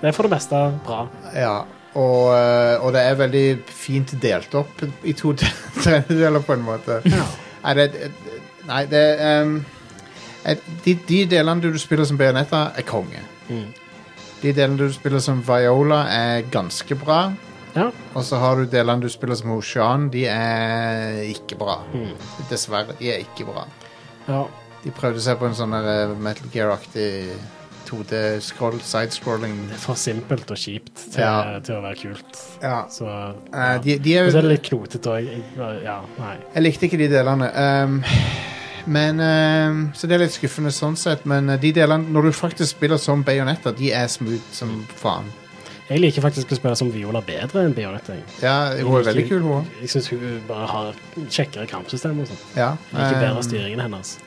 S2: det er for det meste bra.
S1: ja. og, eh, og det er veldig fint delt opp i to tredjedeler, på en måte. Nei, det, nei, det ehm, et- de, de delene du spiller som Bayonetta, er konge.
S2: Mm.
S1: De delene du spiller som Viola, er ganske bra.
S2: Ja.
S1: Og så har du delene du spiller som Hoshan, de er ikke bra.
S2: Hmm.
S1: Dessverre, de er ikke bra.
S2: ja.
S1: De prøvde seg på en sånn der, eh, Metal Gear-aktig 2D-scroll, sidescrolling.
S2: Det er for simpelt og kjipt til,
S1: Ja.
S2: til å være kult.
S1: Ja.
S2: Så, ja.
S1: Eh, de, de er,
S2: Og så er det litt knotete òg. Ja, nei.
S1: Jeg likte ikke de delene. ehm, men ehm, Så det er litt skuffende sånn sett, men eh, de delene Når du faktisk spiller som bajonetter, de er smooth som
S2: Hmm.
S1: faen.
S2: Jeg liker faktisk å spille som Viola bedre enn Bionette. jeg.
S1: Ja, hun er veldig kul, hun òg.
S2: Jeg syns hun bare har kjekkere kampsystem og sånn.
S1: Ja,
S2: Liker bedre
S1: ehm,
S2: styringen hennes.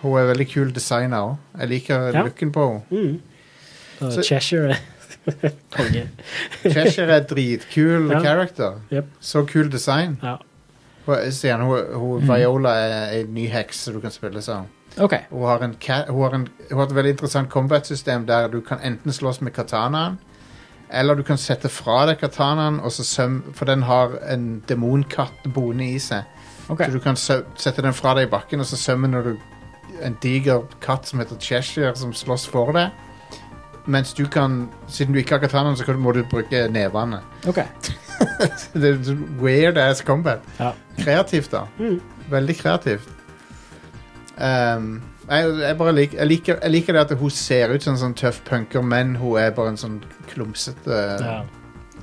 S1: hun er veldig kul designer òg. Jeg liker
S2: Ja.
S1: looken på henne.
S2: Mm. Og
S1: Så-
S2: Cheshire er *laughs* konge.
S1: Cheshire er dritkul
S2: Ja.
S1: character.
S2: Jep.
S1: Så kul design.
S2: Ja.
S1: Hun, er- sier han, hun, hun, Viola er ei ny heks som du kan spille som.
S3: OK.
S1: Hun har, en, ca- hun, har en, hun har et veldig interessant combat-system der du kan enten slåss med katanaen, eller du kan sette fra deg katanaen, og så søm, for den har en demonkatt boende i seg.
S3: ok.
S1: Så du kan sø, sette den fra deg i bakken, og så sømmer du en diger katt som heter Cheshire, som slåss for deg. Mens du kan, siden du ikke har katanaen, så kan du- må du bruke nevene.
S3: ok.
S1: Det er weird ass combat.
S2: Ja.
S1: Kreativt, da.
S2: Mm.
S1: Veldig kreativt. Ehm, jeg, jeg bare lik, jeg liker, jeg liker det at hun ser ut som en sånn tøff punker, men hun er bare en sånn klumsete
S2: Ja.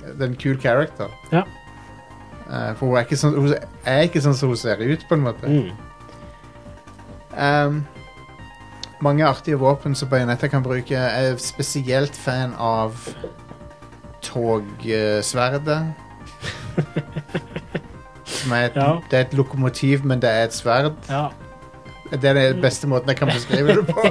S1: Det er en kul character.
S2: Ja.
S1: Eh, for hun er, ikke sånn, hun er ikke sånn som hun ser ut, på en måte.
S2: Mm.
S1: Ehm, mange artige våpen som bajonetter kan bruke. Jeg er spesielt fan av togsverdet. Som er et,
S2: Ja.
S1: Det er et lokomotiv, men det er et sverd.
S2: ja.
S1: Det er den beste måten jeg kan beskrive det på.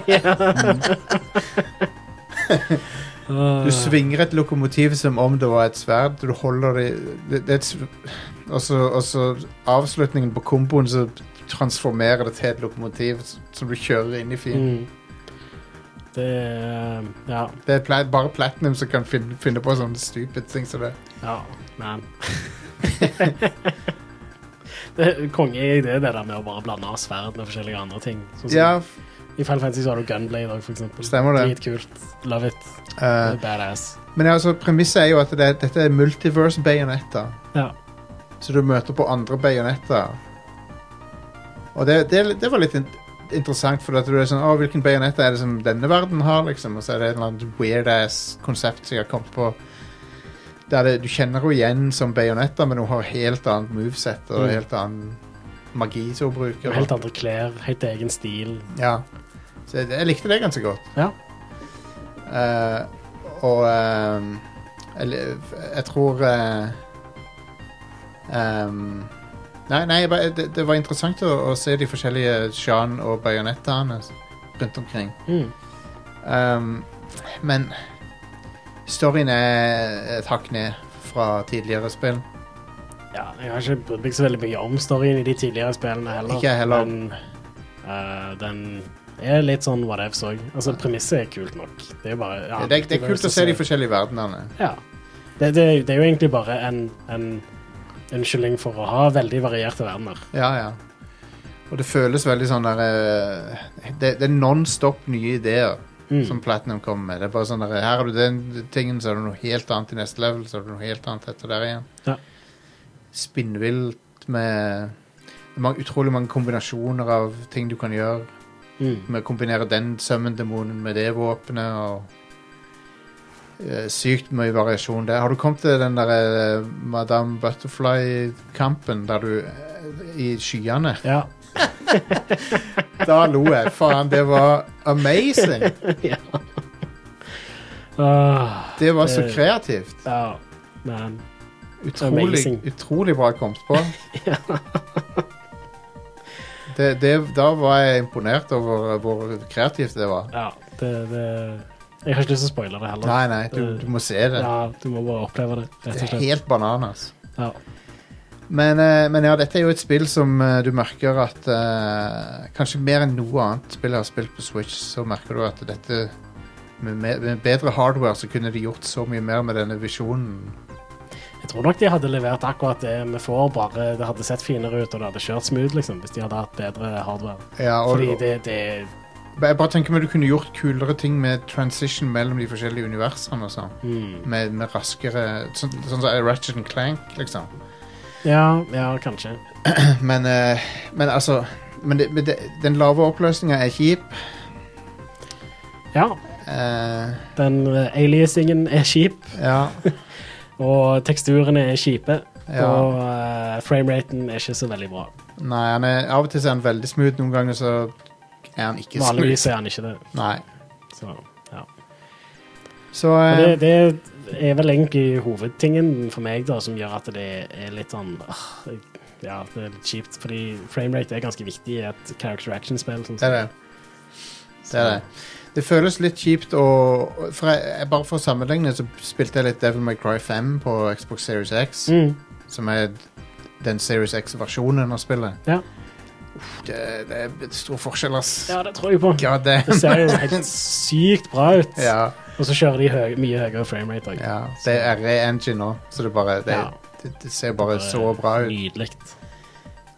S2: Uh,
S1: Du svinger et lokomotiv som om det var et sverd. Du holder det Det, det er et sv- og så- Og så avslutningen på komboen, så transformerer det til et lokomotiv s- som du kjører inn i fienden.
S2: Mm. Det er Ja.
S1: Det er pla- bare Platinum som kan finne, finne på sånne stupid ting som det.
S2: Ja. Man. *laughs* det er konge i det, det der med å bare blande av sverd med forskjellige andre ting. Sånn som-
S1: Ja,
S2: I Final Fantasy så har du Gunblade òg, for eksempel.
S1: Stemmer det.
S2: Dritkult. Love it. Det
S1: eh,
S2: er Badass.
S1: men altså, premisset er jo at det, dette er multiverse bajonetter.
S2: Ja.
S1: Så du møter på andre bajonetter. Og det, det, det var litt in interessant, for at du er sånn Å, hvilken bajonett er det som denne verden har, liksom? Og så er det et eller annet weird-ass konsept som jeg har kommet på. Der det, du kjenner henne igjen som bajonetter, men hun har helt annet movesett og
S2: Mm.
S1: helt annen magi som hun bruker.
S2: Helt andre klær, helt egen stil.
S1: Ja. Så jeg, jeg likte det ganske godt.
S2: Ja.
S1: Eh, og ehm, jeg, li- jeg tror eh, ehm, Nei, nei jeg bare- det, det var interessant å, å se de forskjellige Jean og bajonettene rundt omkring.
S2: Mm.
S1: Ehm, men storyen er et hakk ned fra tidligere spill.
S2: Ja, jeg har ikke brydd meg så veldig mye om storyen i de tidligere spillene heller.
S1: Ikke jeg heller.
S2: Men eh, den er litt sånn whatevs òg. Altså, premisset er kult nok. Det er jo bare ja,
S1: det, det er kult å se de forskjellige verdenene.
S2: Ja. Det, det, det er jo egentlig bare en, en unnskyldning for å ha veldig varierte verdener.
S1: Ja, ja. Og det føles veldig sånn der eh, Det, det er non-stop nye ideer
S2: Mm.
S1: som Platinum kommer med. Det er bare sånn der, Her har du den tingen, så er det noe helt annet i neste level, så er det noe helt annet etter der igjen.
S2: Ja.
S1: Spinnvilt med det er mange, utrolig mange kombinasjoner av ting du kan gjøre.
S2: Mm.
S1: Med å kombinere den summon-demonen med det våpenet og eh, Sykt mye variasjon der. Har du kommet til den der eh, Madame Butterfly-kampen der du eh, I skyene?
S2: Ja.
S1: Da lo jeg. Faen, det var amazing!
S2: Ah,
S1: Det var så
S2: Det-
S1: kreativt.
S2: ja. Men
S1: Utrolig,
S2: Amazing.
S1: utrolig bra kommet
S2: *laughs*
S1: på. Det, det, da var jeg imponert over hvor kreativt det var.
S2: ja, det, det Jeg har ikke lyst til å spoile det heller.
S1: Nei, nei, du, du må se det.
S2: Ja, du må bare oppleve det,
S1: Det
S2: rett og
S1: er
S2: slett.
S1: helt bananas.
S2: Ja.
S1: Men, eh, men ja, dette er jo et spill som eh, du merker at eh, Kanskje mer enn noe annet spill jeg har spilt på Switch, så merker du at dette med, med, med bedre hardware så kunne de gjort så mye mer med denne visjonen.
S2: Jeg tror nok de hadde levert akkurat det vi får, bare det hadde sett finere ut og det hadde kjørt smooth, liksom, hvis de hadde hatt bedre hardware.
S1: Ja, og,
S2: Fordi det, det
S1: Jeg bare tenker meg du kunne gjort kulere ting med transition mellom de forskjellige universene og sånn.
S2: mm.
S1: Med, med raskere Sånn sånn som Ratchet and Clank, liksom.
S2: Ja, ja, kanskje.
S1: Men, eh, men altså men det, men det, Den lave oppløsninga er kjip.
S2: Ja.
S1: Eh,
S2: Den eh, aliasingen er kjip,
S1: ja.
S2: og teksturene er kjipe.
S1: Ja.
S2: Og eh, frameraten er ikke så veldig bra.
S1: Nei, han er, av og til så er han veldig smooth, noen ganger så er han ikke smooth.
S2: Vanligvis er han ikke det.
S1: Nei.
S2: Så, ja.
S1: Så
S2: Og
S1: eh,
S2: det, det er vel egentlig hovedtingen for meg da, som gjør at det er litt sånn ah, Ja, det er litt kjipt, fordi framerate er ganske viktig i et character action-spill. sånn
S1: det er det.
S2: som-
S1: Det er det. Det føles litt kjipt å for jeg, jeg- Bare for å sammenligne så spilte jeg litt Devil May Cry 5 på Xbox Series X,
S2: Mm.
S1: som er den Series X-versjonen av spillet.
S2: Ja.
S1: Uff, Det, det er stor forskjell, ass.
S2: ja, det tror jeg på.
S1: God damn.
S2: Det ser jo helt sykt bra ut.
S1: *laughs* Ja,
S2: Og så kjører de høy, mye høyere framerate òg.
S1: ja. Det er re-engine nå, så det bare Det,
S2: Ja.
S1: det, det ser bare så bra ut.
S2: Nydelig.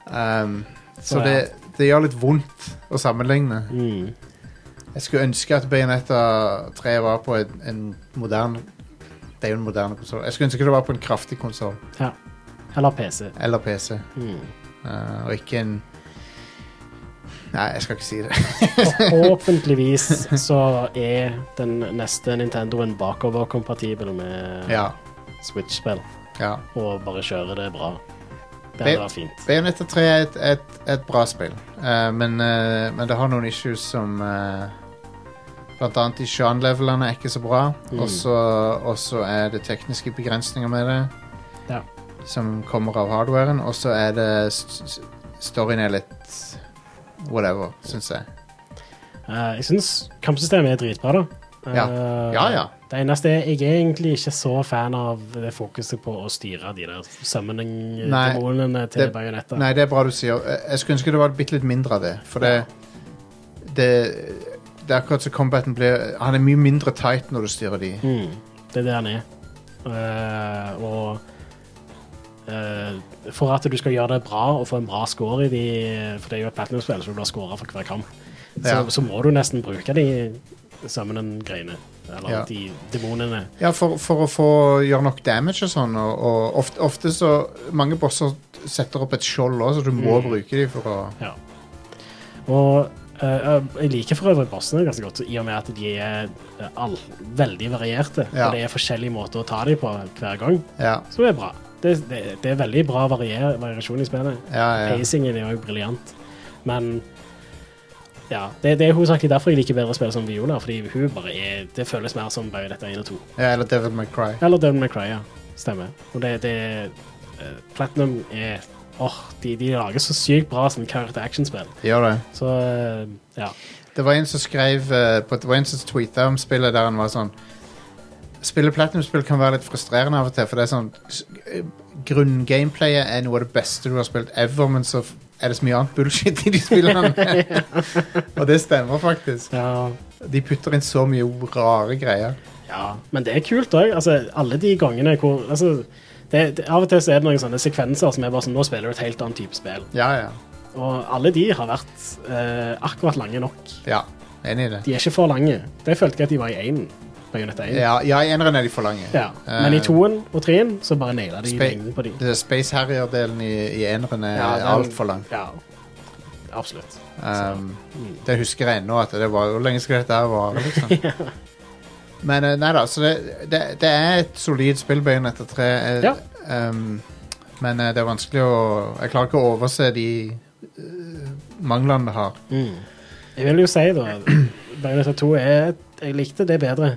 S1: Um, så
S2: Så
S1: det, det gjør litt vondt å sammenligne.
S2: Mm.
S1: Jeg skulle ønske at Bayonetta 3 var på en, en moderne Det er jo en moderne konsoll. Jeg skulle ønske det var på en kraftig konsoll
S2: Ja. Eller PC.
S1: eller PC,
S2: Mm.
S1: uh, og ikke en Nei, jeg skal ikke si det. *laughs*
S2: Forhåpentligvis så er den neste Nintendoen bakoverkompatibel med
S1: Ja.
S2: Switch-spill.
S1: ja.
S2: Og bare kjører det bra. Det
S1: Det-
S2: hadde vært fint.
S1: Bayonetta 3 er et, et, et bra spill, uh, men, uh, men det har noen issues som uh, Blant annet de Shan-levelene er ikke så bra,
S2: Mm.
S1: og så og så er det tekniske begrensninger med det.
S2: Ja.
S1: som kommer av hardwaren, og så er det s- s- Storyen er litt whatever, syns jeg.
S2: Eh, jeg syns kampsystemet er dritbra, da. Eh,
S1: Ja. Ja, ja.
S2: Det eneste er jeg er egentlig ikke så fan av det fokuset på å styre de der summoning-demonene til
S1: det-
S2: bajonetter.
S1: Nei, det er bra du sier. Jeg- Jeg skulle ønske det var bitte litt mindre av det, for det Det, det er akkurat som combaten blir Han er mye mindre tight når du styrer de.
S2: Mm, det er det han er. Eh, og eh, for at du skal gjøre det bra og få en bra score i de For det er jo et platinum-spill, så du blir scora for hver kamp. Så,
S1: Ja.
S2: så må du nesten bruke de summoning-greiene. Eller
S1: Ja.
S2: de demonene.
S1: Ja, for, for å få gjøre nok damage og sånn, og, og ofte, ofte så Mange bosser setter opp et skjold òg, så du må bruke de for å
S2: Ja. Og eh, eh, jeg liker for øvrig bossene ganske godt, i og med at de er eh, all, veldig varierte.
S1: Ja.
S2: Og det er forskjellige måter å ta dem på hver gang,
S1: Ja.
S2: som er bra. Det, det, det er veldig bra varier, variasjon i spillet.
S1: Ja, ja.
S2: Pacingen er òg briljant, men ja, det, det er hovedsakelig derfor jeg liker bedre spill som Viola, fordi hun bare er Det føles mer som Bajonetta 1 og 2.
S1: ja eller Devil May Cry.
S2: Eller Devil May Cry, ja. Stemmer. Og det, det eh, Platinum er Åh, de, de lager så sykt bra sånn character action-spill.
S1: Gjør det.
S2: Så eh, ja.
S1: Det var en som skrev eh, på, Det var en som tweeta om spillet der han var sånn Spille platinum-spill kan være litt frustrerende av og til, for det er sånn s- eh, Grunngameplayet er noe av det beste du har spilt ever, men så f- er det så mye annet bullshit i de spillene. Og det stemmer faktisk.
S2: ja.
S1: De putter inn så mye rare greier.
S2: Ja. Men det er kult òg. Altså, alle de gangene hvor altså, det, det, Av og til så er det noen sånne sekvenser som er bare sånn Nå spiller du et helt annet type spill.
S1: Ja, ja.
S2: Og alle de har vært eh, akkurat lange nok.
S1: ja Enig i det.
S2: De er ikke for lange. Det følte jeg at de var i én. Bajonetta 1.
S1: Ja, ja i eneren er de for lange.
S2: Ja. Men i
S1: Eh,
S2: toen og treen så bare naila de
S1: Spe-
S2: lengden på de.
S1: det er Space Harrier-delen i, i eneren er
S2: Ja,
S1: alt
S2: den-
S1: altfor lang.
S2: Ja. Absolutt.
S1: Um,
S2: Mm.
S1: Det husker jeg ennå at det var Hvor lenge skal dette her vare,
S2: *laughs*
S1: liksom? Men eh, nei da, så det, det, det er et solid spillbein etter tre. eh,
S2: Ja.
S1: ehm, men eh, det er vanskelig å Jeg klarer ikke å overse de eh, manglene det har.
S2: Jeg vil jo si, da *clears throat* Bajonetta 2 er Jeg likte det bedre.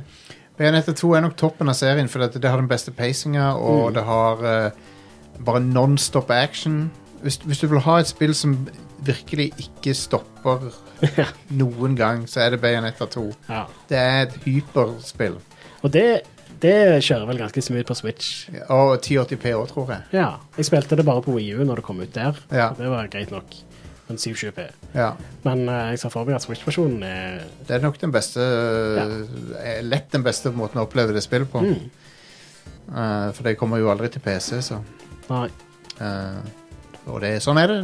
S1: Bayonetta 2 er nok toppen av serien, for det, det har den beste pacinga, og det har eh, bare non-stop action. Hvis, hvis du vil ha et spill som virkelig ikke stopper noen gang, så er det Bayonetta 2.
S2: Ja.
S1: Det er et hyperspill.
S2: Og det, det kjører vel ganske smooth på Switch.
S1: Og 1080P òg, tror jeg.
S2: Ja, jeg spilte det bare på Wii U når det kom ut der.
S1: Ja.
S2: Det var greit nok. Men 720p.
S1: Ja.
S2: Men eh, jeg ser for meg at Switch-versjonen er
S1: Det er nok den beste eh, Lett den beste måten å oppleve det spillet på.
S2: Mm.
S1: Eh, for det kommer jo aldri til PC, så
S2: Nei.
S1: eh, Og det, sånn er det.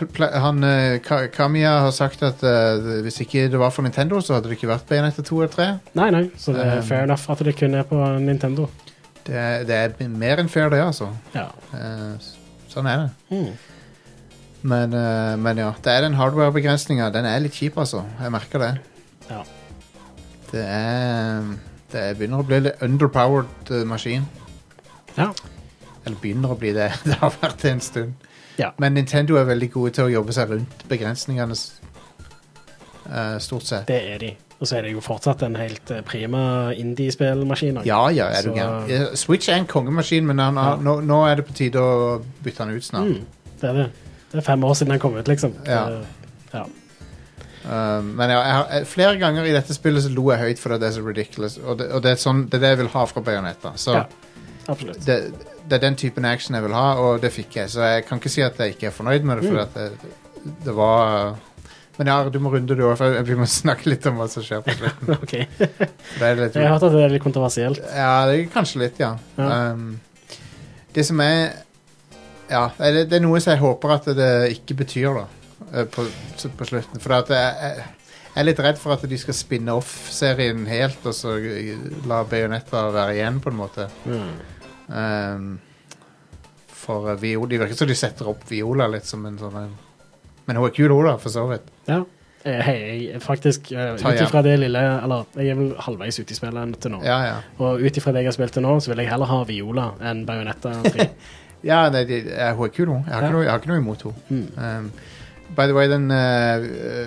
S1: Pl- pl- Han, eh, Ka- Kamiya har sagt at eh, hvis ikke det var for Nintendo, så hadde det ikke vært Bayonetta 2 eller 3.
S2: nei, nei, så det er
S1: Um.
S2: fair enough at det kun er på Nintendo.
S1: Det, er- det er mer enn fair, det, altså.
S2: Ja.
S1: Eh, s- sånn er det.
S2: Mm.
S1: Men, eh, men ja, det er den hardware-begrensninga. Den er litt kjip, altså. Jeg merker det.
S2: Ja.
S1: Det- Det er Det er begynner å bli litt underpowered eh, maskin.
S2: Ja.
S1: Eller begynner å bli det. *laughs* Det har vært det en stund.
S2: Ja.
S1: Men Nintendo er veldig gode til å jobbe seg rundt begrensningene, s- eh, stort sett.
S2: Det er de. Og så er det jo fortsatt en helt eh, prima indie-spillmaskin. også.
S1: Ja, ja, er du
S2: Så-
S1: gæren. Eh, Switch er en kongemaskin, men han har, nå, nå er det på tide å bytte han ut snart.
S2: Mm, det er det. Det er fem år siden den kom ut, liksom.
S1: Ja.
S2: Det- ja.
S1: Um, men ja, jeg har, jeg, flere ganger i dette spillet så lo jeg høyt fordi det er så ridiculous. Og det, og det, er, sånn, det er det jeg vil ha fra Bayonetta. Så
S2: Ja. Absolutt.
S1: det, det er den typen action jeg vil ha, og det fikk jeg. Så jeg kan ikke si at jeg ikke er fornøyd med det, for at det, det var Men ja, du må runde, du òg, for jeg- vi må *laughs* snakke litt om hva som skjer på slutten.
S2: *laughs* OK.
S1: Det er litt
S2: Jeg har hørt at det er litt kontroversielt.
S1: Ja, det er kanskje litt, ja.
S2: Ja.
S1: Um, det som er Ja, det, det er noe som jeg håper at det ikke betyr, da. eh, På, på slutten. For at jeg, jeg, jeg er litt redd for at de skal spinne off serien helt, og så la Bayonetta være igjen, på en måte.
S2: Mm.
S1: Um, for eh, Viola Det virker som de setter opp Viola litt som en sånn en Men hun er kul, hun, da, for så vidt.
S2: Ja. Eh, Hei, jeg- faktisk, eh, ut
S1: Ta igjen.
S2: ifra det lille Eller jeg er vel halvveis ute i spillet til nå.
S1: Ja, ja.
S2: Og ut ifra det jeg har spilt til nå, så vil jeg heller ha Viola enn Bajonetta
S1: *laughs*
S2: 3.
S1: Ja, nei, de, ja, hun er kul, hun. Jeg har,
S2: Ja.
S1: ikke, noe, jeg har ikke noe imot henne. Um, by the way, den, eh,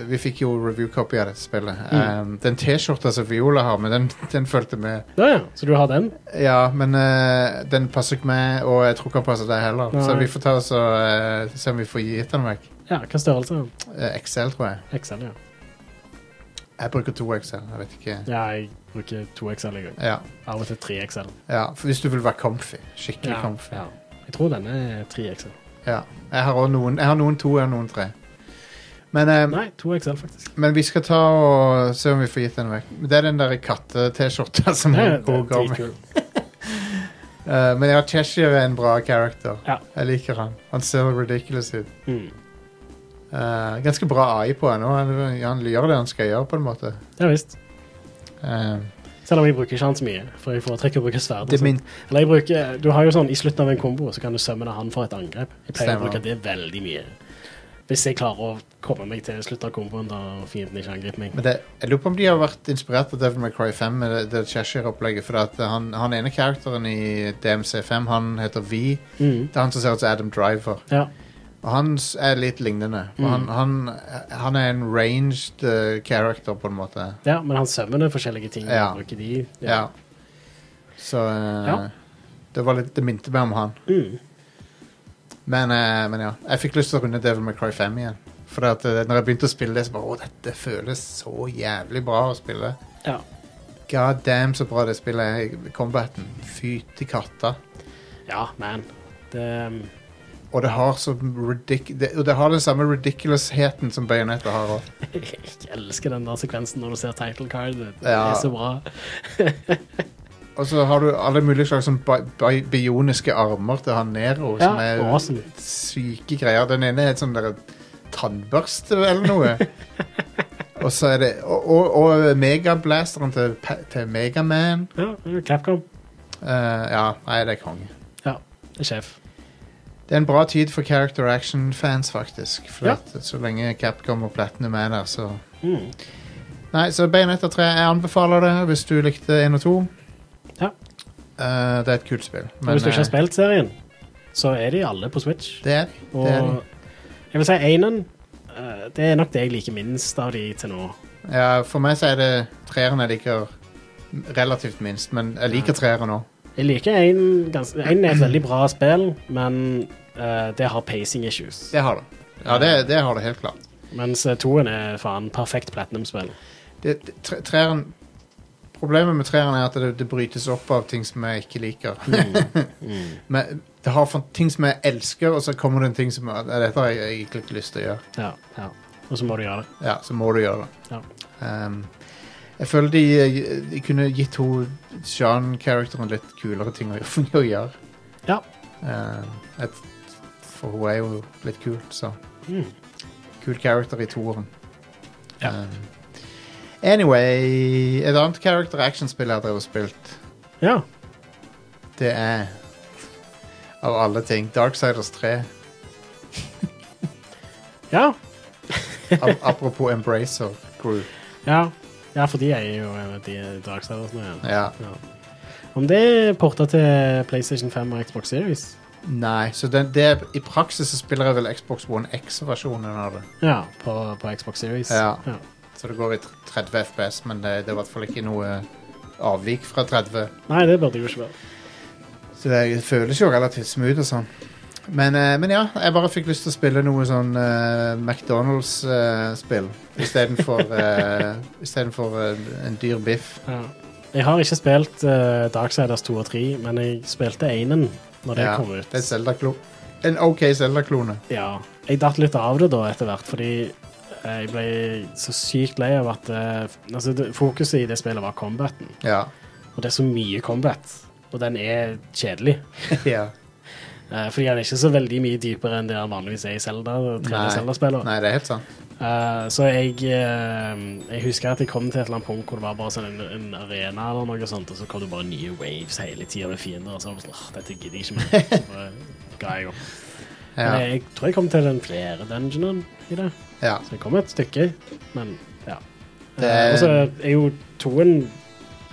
S1: vi fikk jo review-copy av dette spillet. Um, Den T-skjorta som Viola har, men den, den fulgte med.
S2: ja, ja. Så du har den?
S1: Ja, men eh, den passer ikke meg, og jeg tror ikke han passer deg heller. Så
S2: Nei.
S1: vi får ta oss og eh, se om vi får gitt den vekk.
S2: Ja, hva størrelse?
S1: Eh, XL, tror jeg.
S2: XL, ja.
S1: Jeg bruker to XL, jeg vet ikke.
S2: Ja, jeg bruker 2XL i gang.
S1: Ja,
S2: Av og til 3XL.
S1: ja for hvis du vil være comfy. Skikkelig
S2: Ja,
S1: comfy.
S2: ja. Jeg tror denne er 3XL.
S1: Ja. Jeg har også noen, jeg har noen to, jeg har noen tre. Men um,
S2: Nei, 2XL, faktisk.
S1: Men vi skal ta og se om vi får gitt den vekk. Det er den der katte-T-skjorta *laughs* som
S2: Det
S1: hun
S2: er- det er
S1: går går med.
S2: dritkul.
S1: Eh, men ja, Cheshire er en bra character.
S2: Ja.
S1: Jeg liker han. Han ser ridiculous ut.
S2: Mm.
S1: Eh, ganske bra AI på han òg. Han, han gjør det han skal gjøre, på en måte.
S2: Ja visst.
S1: Eh,
S2: Selv om jeg bruker ikke han så mye, for jeg foretrekker å bruke sverd. og
S1: det
S2: sånt.
S1: min,
S2: Eller jeg bruker, du har jo sånn, I slutten av en kombo så kan du summone han for et angrep. Jeg pleier å
S1: Stemmer.
S2: bruke det veldig mye. Hvis jeg klarer å komme meg til slutten av komboen da fienden ikke angriper meg.
S1: men det, jeg lurer på om de har vært inspirert av Devil May Cry 5 med det, det Cheshire-opplegget. For at han, han ene characteren i DMC5, han heter V.
S2: Mm.
S1: Det er han som ser ut som Adam Driver.
S2: Ja.
S1: Og han s- er litt lignende.
S2: Mm.
S1: Og Han, han, han er en ranged eh, character, på en måte.
S2: ja, men han summoner forskjellige ting.
S1: Ja.
S2: Og bruker de.
S1: Ja. Så eh,
S2: Ja.
S1: det var litt Det minte meg om han.
S2: Mm.
S1: Men, eh, men ja. Jeg fikk lyst til å runde Devil May Cry 5 igjen. For at, eh, når jeg begynte å spille det, så bare Å, dette føles så jævlig bra å spille.
S2: ja.
S1: God damn så bra det spillet er. Combaten. Fytti katta.
S2: Ja, man. Det, um,
S1: Og det har så ridic... Det, og det har den samme ridiculousheten som Bayonetta har òg.
S2: jeg elsker den der sekvensen når du ser title card. Det
S1: Ja.
S2: er så bra.
S1: Og så har du alle mulige slags sånn bi bi bioniske armer til han Nero,
S2: Ja,
S1: som er
S2: awesome.
S1: syke greier. Den ene er et sånn derre tannbørste eller noe.
S2: *laughs*
S1: og så er det Og, og, og megablasteren til, Pa- til Megaman.
S2: Ja, det er jo Capcom.
S1: Eh, ja, nei, det er konge.
S2: Ja, det er sjef.
S1: Det er en bra tid for character action-fans, faktisk. For
S2: Ja.
S1: at så lenge Capcom og Platinum er der, så
S2: Mm.
S1: Nei, så Bayonetta 3, jeg anbefaler det hvis du likte 1 og 2.
S2: Ja.
S1: Eh, det er et kult spill.
S2: Men, hvis du ikke
S1: eh,
S2: har spilt serien, så er de alle på Switch.
S1: det er de.
S2: Og
S1: Det er de.
S2: jeg vil si Einen eh, Det er nok det jeg liker minst av de til nå.
S1: Ja, for meg så er det treeren jeg liker relativt minst, men jeg liker treeren òg.
S2: Jeg liker Einen ganske Einen er et veldig bra spill, men eh, det har pacing issues.
S1: Det har det. Ja, det, det har det helt klart.
S2: Mens eh, toen er faen perfekt platinum-spill.
S1: Det, det, tre- treeren Problemet med treeren er at det, det brytes opp av ting som jeg ikke liker. *laughs* men det har fan- ting som jeg elsker, og så kommer det en ting som eh, Dette har jeg egentlig ikke lyst til å gjøre.
S2: Ja, ja. Og så må du gjøre det.
S1: Ja, så må du gjøre det.
S2: Ja.
S1: Ehm, jeg føler de, eh, de kunne gitt hun Jean-characteren litt kulere ting å gjøre. *laughs* Å gjøre.
S2: Ja.
S1: Eh, et, for hun er jo litt kul, så
S2: Mm.
S1: Kul character i toeren.
S2: Ja.
S1: Eh, anyway Et annet character action-spill jeg har drevet og spilt,
S2: ja.
S1: det er Av alle ting Darksiders 3.
S2: Ja. *laughs*
S1: Ap- Apropos Embracer Group.
S2: Ja. Ja, for de eier jo eh, de Darksiders nå, ja.
S1: Ja.
S2: ja. Om det er porta til PlayStation 5 og Xbox Series?
S1: Nei, så den, det er, i praksis så spiller jeg vel Xbox One X-versjonen av det.
S2: Ja, på, på Xbox Series.
S1: Ja. Så det går i tr- 30 FPS, men det, det er i hvert fall ikke noe eh, avvik fra 30.
S2: Nei, det burde jo ikke være.
S1: Så det føles jo relativt smooth og sånn. Men, eh, men ja, jeg bare fikk lyst til å spille noe sånn eh, McDonald's-spill
S2: *laughs*
S1: istedenfor eh, istedenfor, eh, en dyr biff.
S2: Ja. Jeg har ikke spilt eh, Darksiders 2 og 3, men jeg spilte Einen når det
S1: ja,
S2: kom ut.
S1: det er Zelda-klo. En OK Zelda-klone.
S2: Ja. Jeg datt litt av det da etter hvert, fordi eh, jeg ble så sykt lei av at eh, altså, det- Fokuset i det spillet var combaten,
S1: Ja.
S2: *laughs* og det er så mye combat. Og den er kjedelig,
S1: ja.
S2: eh, fordi den er ikke så veldig mye dypere enn det den vanligvis er i Zelda.
S1: Nei.
S2: 3D Zelda-spiller.
S1: Nei, det er helt sant.
S2: Eh, så jeg, eh, jeg husker at jeg kom til et eller annet punkt hvor det var bare sånn en, en arena eller noe sånt, og så kom det bare nye waves hele tida med fiender, og så var det sånn «Åh, Dette gidder jeg ikke mer. Så bare ga jeg opp.
S1: Ja.
S2: Men jeg tror jeg kom til den flere dungeonen i det,
S1: ja.
S2: så jeg kom et stykke, men ja.
S1: Det
S2: Eh,
S1: er-
S2: og så er jo toen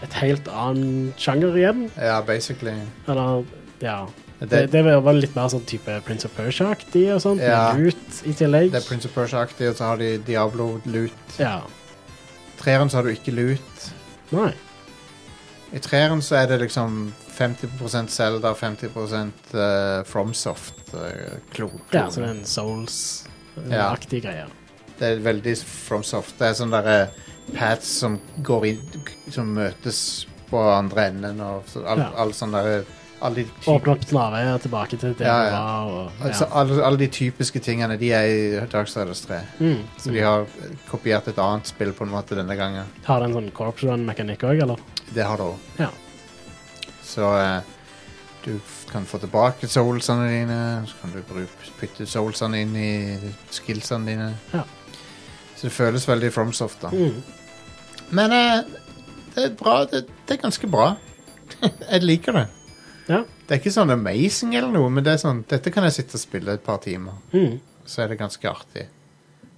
S2: et helt annen sjanger igjen,
S1: ja, basically.
S2: eller ja.
S1: Det-
S2: Det, det var litt mer sånn type Prince of Persia-aktig og sånt,
S1: Ja.
S2: med loot i tillegg.
S1: Det er Prince of Persia-aktig, og så har de Diablo-lut.
S2: Ja.
S1: Treeren så har du ikke lut.
S2: Nei.
S1: I treeren så er det liksom 50 Zelda, 50 eh, FromSoft-klone.
S2: Ja, så det er en Souls-aktig greie.
S1: det er veldig FromSoft. Det er sånne der, eh, paths som går inn Som møtes på andre enden, og så, all,
S2: Ja.
S1: all sånn derre alle de, typ,
S2: Åpne opp snarveier tilbake til det
S1: Ja,
S2: det
S1: ja.
S2: var. Og, ja.
S1: altså, alle, alle de typiske tingene, de er i Darksiders 3.
S2: mm.
S1: Så de har eh, kopiert et annet spill på en måte denne gangen.
S2: Har det en sånn corpse run-mekanikk òg, eller?
S1: Det har det òg.
S2: Ja.
S1: Så eh, du f- kan få tilbake soulsene dine, så kan du bruke, putte soulsene inn i skillsene dine.
S2: Ja.
S1: Så det føles veldig FromSoft, da.
S2: Mm.
S1: Men eh, det er bra. Det, det er ganske bra. *laughs* jeg liker det.
S2: Ja.
S1: Det er ikke sånn amazing eller noe, men det er sånn, dette kan jeg sitte og spille et par timer.
S2: Mm.
S1: Så er det ganske artig.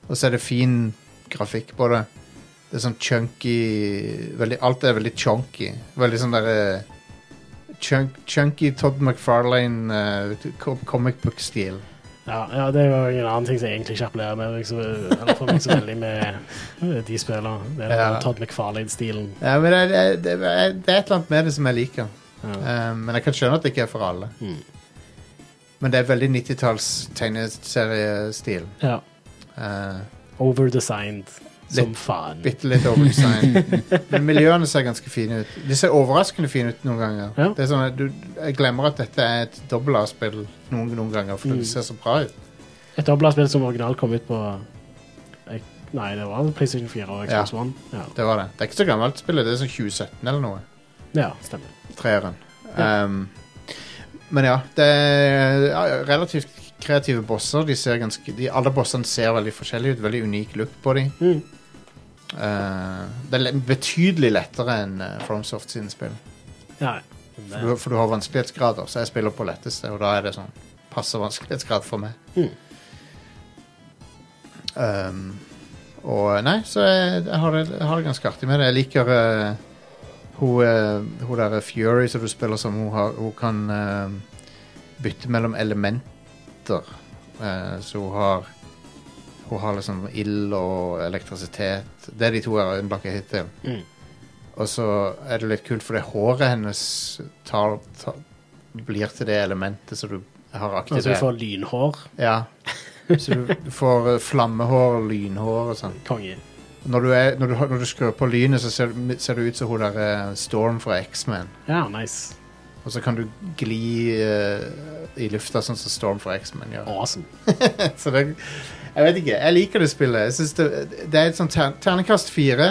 S1: Og så er det fin grafikk på det. Det er sånn chunky veldig, Alt er veldig chunky. Veldig sånn derre chunk, Chunky Todd McFarlane eh, co- comic book-stil.
S2: Ja, ja, det er jo en annen ting som jeg egentlig ikke appellerer med meg så, eller for meg så veldig med eh, de spillene. Det er den
S1: Ja.
S2: Todd McFarlane-stilen.
S1: Ja, men det, det, det, det er et eller annet med det som jeg liker.
S2: Ja.
S1: Eh, men jeg kan skjønne at det ikke er for alle.
S2: Mm.
S1: Men det er veldig 90-talls tegneseriestil.
S2: ja.
S1: Uh,
S2: Overdesigned som
S1: Litt-
S2: faen.
S1: Bitte litt overdesign.
S2: *laughs*
S1: Men miljøene ser ganske fine ut. De ser overraskende fine ut noen ganger.
S2: Ja.
S1: Det er sånn at du, jeg glemmer at dette er et dobbel A-spill noen, noen ganger, for
S2: Mm.
S1: det ser så bra ut.
S2: Et dobbeltspill som originalt kom ut på jeg- Nei, det var PlayStation 4 og Xbox
S1: Ja.
S2: One. Ja.
S1: Det var det. Det er ikke så gammelt spillet, det er sånn 2017 eller noe.
S2: ja, stemmer.
S1: Treeren.
S2: Ja.
S1: Um, men ja, det er ja, relativt kreative bosser. De ser ganske, de, alle bossene ser veldig forskjellige ut. Veldig unik look på dem.
S2: Mm.
S1: det er le- betydelig lettere enn eh, FromSoft sine spill.
S2: Ja. eh,
S1: For du, for du har vanskelighetsgrader, så jeg spiller på letteste, og da er det sånn passe vanskelighetsgrad for meg.
S2: Mm.
S1: Um, og eh, nei, så jeg, jeg, har det, jeg har det ganske artig med det. Jeg liker eh, hun, eh, hun der Fury som du spiller som, hun, har, hun kan eh, bytte mellom elementer. Eh, så hun har hun har liksom ild og elektrisitet. Det er de to jeg har unnlatt hittil.
S2: Mm.
S1: Og så er det litt kult, for det håret hennes tar, tar, blir til det elementet som du har
S2: Altså, du
S1: aktivert.
S2: får lynhår.
S1: Ja. Så du du får eh, flammehår og lynhår og sånn.
S2: Konge.
S1: Når du, er, når, du, har- når du skrur på lynet, så ser, ser du ut som hun der eh, Storm fra X-Men.
S2: Ja, nice.
S1: Og så kan du gli eh, i lufta, sånn som Storm fra X-Men gjør.
S2: Awesome.
S1: Så det, jeg vet ikke. Jeg liker det spillet. Jeg synes det, det er et sånt ter, ternekast fire,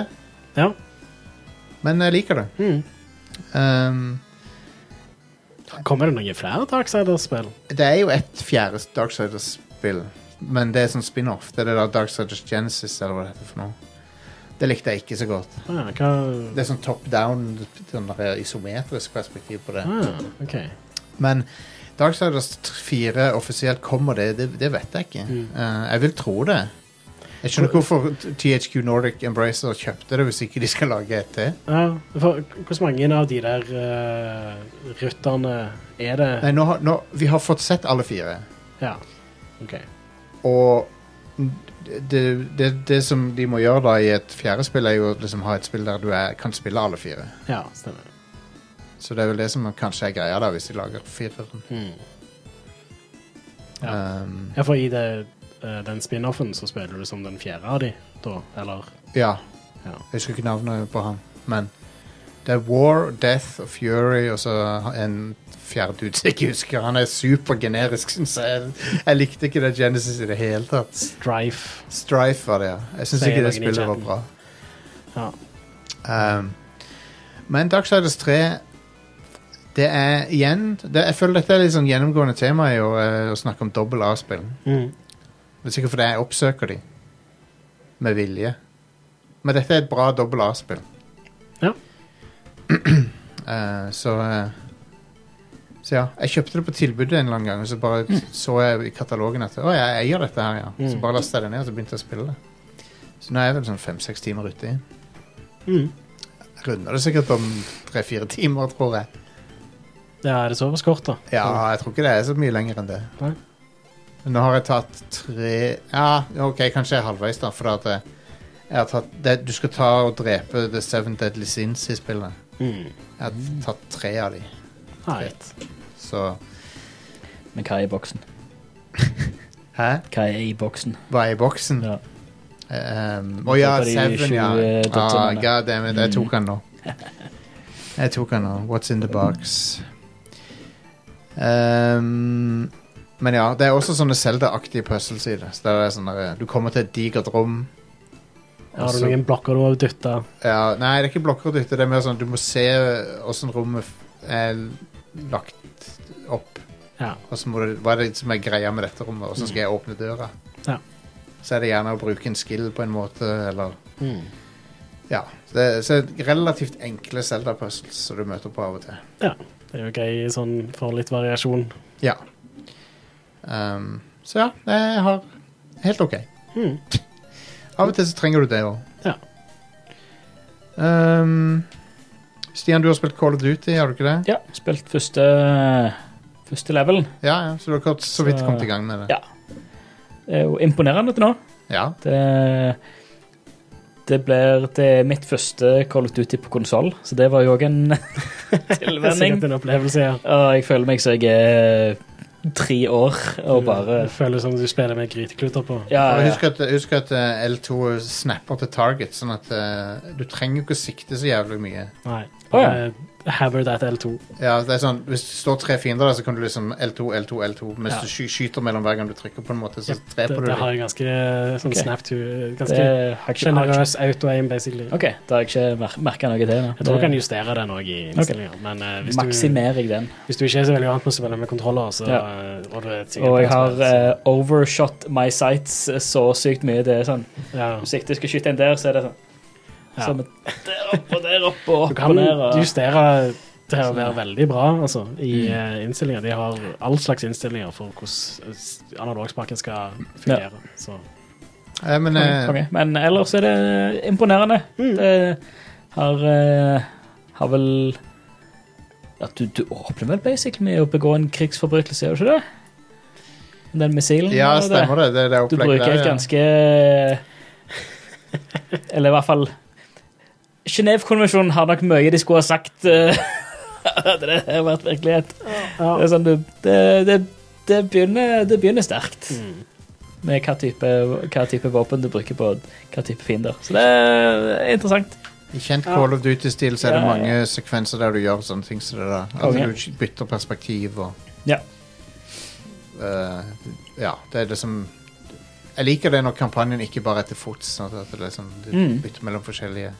S2: Ja.
S1: men jeg liker det.
S2: Mm.
S1: Um,
S2: Kommer det noen flere Darksiders-spill?
S1: Det er jo et fjerde Darksiders-spill, men det er sånn spin-off. Det er det der Darksiders Genesis, eller hva det heter for noe. Det likte jeg ikke så godt.
S2: Ah, hva
S1: Det er sånn top down, sånn der isometrisk perspektiv på det.
S2: ah, OK.
S1: Men Darksiders 4 offisielt kommer det, det, det vet jeg ikke. Eh, jeg vil tro det. Jeg skjønner ikke hvorfor THQ Nordic Embracer kjøpte det hvis ikke de skal lage et til.
S2: Ja, for Hvor mange av de der uh, rytterne er det?
S1: Nei, nå, har- nå, vi har fått sett alle fire.
S2: Ja. OK.
S1: Og det, det, det som de må gjøre da i et fjerde spill, er jo å liksom ha et spill der du er, kan spille alle fire.
S2: Ja, stemmer.
S1: Så det er vel det som kanskje er greia da, hvis de lager fireren.
S2: Mm. Ja.
S1: Um,
S2: Ja, for i det, eh, den spin-offen så spiller du som den fjerde av de, da, eller?
S1: ja.
S2: Ja.
S1: Jeg husker ikke navnet på han, men det er War, Death og Fury og så en fjerde dude som jeg ikke husker. Han er supergenerisk, syns jeg. Jeg likte ikke det Genesis i det hele tatt.
S2: Strife.
S1: Strife var det, ja. Jeg syns
S2: Sier
S1: ikke det
S2: noen i
S1: spillet var
S2: chatten.
S1: bra.
S2: Ja.
S1: Um, men Darksiders 3 Det er igjen det, Jeg føler dette er litt sånn gjennomgående tema i å, eh, å snakke om dobbel A-spill.
S2: Mm.
S1: Det er sikkert fordi jeg oppsøker de med vilje. Men dette er et bra dobbel A-spill.
S2: Ja.
S1: *clears throat* Eh, så eh, Så ja. Jeg kjøpte det på tilbudet en eller annen gang, og så bare så jeg i katalogen at Å, jeg eier dette her, ja. Så
S2: Mm.
S1: bare lasta jeg det ned, og så begynte jeg å spille det. Så nå er jeg vel sånn fem-seks timer uti.
S2: Mm.
S1: Jeg Runder det sikkert om tre-fire timer, tror jeg.
S2: Ja, er det så skort, da?
S1: Ja, jeg tror ikke det er så mye lenger enn det.
S2: Nei.
S1: Nå har jeg tatt tre Ja, OK, kanskje jeg er halvveis, da. For at jeg, jeg har tatt det, Du skal ta og drepe The Seven Deadly Sins i spillet.
S2: Mm.
S1: Jeg har tatt tre av de,
S2: Right.
S1: så
S3: Men hva er i boksen?
S1: Hæ?
S3: Hva er i boksen?
S1: Hva er i boksen?
S3: Ja.
S2: Ehm,
S1: Um, og ja,
S3: Det var de
S1: Seven, ja.
S3: sju, eh,
S1: Ah,
S3: dotterene.
S1: God damn it, jeg tok han
S2: *laughs*
S1: nå. Jeg tok han nå. What's in the box? Um, men ja, det er også sånne Zelda-aktige puzzles i det. Så det er sånn der, du kommer til et digert rom.
S2: Har du
S1: Også-
S2: noen blokker du må dytte?
S1: Ja, nei, det er ikke blokker å dytte. Det er mer sånn du må se åssen rommet f- er lagt opp.
S2: Ja. Mm.
S1: Og så må du, hva er det som er greia med dette rommet, og så skal jeg åpne døra.
S2: Ja.
S1: Så er det gjerne å bruke en skill på en måte, eller
S2: Mm.
S1: Ja. Så det så det er relativt enkle Zelda-puzzles som du møter på av og til.
S2: Det er jo gøy sånn for litt variasjon.
S1: Ja. Um, så ja, jeg har Helt OK.
S2: Mm.
S1: Av og til så trenger du det òg.
S2: Ja.
S1: Um, Stian, du har spilt Call of Duty, har du ikke det?
S3: Ja, spilt første, første level.
S1: Ja, ja, Så du har akkurat så vidt
S3: Så-
S1: kommet i gang med det.
S3: Ja. Det er jo imponerende til nå.
S1: Ja.
S3: Det, det blir det er mitt første Call of Duty på konsoll, så det var jo òg
S2: *laughs*
S3: en
S2: Det er
S3: tilvenning.
S2: sikkert en opplevelse, ja.
S3: Og jeg føler meg som jeg er tre år og bare
S2: Det føles som du spiller med grytekluter på.
S3: Ja,
S1: Og
S3: ja.
S1: husk at, husk at eh, L2 snapper til target, sånn at eh, du trenger jo ikke å sikte så jævlig mye.
S2: Nei.
S3: Å, ja.
S2: Eh, Hammer that L2.
S1: Ja, det er sånn, Hvis det står tre fiender der, så kan du liksom L2, L2, L2 mens
S2: Ja.
S1: du sky skyter mellom hver gang du trykker på en måte, så
S2: Yep, Det,
S1: dreper du
S2: det
S1: dem.
S2: har jeg ganske eh, sånn
S3: Ok.
S2: snap to
S3: det
S2: Ganske
S3: har jeg ikke har jeg ikke-
S2: generøs auto-aim, basically.
S3: OK, da har jeg ikke merka noe til det.
S2: Jeg tror du kan
S3: Det-
S2: justere den òg i innstillinga, men eh, hvis, du,
S3: Maksimerer jeg den.
S2: hvis du ikke er så veldig vant med å spille med kontroller, så
S3: Ja.
S2: eh, og du er et sikkert altså.
S3: Og jeg har
S2: plattspill,
S3: eh, overshot my sights så sykt mye. Det er sånn
S2: eh, så- ja.
S3: Hvis jeg skal skyte en der, så er det sånn.
S2: Ja.
S3: Som et der opp og der opp og opp
S2: Du kan
S3: og ned. Og...
S2: justere til å
S3: Sånn.
S2: være veldig bra altså, i mm. innstillinga. De har all slags innstillinger for hvordan eh, s- analogspaken skal fungere. Så
S1: Ja, men,
S3: Konge,
S1: eh,
S3: konge. Men ellers er det imponerende. Det har, eh, har vel ja, du, du åpner vel basically med å begå en krigsforbrytelse, gjør du ikke det? Den missilen?
S1: ja,
S3: og det.
S1: stemmer det. Det er det
S3: Du
S1: opplegget
S3: bruker
S1: der.
S3: et
S1: ja.
S3: ganske Eller i hvert fall Genévekonvensjonen har nok mye de skulle ha sagt. eh, *laughs* Hadde det her vært virkelighet.
S2: ja.
S3: Det, er sånn, du- det, det, det, begynner, det begynner sterkt
S2: Mm.
S3: med hva type, hva type våpen du bruker på hva type fiender. Så det er interessant.
S1: I kjent Call of Duty-stil så er det
S3: Ja, ja,
S1: mange sekvenser der du gjør sånne ting som det der. At
S3: Konge.
S1: du bytter perspektiv og
S3: Ja.
S1: eh, Ja, det er det som Jeg liker det når kampanjen ikke bare er til fots, sånn at det er sånn, du
S3: Mm.
S1: bytter mellom forskjellige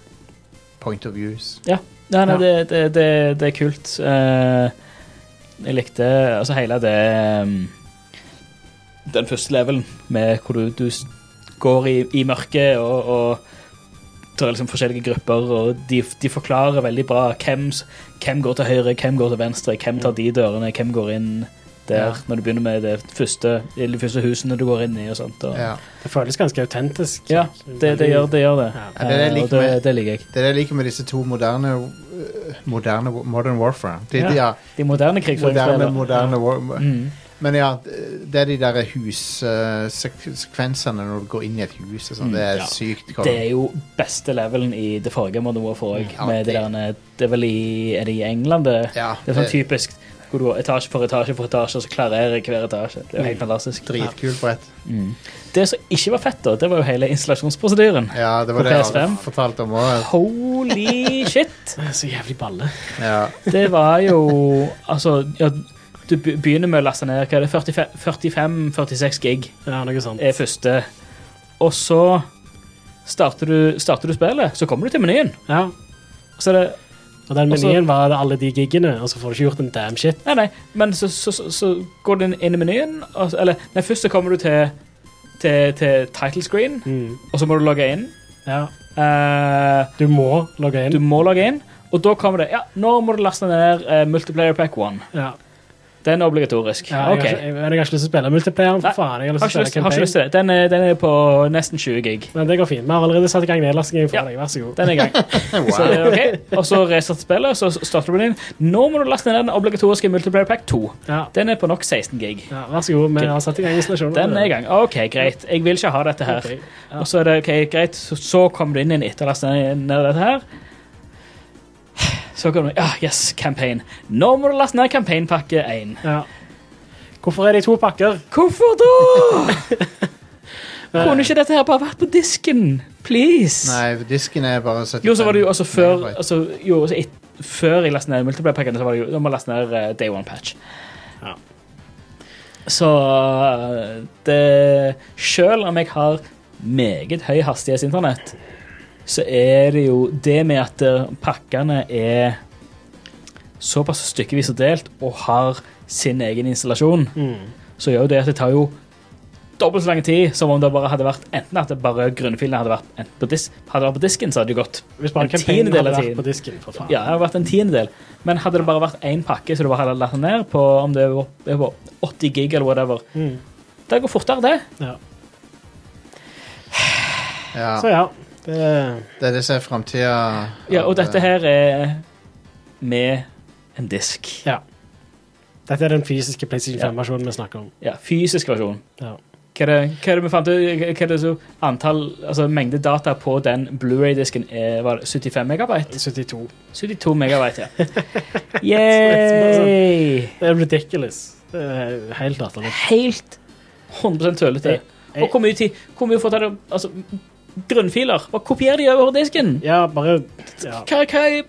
S1: point of views.
S3: Nei, nei,
S2: Ja.
S3: det, det, det, det er kult. Eh, jeg likte altså hele det um, Den første levelen med hvor du, du s- går i, i mørket og, og tar liksom forskjellige grupper, og de, de forklarer veldig bra hvem, s- hvem går til høyre, hvem går til venstre, hvem tar de dørene, hvem går inn der
S1: Ja.
S3: når du begynner med det første, de første husene du går inn i og sånt. Og, ja,
S1: Ja.
S2: Det føles ganske autentisk.
S3: det, det, gjør, det gjør det.
S1: Ja, det er
S2: Ja.
S1: det jeg
S3: Eh, og
S1: liker med-
S3: det, det liker jeg.
S1: Det er det jeg liker med disse to moderne, øh, moderne Modern Warfare. De, de, ja,
S3: De
S1: moderne,
S3: moderne krigsføringsspillene.
S1: moderne war,
S3: Mm.
S1: Men ja, det er de der hussekvensene når du går inn i et hus. Og sånn, det er
S3: Mm, Ja.
S1: sykt.
S3: Det er jo beste levelen i det forrige Modern Warfare òg.
S1: Ja,
S3: med det,
S1: det-
S3: derne- det er vel i, er det i England, det?
S1: Ja,
S3: Det er sånn typisk. Går du etasje for etasje for etasje, og så klarerer jeg hver etasje. Det er jo helt fantastisk. Mm.
S1: dritkult brett.
S3: Det som ikke var fett, da, det var jo hele installasjonsprosedyren.
S1: Ja, det var
S3: På
S1: det jeg
S3: PS5?
S1: hadde fortalt om òg.
S3: *laughs* Holy shit!
S2: Det er Så jævlig balle.
S3: *laughs*
S1: Ja.
S3: Det var jo Altså, ja, du be- begynner med å laste ned hva er det, 45-46 gig
S2: Ja, noe sånt.
S3: er første. Og så starter du, starter du spillet, så kommer du til menyen.
S2: Ja.
S3: Så er det
S2: Og den
S3: Og så-
S2: menyen var det alle de giggene, og så får du ikke gjort en damn shit.
S3: Nei, nei, men så, så, så, så går du inn- inn i menyen, og, så- eller nei, først så kommer du til, til, til title screen, og så må du logge inn.
S2: Ja.
S3: Eh,
S2: Du må logge
S3: du
S2: inn.
S3: må logge inn, og da kommer det, ja, nå må du laste ned eh, Multiplayer Pack 1.
S2: Ja.
S3: Den er obligatorisk.
S2: Ja, jeg,
S3: ok.
S2: har ikke- jeg, men jeg har ikke lyst til å spille multiplayer,
S3: Nei,
S2: for faen. Jeg har lyst
S3: Har
S2: til
S3: ikke,
S2: å
S3: lyst,
S2: spille
S3: har ikke lyst
S2: campaign.
S3: til det. Den er, den er på nesten 20 gig.
S2: Men det går fint. Vi har allerede satt i gang nedlastingen for deg. Vær så god.
S3: Den er i gang. Så,
S1: Wow.
S3: ok. Og så restart spillet, og så starter du den inn. Nå må du laste ned den obligatoriske Multiplayer Pack 2.
S2: Ja.
S3: Den er på nok 16 gig.
S2: Ja, vær så god. Vi har satt i gang installasjonen.
S3: Den er i gang. OK, greit. Jeg vil ikke ha dette her.
S2: Ok. Ja.
S3: Og så er det ok, greit, så, så kommer du inn i en etterlast ned dette her. Så kommer du Ja, yes, campaign. Nå må du laste ned campaignpakke 1.
S2: Ja. Hvorfor er det i to pakker?
S3: Hvorfor da?! Kunne ikke dette her bare vært på disken? Please!
S1: Nei, disken er bare 75
S3: Jo, så var det jo altså før
S1: megabyte.
S3: altså, jo, altså, et, Før jeg lastet ned multiplayer-pakken, så var det jo, da må jeg laste ned eh, Day One-patch.
S2: Ja.
S3: Så eh, det Selv om jeg har meget høy hastighetsinternett, så er det jo det med at eh, pakkene er såpass stykkevis og delt og har sin egen installasjon, så gjør jo det at det tar jo dobbelt så lang tid som om det bare hadde vært enten at det bare grunnfilene hadde vært enten på, dis hadde vært på disken, så hadde det gått
S2: Hvis
S3: En
S2: bare campaignen
S3: tiendedel
S2: hadde
S3: av
S2: vært
S3: tiden.
S2: på disken, for faen.
S3: ja, det hadde vært en tiendedel. Men hadde det bare vært én pakke, så du bare hadde lagt den ned på om det var det var 80 gig eller whatever
S2: Mm.
S3: Det går fortere, det.
S2: Ja.
S1: Ja,
S2: Så ja. Det,
S1: det er det som er framtida.
S3: Ja, og dette her er med en disk.
S2: ja. Dette er den fysiske PlayStation
S3: Ja.
S2: 5-versjonen vi snakker om.
S3: Ja, fysisk versjon.
S2: Ja.
S3: Hva er det, hva er det vi fant ut? Hva er det så antall, altså mengde data på den Blu-ray-disken er var det 75 megabyte?
S2: 72.
S3: 72 *laughs* megabyte, ja. Yay!
S2: Det er ridiculous. Det er helt latterlig.
S3: Helt 100 tullete.
S2: Jeg-
S3: Og hvor mye tid Hvor mye får det Altså, grunnfiler. Bare kopier de over disken.
S2: Ja, bare ja.
S3: Hva, hva er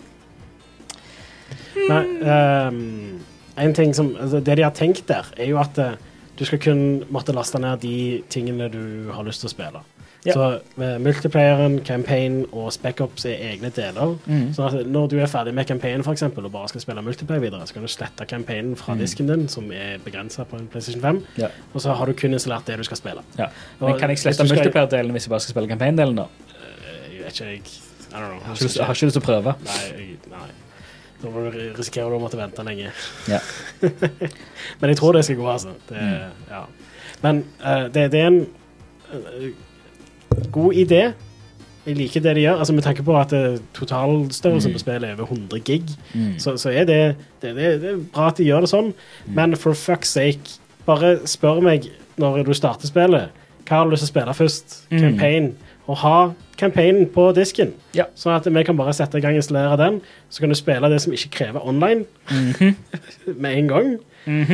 S2: Nei, ehm, en ting som altså, Det de har tenkt der, er jo at eh, du skal kun måtte laste ned de tingene du har lyst til å spille.
S3: Ja.
S2: Så eh, multiplayeren, campaign og spec-ups er egne deler.
S3: Mm.
S2: Sånn at når du er ferdig med campaignen for eksempel, og bare skal spille multiplayer videre, så kan du slette campaignen fra disken din, som er begrensa på en PlayStation 5,
S3: Mm. Ja.
S2: og så har du kun installert det du skal spille.
S3: ja. Men kan jeg slette
S2: Hvis du skal-
S3: multiplayer-delen hvis jeg bare skal spille campaign-delen, da?
S2: Eh, Jeg vet ikke, jeg I don't know.
S3: Har ikke lyst- har ikke lyst til å prøve.
S2: Nei, jeg, nei. Da må du risikere du å måtte vente lenge. *laughs*
S3: Ja.
S2: Men jeg tror det skal gå, altså. Det, ja. Men eh, det, det er en eh, god idé. Jeg liker det de gjør. Altså, med tanke på at eh, totalstørrelsen på spillet er over 100 gig,
S3: Mm.
S2: så, så er det det, det det er bra at de gjør det sånn. Men for fuck's sake, bare spør meg når du starter spillet, hva har du lyst til å spille først?
S3: Mm.
S2: Campaign. Og ha campaignen på disken.
S3: Ja.
S2: Sånn at vi kan bare sette i gang og installere den, så kan du spille det som ikke krever online
S3: Mhm.
S2: med en gang. Eh,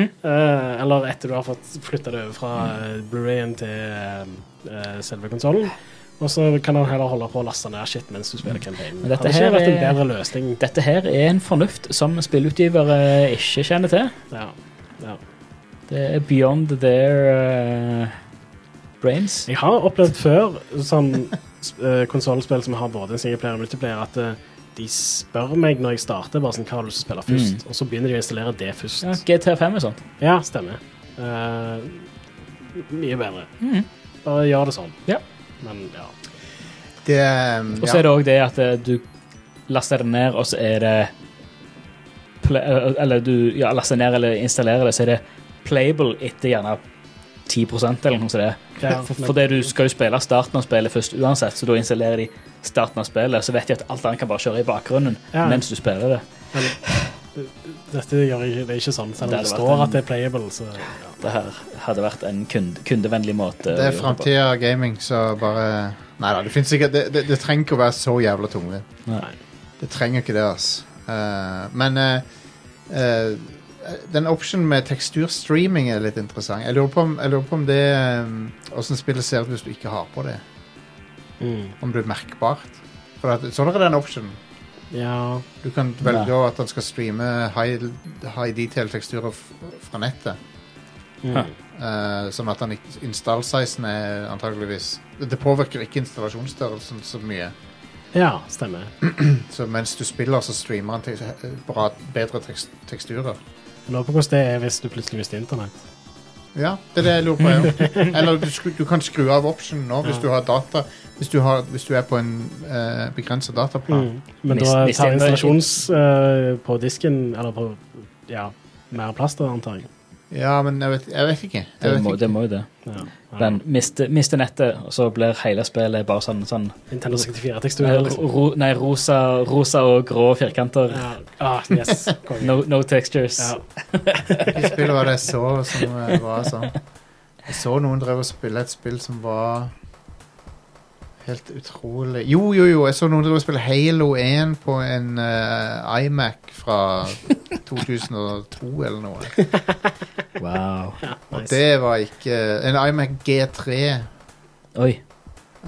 S2: eller etter du har fått flytta det over fra eh, Blu-rayen til eh, selve konsollen. Og så kan han heller holde på å laste ned shit mens du spiller campaign.
S3: Men
S2: Det
S3: dette
S2: hadde ikke
S3: her
S2: vært en
S3: er-
S2: bedre løsning.
S3: Dette her er en fornuft som spillutgivere ikke kjenner til.
S2: Ja. Ja.
S3: Det er beyond their eh, brains.
S2: Jeg har opplevd før sånn uh, konsollspill som har både singleplayer og multiplayer, at eh, de spør meg når jeg starter, bare sånn, hva har du lyst til å spille først? Og så begynner de å installere det først.
S3: Mm. Ja, GTA5 og sånt.
S2: Ja, stemmer. Eh, mye bedre.
S3: Mm.
S2: Bare gjør det sånn.
S3: Ja.
S2: Men ja.
S1: Det, um,
S3: Og
S1: ja.
S3: så er det òg det at eh, du laster det ned, og så er det pla- eh, Eller du ja, laster ned eller installerer det, så er det playable etter gjerne 10 eller noe sånt. det er.
S2: Ja,
S3: *laughs* For,
S2: men-
S3: for det du skal jo spille starten av spillet først uansett, så da installerer de starten av spillet, så vet de at alt annet kan bare kjøre i bakgrunnen
S2: Ja.
S3: mens du spiller det.
S2: Dette gjør ikke, det er ikke sånn,
S3: Det
S2: selv om det
S3: hadde
S2: står
S3: vært en-
S2: at det er playable. Så,
S3: Det her hadde vært en kunde, kundevennlig måte.
S1: Det
S3: å
S1: er
S3: gjøre på.
S1: framtida av gaming, så bare Nei da, det finnes sikkert det, det, det trenger ikke å være så jævla tungvint.
S3: Nei.
S1: Det trenger ikke det, altså. men eh, eh, den optionen med teksturstreaming er litt interessant. Jeg lurer på om, jeg lurer på om det Åssen spillet ser ut hvis du ikke har på det.
S2: mm.
S1: Om det er merkbart. For at, sånn er den optionen.
S2: Ja,
S1: Du kan velge at han skal streame high, high detail-teksturer f- fra nettet.
S2: mm.
S3: Hæ.
S1: Eh, sånn at han ikke Install-sizen er antageligvis Det påvirker ikke installasjonsstørrelsen så mye.
S2: ja stemmer.
S1: Så mens du spiller, så streamer han te bra, bedre tekst teksturer.
S2: Jeg lurer på hvordan det er hvis du plutselig mister internett.
S1: Ja, det er det jeg lurer på.
S2: *laughs*
S1: Ja. Eller du, skru, du kan skru av optionen nå hvis
S2: Ja.
S1: du har data Hvis du, har, hvis du er på en uh, begrensa dataplan.
S2: Mm. Men
S3: Mist-
S2: da
S3: mister
S2: tar
S3: internett.
S2: installasjons eh, på disken, eller på ja, mer plass da, antar jeg.
S1: Ja, men jeg vet, jeg vet ikke.
S3: Det
S1: Jeg vet
S3: må,
S1: ikke.
S3: det må jo det.
S2: Ja.
S3: Men miste, miste nettet, og så blir hele spillet bare sånn, sånn
S2: Nintendo 64-tekstur.
S3: nei,
S2: Liksom.
S3: ro, nei, rosa, rosa og grå firkanter.
S2: Ja. Ah,
S1: *laughs*
S2: yes. Konge.
S3: No, no textures.
S2: Ja.
S1: Hvilke spill var det jeg så som eh, var sånn? Jeg så noen drev og spille et spill som var Helt utrolig Jo, jo, jo, jeg så noen drev og spille Halo 1 på en eh, iMac fra 2002 eller noe.
S3: Wow.
S1: Og
S2: Nice.
S1: det var ikke En iMac G3,
S3: *laughs* Oi.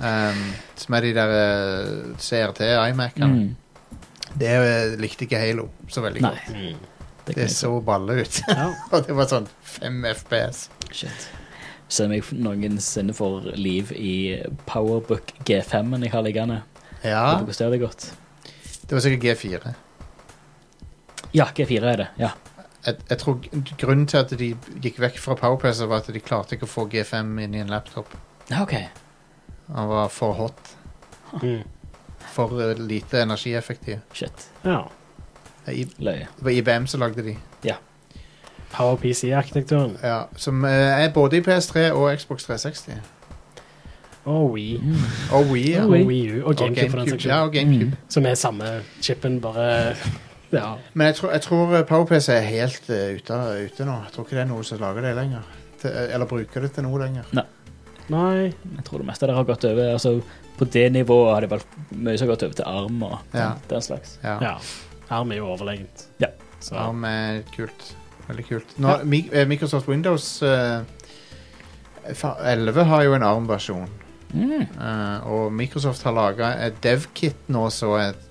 S1: ehm, som er de der eh, CRT-iMacene,
S3: Mm.
S1: det eh, likte ikke Halo så veldig
S3: Nei.
S1: godt.
S2: Mm.
S3: Det kan
S1: Det
S3: jeg
S1: så balle ut. *laughs*
S2: Ja.
S1: Og det var sånn 5 FPS.
S3: Shit. Ser meg noensinne for liv i Powerbook G5-en jeg har liggende.
S1: Ja,
S3: Håper hvordan det hadde gått.
S1: det var sikkert G4.
S3: Ja, G4 er det. Ja.
S1: Jeg, jeg tror g- grunnen til at de gikk vekk fra PowerPC, var at de klarte ikke å få G5 inn i en laptop.
S3: Ja, Ah, OK.
S1: Han var for hot.
S2: Mm.
S1: For eh, lite energieffektiv. Det
S2: ja.
S1: er I-
S3: Løye.
S1: det var IBM som lagde de.
S2: Power PC-arkitekturen.
S1: Ja, som eh, er både i PS3 og Xbox 360.
S2: Og Wii.
S3: Mm.
S1: Og Wii. Ja.
S2: Og
S3: Wii.
S2: Wii U. Og GameCube, for den saks
S1: Ja,
S2: skyld.
S1: og GameCube.
S3: Mm.
S2: Som er samme chipen,
S1: *laughs*
S2: bare Ja.
S1: Men jeg tror, jeg tror eh, PowerPC er helt eh, ute, ute nå. Jeg tror ikke det er noen som lager det lenger. Til, eh, eller bruker det til noe lenger.
S2: Nei.
S3: Jeg tror det meste der har gått over. Altså, på det nivået har det vel mye som har gått over til arm og
S1: Ja.
S3: den slags.
S1: Ja.
S2: Ja. Arm er jo overlegent.
S3: Ja.
S2: Så.
S1: Ja, men kult. Veldig kult. Nå, Mi- eh, Microsoft Windows eh, fa- 11 har jo en ARM-versjon.
S3: Mm.
S1: Eh, og Microsoft har laga et dev-kit nå så et,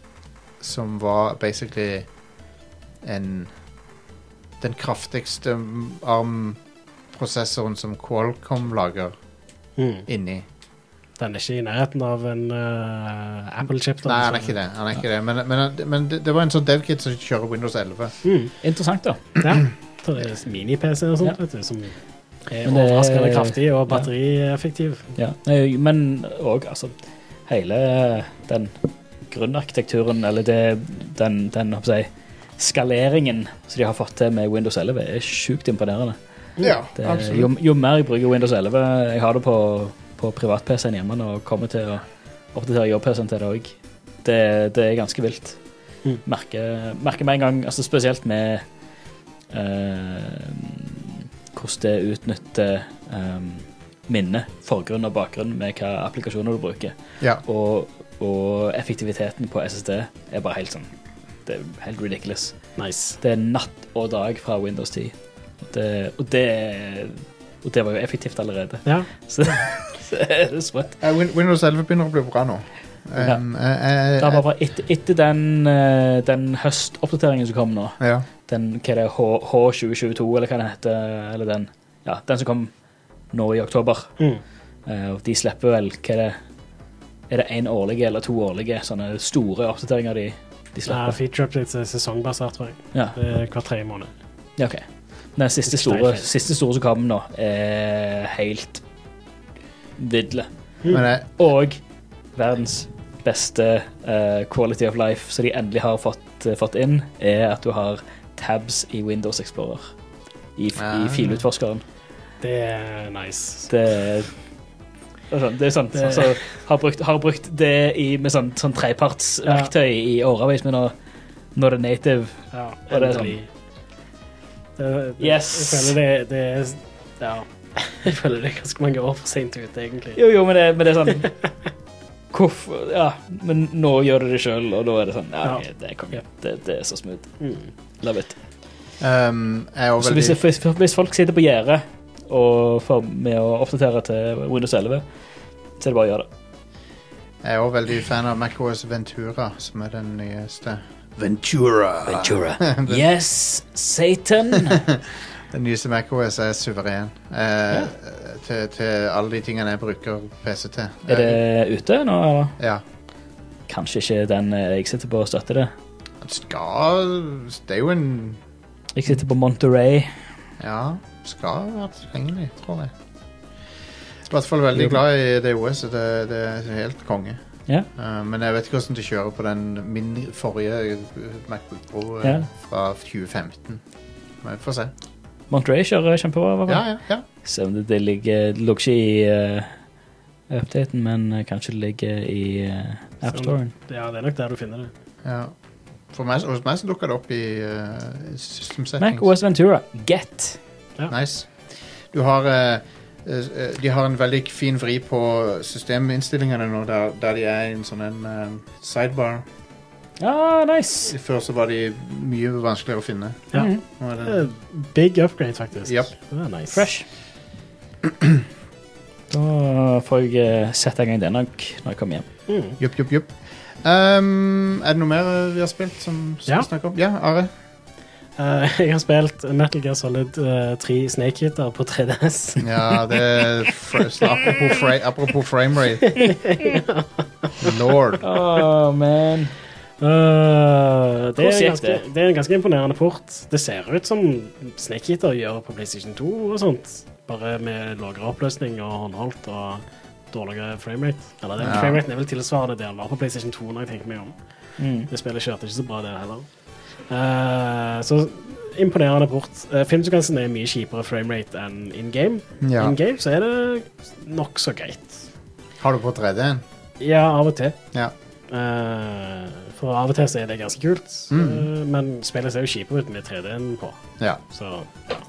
S1: som var basically en Den kraftigste ARM-prosessoren som Qualcomm lager
S2: Mm.
S1: inni.
S2: Den er ikke i nærheten av en eh, Apple-chip. da,
S1: Nei, han
S2: så-
S1: er ikke det. Han er ikke det. Men, men, men det, det var en sånn dev-kit som kjører Windows 11.
S2: Mm.
S3: Interessant, da.
S2: Ja. Så det er mini-PC og sånt,
S3: Ja.
S2: vet du, som er
S3: Men det-
S2: overraskende kraftig og batterieffektiv.
S3: Ja. Nei, Men òg, altså Hele den grunnarkitekturen, eller det, den, den hva skal jeg si, skaleringen som de har fått til med Windows 11, er sjukt imponerende.
S1: Ja,
S3: Det, jo, jo mer jeg bruker Windows 11 Jeg har det på, på privat-PC-en hjemme nå, og kommer til å oppdatere jobb-PC-en til det òg. Det, det er ganske vilt.
S2: Mm.
S3: Merker, merker med en gang, altså spesielt med eh, hvordan det utnytter eh, minne, forgrunn og bakgrunn med hva applikasjoner du bruker.
S1: Ja.
S3: Og, og effektiviteten på SSD er bare helt sånn Det er helt ridiculous.
S2: Nice.
S3: Det er natt og dag fra Windows 10. Og det, og det, og det var jo effektivt allerede.
S2: Ja.
S3: Så, så er det sprøtt.
S1: Eh, Win- Windows 11 begynner å bli bra nå. Um, eh, eh,
S3: Det var bare etter, etter den, eh, den høstoppdateringen som kom nå,
S1: ja.
S3: den hva er det, H, H2022, eller hva det heter, eller den, ja, den som kom nå i oktober,
S2: Mm.
S3: eh, og de slipper vel hva er det er det én årlige eller to årlige sånne store oppdateringer de, de
S2: Ja,
S3: slipper?
S2: feature updates er sesongbasert, tror jeg.
S3: Ja.
S2: Det er hver tredje måned.
S3: Ja, ok. Den siste
S2: Ikke
S3: store,
S2: Steinfeld.
S3: siste store som kom nå, er helt vidle.
S1: Men jeg,
S3: Og verdens beste eh, quality of life eh, som de endelig har fått, fått inn, er at du har tabs i Windows Explorer. i,
S1: Ah.
S3: i filutforskeren.
S2: Det er nice.
S3: Det er det er sånn, det er sånn,
S2: Det-
S3: altså, har, brukt, har brukt det i, med sånn, sånn trepartsverktøy i årevis, men nå, nå er det native.
S2: Ja,
S3: Og det er
S2: endelig. Det, det,
S3: Yes.
S2: Jeg føler det, det er Ja. Jeg føler det er ganske mange år for seint ute, egentlig.
S3: Jo, jo, men det, men det er *laughs* sånn Hvorfor Ja, men nå gjør du det sjøl, og da er det sånn Ja,
S2: Ja.
S3: ok, det er konge. Det, det er så smooth.
S2: Mm.
S3: Love it.
S1: Um, jeg er også
S3: Så hvis,
S1: veldig
S3: hvis, hvis folk sitter på gjerdet og får med å oppdatere til Windows 11, så er det bare å gjøre det.
S1: Jeg er også veldig fan av MacOS Ventura, som er den
S3: *laughs*
S1: nyeste. Ventura! *laughs* den,
S3: Yes, Satan!
S1: den nyeste MacOS er suveren. Eh, til, til alle de tingene jeg bruker PC til.
S3: Er det ute nå? eller?
S1: Ja.
S3: Kanskje ikke den eh, jeg sitter på, støtter det.
S1: Skal Det er jo en
S3: Jeg sitter på Monterey.
S1: Ja, skal være tilgjengelig, tror jeg. I hvert fall veldig glad i det OS. Det, det er helt konge.
S3: Ja.
S1: Eh, men jeg vet ikke hvordan de kjører på den min forrige eh, Macbook Pro eh,
S3: Ja.
S1: fra 2015. Men vi får se.
S3: Monterey kjører kjempebra. hva var det?
S1: Ja, ja, ja.
S3: Selv om det, det ligger, det lå ikke i eh, updaten, men eh, kanskje det ligger i eh, AppStoren.
S2: Ja, det er nok der du finner det.
S1: ja. For meg, hos meg så dukker det opp i uh, system settings.
S3: Mac OS Ventura, get!
S1: Nice. Du har eh, eh, De har en veldig fin vri på systeminnstillingene nå, der, der de er i en sånn en eh, sidebar.
S3: Ja, Ah, nice!
S1: Før så var de mye vanskeligere å finne.
S2: Ja.
S3: Mhm.
S1: Nå er
S2: Det er
S1: det,
S2: Big upgrade, faktisk.
S1: Japp.
S2: Det er nice.
S3: Fresh. *clears throat* Da får jeg eh, sette i gang den nok når jeg kommer
S2: *laughs*
S3: hjem.
S2: Mm.
S1: jupp, jupp, jupp. Ehm, er det noe mer eh, vi har spilt som skal
S2: Ja.
S1: snakke om? Ja, Are?
S2: Eh, jeg har spilt Metal Gear Solid eh, 3 Snake Hitter på 3DS.
S1: Ja, det er fra, så apropos, fra, apropos framerate. Lord.
S3: Oh, man.
S2: Eh,
S3: Hvordan
S2: det, er
S3: gikk
S2: ganske,
S3: det?
S2: det er en ganske imponerende port. Det ser ut som Snake Hitter gjør på PlayStation 2 og sånt. Bare med lavere oppløsning og håndholdt og dårligere framerate. Eller den
S1: Ja.
S2: frameraten er vel tilsvarende det den var på PlayStation 2 når jeg tenker meg om.
S3: Mm.
S2: Det spillet kjørte ikke så bra der heller. Eh, så imponerende port. Uh, Filmsekvensen er mye kjipere framerate enn in game.
S1: Ja.
S2: In game så er det nokså greit.
S1: Har du på 3D-en?
S2: Ja, av og til.
S1: Ja.
S2: Eh, for av og til så er det ganske kult, eh, men spillet ser jo kjipere ut med 3D-en på.
S1: ja.
S2: Så, ja.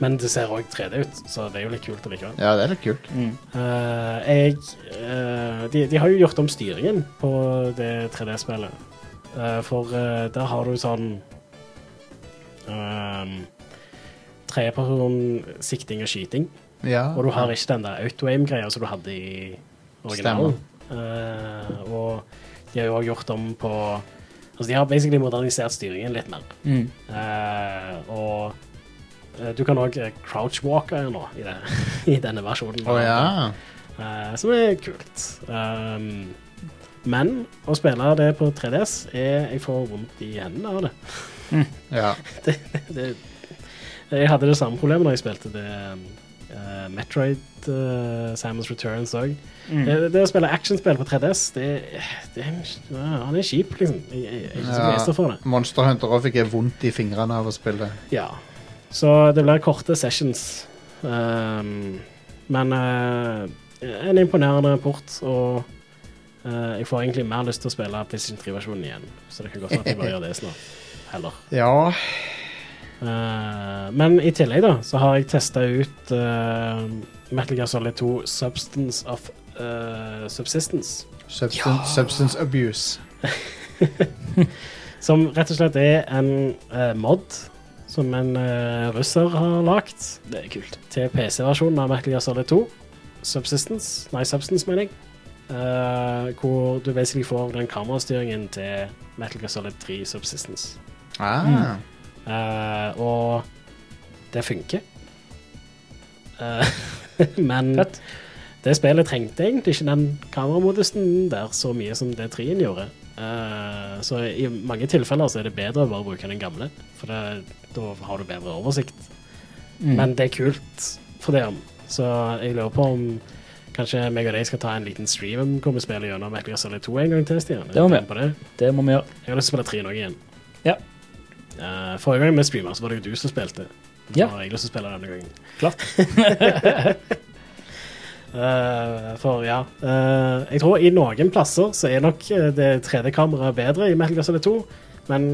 S2: Men det ser òg 3D ut, så det er jo litt kult allikevel.
S1: Ja, det er litt kult.
S3: mm,
S2: Eh, jeg eh, de, de har jo gjort om styringen på det 3D-spillet. Eh, for eh, der har du sånn um, Tredjeperson sikting og skyting.
S1: Ja.
S2: Og du har ikke den der auto-aim-greia som du hadde i originalen. Eh, og de har jo også gjort om på Altså, de har basically modernisert styringen litt mer.
S3: Mm.
S2: Eh, og eh, du kan òg crouch-walke nå i, det, *laughs* i denne versjonen.
S1: Å ja.
S2: Eh, som er kult. Um, men å spille det på 3DS er Jeg får vondt i hendene av det. *laughs*
S1: ja.
S2: det jeg hadde det samme problemet når jeg spilte det eh, Metroid eh, Samus Returns òg.
S3: Mm. Eh,
S2: Det, Eh, det å spille actionspill på 3DS, det, det er, en- ja, Han er kjip, liksom. Jeg, jeg, jeg er ikke så begeistra for det.
S1: Monster Hunter også fikk jeg vondt i fingrene av å spille.
S2: Ja. Så det blir korte sessions. Ehm, men eh, en imponerende port, og eh, jeg får egentlig mer lyst til å spille PlayStation 3-versjonen igjen. Så det kan godt være at jeg bare gjør det snart. Heller.
S1: Ja.
S2: Eh, men i tillegg da, så har jeg testa ut eh, Metal Gear Solid 2 Substance of eh, Subsistence.
S1: Substance, substance abuse.
S2: Som rett og slett er en eh, mod som en eh, russer har lagd.
S3: Det er kult.
S2: til PC-versjonen av Metal Gear Solid 2. Subsistence, nei, Substance, mener jeg. Eh, hvor du basically får den kamerastyringen til Metal Gear Solid 3 Subsistence. Mm.
S1: Ah.
S2: Eh, og det funker. Eh, *laughs* men det spillet trengte egentlig ikke den kameramodusen der så mye som det 3-en gjorde. Eh, så i mange tilfeller så er det bedre å bare bruke den gamle, for det, da har du bedre oversikt.
S3: Mm.
S2: Men det er kult for det. om. Så jeg lurer på om kanskje meg og deg skal ta en liten stream om hvor vi spiller gjennom Metal Gear Solid 2 en gang til, Stian.
S3: Det må vi.
S2: Er du med på det?
S3: Det må vi gjøre.
S2: Jeg har lyst til å spille 3 nå igjen.
S3: Ja.
S2: Eh, forrige gang vi streama, så var det jo du som spilte. Da
S3: Ja.
S2: har jeg lyst til å spille denne gangen.
S3: Klart.
S2: Eh, for ja eh, Jeg tror i noen plasser så er nok eh, det 3D-kameraet bedre i Metal Gear Solid 2, men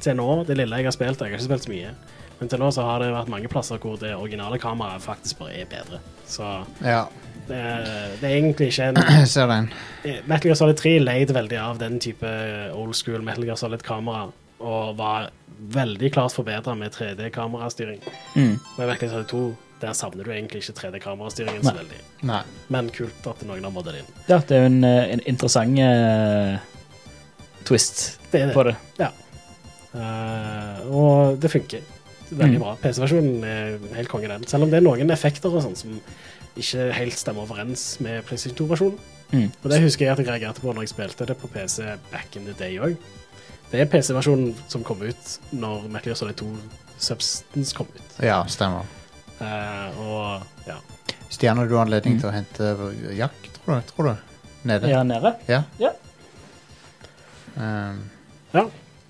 S2: til nå, det lille jeg har spilt, og jeg har ikke spilt så mye, men til nå så har det vært mange plasser hvor det originale kameraet faktisk bare er bedre. Så
S1: Ja, *clears throat*
S2: det er, det er egentlig ikke en
S1: jeg ser den.
S2: Eh, Metal Gear Solid 3 leid veldig av den type old school Metal Gear Solid-kamera, og var veldig klart forbedra med 3D-kamerastyring.
S3: Mm.
S2: Men Metal Gear Solid 2, der savner du egentlig ikke 3D-kamerastyringen så
S3: Nei.
S2: veldig.
S1: Nei.
S2: Men kult at noen har moddet det inn.
S3: Ja, det er jo en, eh, en interessant eh, twist
S2: Det er det.
S3: på det.
S2: Eh, og det funker. Det er Veldig
S3: Mm.
S2: bra. PC-versjonen er helt konge, den. Selv om det er noen effekter og sånn som ikke helt stemmer overens med PlayStation 2-versjonen.
S3: Mm.
S2: Og det husker jeg at jeg reagerte på når jeg spilte det på PC back in the day òg. Det er PC-versjonen som kom ut når Metal Gear Solid 2 Substance kom ut.
S1: Ja, stemmer.
S2: Eh, og ja.
S1: Stjerne, du har anledning
S3: Mm.
S1: til å hente Jack, tror du? Tror du? Nede.
S3: Her nede.
S1: Ja.
S3: Ja.
S1: Um,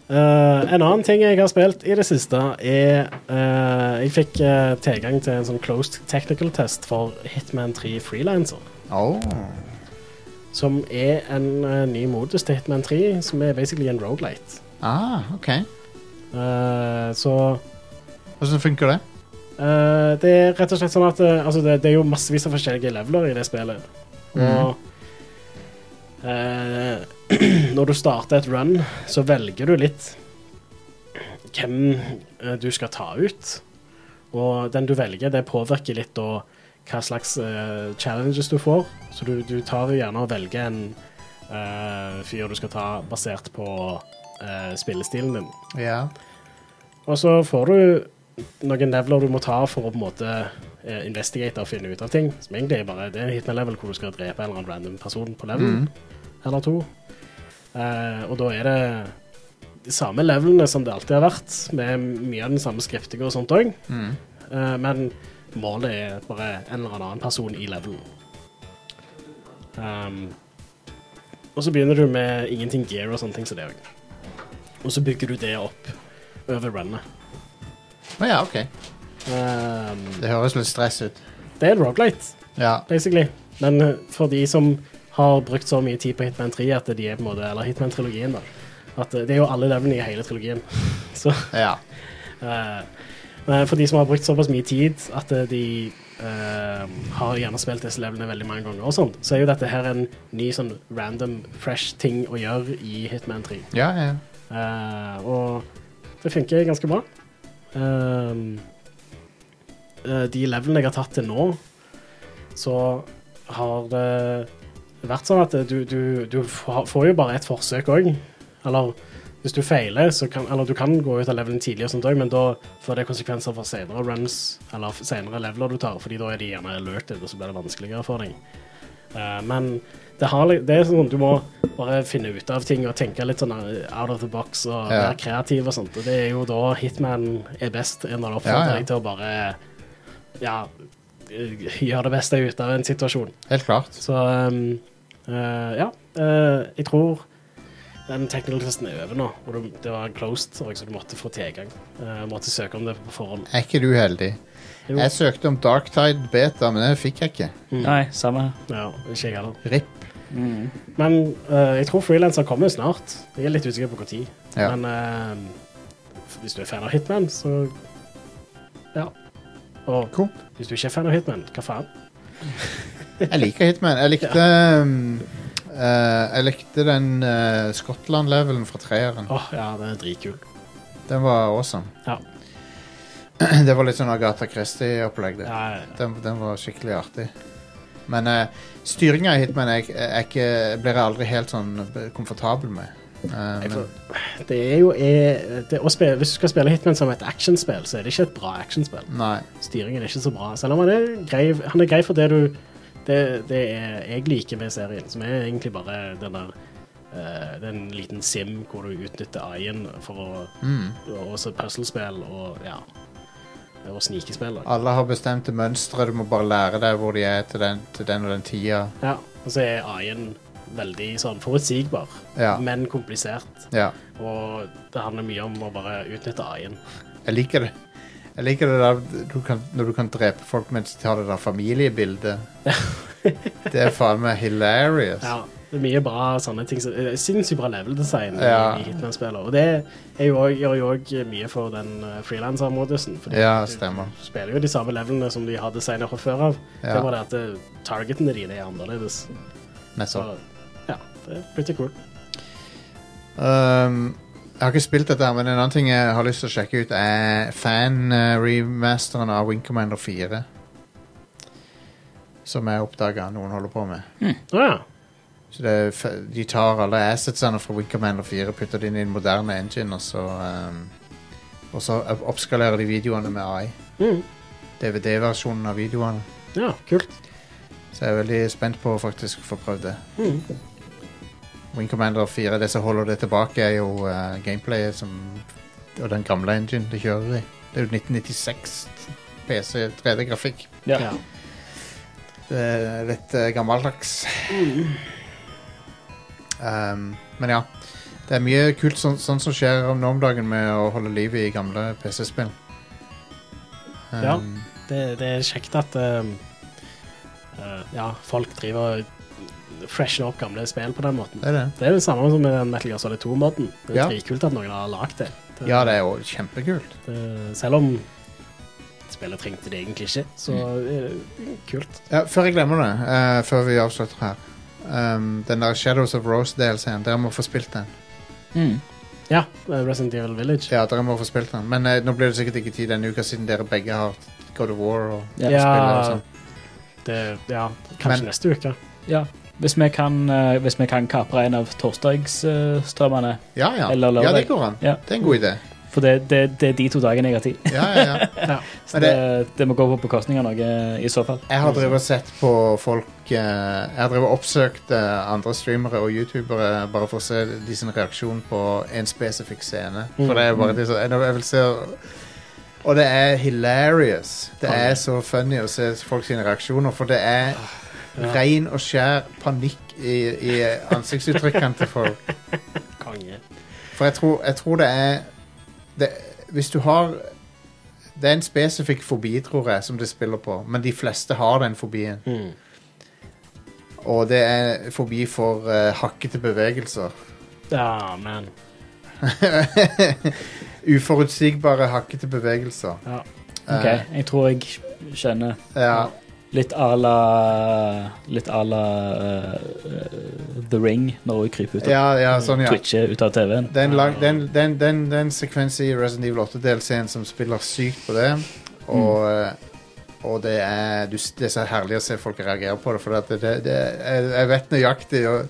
S2: Eh, en annen ting jeg har spilt i det siste, er eh, Jeg fikk eh, tilgang til en sånn closed technical test for Hitman 3 Freelancer.
S1: oh.
S2: Som er en eh, ny modus til Hitman 3, som er basically en roguelite.
S1: Ah, OK.
S2: Eh, så
S1: Hvordan funker det?
S2: eh, det er rett og slett sånn at eh, altså det, det er jo massevis av forskjellige leveler i det spillet. Og eh, *clears throat* når du starter et run, så velger du litt hvem eh, du skal ta ut. Og den du velger, det påvirker litt da hva slags eh, challenges du får. Så du, du tar jo gjerne og velger en eh, fyr du skal ta basert på eh, spillestilen din.
S1: Ja.
S2: Og så får du noen leveler du må ta for å på en måte eh, investigate og finne ut av ting. Som egentlig er bare det er en hitman-level hvor du skal drepe en eller annen random person på level
S1: Mm.
S2: eller to. Eh, og da er det de samme levelene som det alltid har vært, med mye av den samme skriptinga og sånt òg.
S1: Mm.
S2: men målet er bare en eller annen person i levelen. Ehm, og så begynner du med ingenting gear og sånne ting som det òg. Og så bygger du det opp over runnet.
S1: Å ja, OK.
S2: Ehm,
S1: Det høres litt stress ut.
S2: det er en roguelite,
S1: Ja.
S2: basically. Men eh, for de som har brukt så mye tid på Hitman 3, at de er på en måte, eller Hitman-trilogien, da. At eh, det er jo alle levelene i hele trilogien. *laughs* Så
S1: ja.
S2: eh, men For de som har brukt såpass mye tid at eh, de eh, har gjerne spilt disse levelene veldig mange ganger, og sånn, så er jo dette her en ny sånn random, fresh ting å gjøre i Hitman 3.
S1: Ja, ja.
S2: Eh, og det funker ganske bra. Ehm, eh, de levelene jeg har tatt til nå, så har det vært sånn at du, du, du fa- får jo bare et forsøk òg. Eller hvis du feiler, så kan Eller du kan gå ut av levelen tidlig, og sånt også, men da får det konsekvenser for senere runs, eller f- senere leveler du tar, fordi da er de gjerne alerted, og så blir det vanskeligere for deg. Eh, men det, har, li- det er sånn du må bare finne ut av ting og tenke litt sånn eh, out of the box og
S1: Ja.
S2: være kreativ og sånt. Og det er jo da Hitman er best, når det oppfordrer
S1: Ja, ja.
S2: deg til å bare ja, eh, gjøre det beste ut av en situasjon.
S1: Helt klart.
S2: Så um, eh, ja, eh, jeg tror den technical testen er over nå. Og det- det var closed, og så du måtte få tilgang. Uh, måtte søke om det på forhånd.
S1: Er ikke du heldig?
S2: Jo, Mm.
S1: Jeg søkte om Darktide Beta, men det fikk jeg ikke.
S3: Nei, samme.
S2: ja, ikke jeg heller.
S1: RIP.
S2: Men eh, jeg tror frilanser kommer snart. Jeg er litt usikker på når.
S1: Ja.
S2: Men eh, hvis du er fan av Hitman, så ja. Og
S1: Cool.
S2: hvis du ikke er fan av Hitman, hva faen?
S1: Jeg liker Hitman. Jeg likte um, eh, Jeg likte den eh, Skottland-levelen fra treeren.
S2: Åh, ja, den er dritkul.
S1: Den var awesome.
S2: Ja.
S1: *clears throat* Det var litt sånn Agatha Christie-opplegg. det.
S2: Ja, ja, ja.
S1: Den, den var skikkelig artig. Men uh, styringa i Hitman er, er ikke, blir jeg aldri helt sånn komfortabel med. Eh,
S2: Jeg
S1: men,
S2: tror- Det er jo er, det, å spille, Hvis du skal spille Hitman som et actionspill, så er det ikke et bra actionspill.
S1: nei.
S2: Styringen er ikke så bra. Selv om han er grei, han er grei for det du Det, det er, jeg liker med serien, som er egentlig bare den der eh, Den liten sim hvor du utnytter AI-en for å
S1: Mm.
S2: Og også puzzlespill og ja Og snikespill. da.
S1: Alle har bestemte mønstre, du må bare lære deg hvor de er til den, til den og den tida.
S2: Ja. Og så er AI-en veldig sånn forutsigbar,
S1: Ja.
S2: men komplisert.
S1: Ja.
S2: Og det handler mye om å bare utnytte AI-en.
S1: Jeg liker det. Jeg liker det der du kan, når du kan drepe folk mens de tar det der
S2: *laughs*
S1: familiebildet. det er faen meg hilarious.
S2: Ja, det er mye bra sånne ting. som- eh, Sinnssykt bra level design
S1: Ja.
S2: i Hitman-spillet. Og det er jo også, gjør jo òg mye for den eh, freelancer-modusen. Fordi
S1: Ja,
S2: du
S1: stemmer.
S2: spiller jo de samme levelene som de har designet fra før av.
S1: Ja.
S2: Det er bare det at eh, targetene dine er annerledes.
S1: Nettopp.
S2: Så ja, det er pretty cool.
S1: Um, jeg har ikke spilt dette, her, men en annen ting jeg har lyst til å sjekke ut, er fan-remasteren av Wing Commander 4. Som jeg oppdaga noen holder på med.
S2: Å ja.
S1: Så det, er f- De tar alle assetsene fra Wing Commander 4, putter det inn i en moderne engine, og så, um, og så opp- oppskalerer de videoene med AI.
S2: Mm.
S1: DVD-versjonen av videoene.
S2: ja. Kult.
S1: Så jeg er veldig spent på å faktisk få prøvd det.
S2: Mm.
S1: Wing Commander 4, det som holder det tilbake, er jo eh, gameplayet som Og den gamle engine det kjører i. Det er jo 1996 PC 3D-grafikk.
S3: Ja.
S2: Ja.
S1: Det er litt eh, gammeldags. Um, men ja. Det er mye kult sånn, sånn som skjer om nå om dagen med å holde liv i gamle PC-spill. Um,
S2: Ja. Det, det er kjekt at ehm, eh, ja, folk driver og freshener opp gamle spill på den måten.
S1: Det er det.
S2: Det er det samme som med den Metal Gear Solid 2-modden. Det er
S1: Ja.
S2: dritkult at noen har lagd det. det.
S1: Ja, det er jo kjempekult.
S2: det- Selv om spillet trengte det egentlig ikke, så
S1: Mm.
S2: er det kult.
S1: Ja, før jeg glemmer det, eh, før vi avslutter her um, Den der Shadows of Rosedale-scenen, dere må få spilt den.
S3: Mm.
S2: Ja, eh, Resident Evil Village.
S1: Ja, dere må få spilt den. Men eh, nå blir det sikkert ikke tid denne uka siden dere begge har God of War og
S3: Ja.
S1: spiller og sånn.
S2: det, ja kanskje
S1: Men-
S2: neste uke.
S3: ja. Hvis vi kan, eh, hvis vi kan kapre en av torsdagsstrømmene.
S1: Ja, ja.
S3: Eller lørdag.
S1: ja, det går an.
S3: Ja.
S1: Det er en god idé.
S3: For det, det, det er de to dagene jeg har tid.
S1: Ja, ja, ja.
S3: Så
S1: Men
S3: det,
S1: det-
S3: det må gå på bekostning av noe i så fall.
S1: Jeg har drevet og sett på folk eh, Jeg har drevet og oppsøkt eh, andre streamere og youtubere bare for å se de sin reaksjon på en spesifikk scene. For det er bare det som jeg vil se Og det er hilarious. Det er så funny å se folk sine reaksjoner, for det er ren og skjær panikk i, i ansiktsuttrykkene til folk.
S2: Konge.
S1: For jeg tror, jeg tror det er det, Hvis du har Det er en spesifikk fobi, tror jeg, som det spiller på. Men de fleste har den fobien.
S2: Mm.
S1: Og det er fobi for eh, hakkete bevegelser. *laughs*
S2: Ja, men
S1: Uforutsigbare hakkete bevegelser.
S2: ja.
S3: Ok,
S1: Eh,
S3: Jeg tror jeg kjenner
S1: ja,
S3: litt à la Litt à la eh, eh, The Ring, når hun kryper ut og
S1: ja, ja, sånn, ja.
S3: twitcher ut av TV-en.
S1: Det er en lang- det er en- det er en- det er en- det er en sekvens i Resident Evil 8-delscenen altså som spiller sykt på det. Og, eh, og det, er, du, det er så herlig å se folk reagere på det, for at det, det, det, jeg, jeg vet nøyaktig og,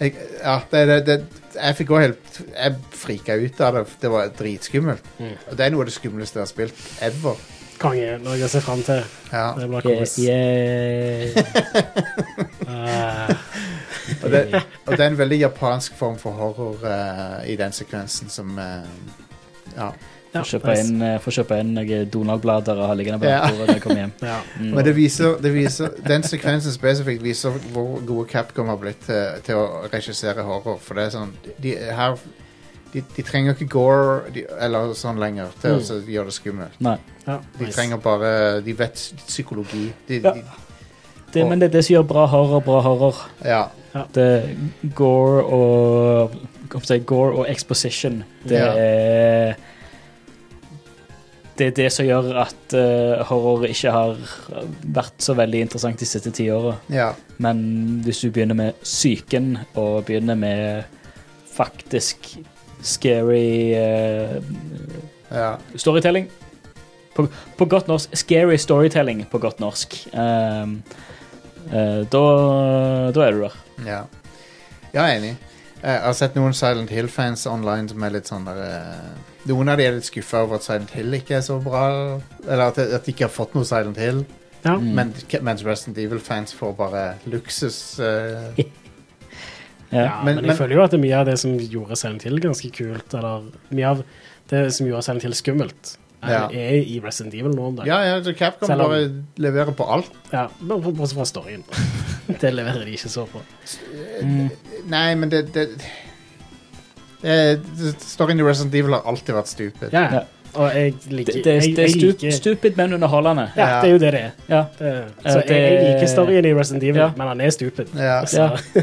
S1: jeg, ja, det, det, det, jeg fikk også helt Jeg frika ut av det. for Det var dritskummelt.
S2: Mm.
S1: Og det er noe av det skumleste jeg har spilt ever.
S2: Konge. Noe jeg ser fram til.
S1: Ja.
S2: Det blir
S3: Yeah,
S2: kos.
S3: yeah.
S2: Eh,
S1: Og, det, og det er en veldig japansk form for horror eh, i den sekvensen som eh, Ja.
S2: *laughs* ja,
S3: Får kjøpe
S2: nice.
S3: inn, eh, får kjøpe inn noen Donald-blader og ha liggende på
S1: Ja.
S3: bordet når jeg kommer
S1: *laughs*
S3: hjem.
S2: Ja.
S3: Mm.
S1: Men det viser, det viser Den sekvensen spesifikt viser hvor gode Capcom har blitt til, til å regissere horror. For det er sånn De, her, de, de trenger ikke gore de, eller sånn lenger til
S2: Mm.
S1: å gjøre det skummelt.
S3: Nei.
S2: Ja,
S1: De
S2: nice.
S1: trenger bare De vet psykologi. De,
S3: Ja.
S1: de,
S3: Det, men det er det som gjør bra horror bra horror.
S1: ja.
S3: Det er gore og hva skal jeg si, Gore og exposition. Det
S1: Ja.
S3: er Det er det som gjør at eh, horror ikke har vært så veldig interessant de siste ti åra.
S1: ja.
S3: Men hvis du begynner med psyken, og begynner med faktisk scary eh,
S1: Ja.
S3: storytelling på, på godt norsk Scary storytelling på godt norsk. Ehm, eh, da, da er du der.
S1: Ja, jeg er enig. Jeg har sett noen Silent Hill-fans online som er litt sånn der eh, Noen av de er litt skuffa over at Silent Hill ikke er så bra. Eller at, at de ikke har fått noe Silent Hill.
S2: Ja.
S3: Mm.
S1: Men, mens Resident Evil-fans får bare luksus. eh,
S3: Ja.
S2: Ja,
S1: Men-
S2: men,
S1: men-
S2: jeg føler jo at det er mye av det som gjorde Silent Hill ganske kult, eller mye av det som gjorde Silent Hill skummelt, er,
S1: Ja.
S2: er i Resident Evil nå om dagen.
S1: ja, ja, så Capcom
S2: Selv om-
S1: bare leverer på alt.
S2: Ja, bare for- Bortsett fra
S1: *laughs*
S2: storyen. det leverer de ikke så på.
S1: Nei, men eh, det, det, det, det Storyen i Resident Evil har alltid vært stupid.
S2: Ja, ja.
S3: Ja.
S2: Og jeg liker
S3: Det, det,
S2: jeg-
S3: det er
S2: jeg
S3: stu,
S2: liker-
S3: stupid, men underholdende.
S2: Ja, det er jo det det er.
S3: Ja.
S2: Det-
S3: Eh,
S2: Så
S3: det-
S2: jeg, jeg liker storyen i Resident Evil,
S3: Ja.
S2: men han er stupid.
S1: Ja.
S2: Så,
S3: ja.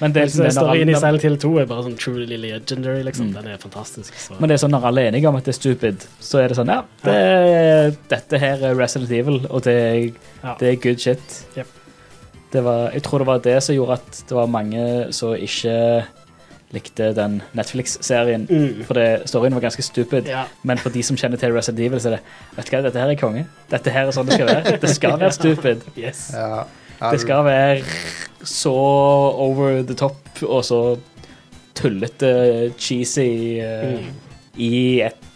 S3: Men det
S2: *laughs*
S3: er, liksom, det
S2: så
S3: er når
S2: storyen i
S3: alle,
S2: Silent Hill 2 er bare sånn truly legendary, liksom.
S3: Mm.
S2: Den er fantastisk. Så.
S3: men det er sånn når alle er enige om at det er stupid, så er det sånn Ja, det, er- dette her er Resident Evil, og det, er-
S2: Ja.
S3: det er good shit.
S2: Jep.
S3: Det var, jeg tror det var det som gjorde at det var mange som ikke likte den Netflix-serien.
S2: Mm.
S3: For det, storyen var ganske stupid,
S2: Ja.
S3: men for de som kjenner til Resident Evil, så er det Vet du hva, dette her er konge. Dette her er sånn det skal være. Det skal være stupid.
S2: Yes.
S1: Ja. Ja,
S3: Det skal være så over the top og så tullete, cheesy eh,
S2: Mm.
S3: i et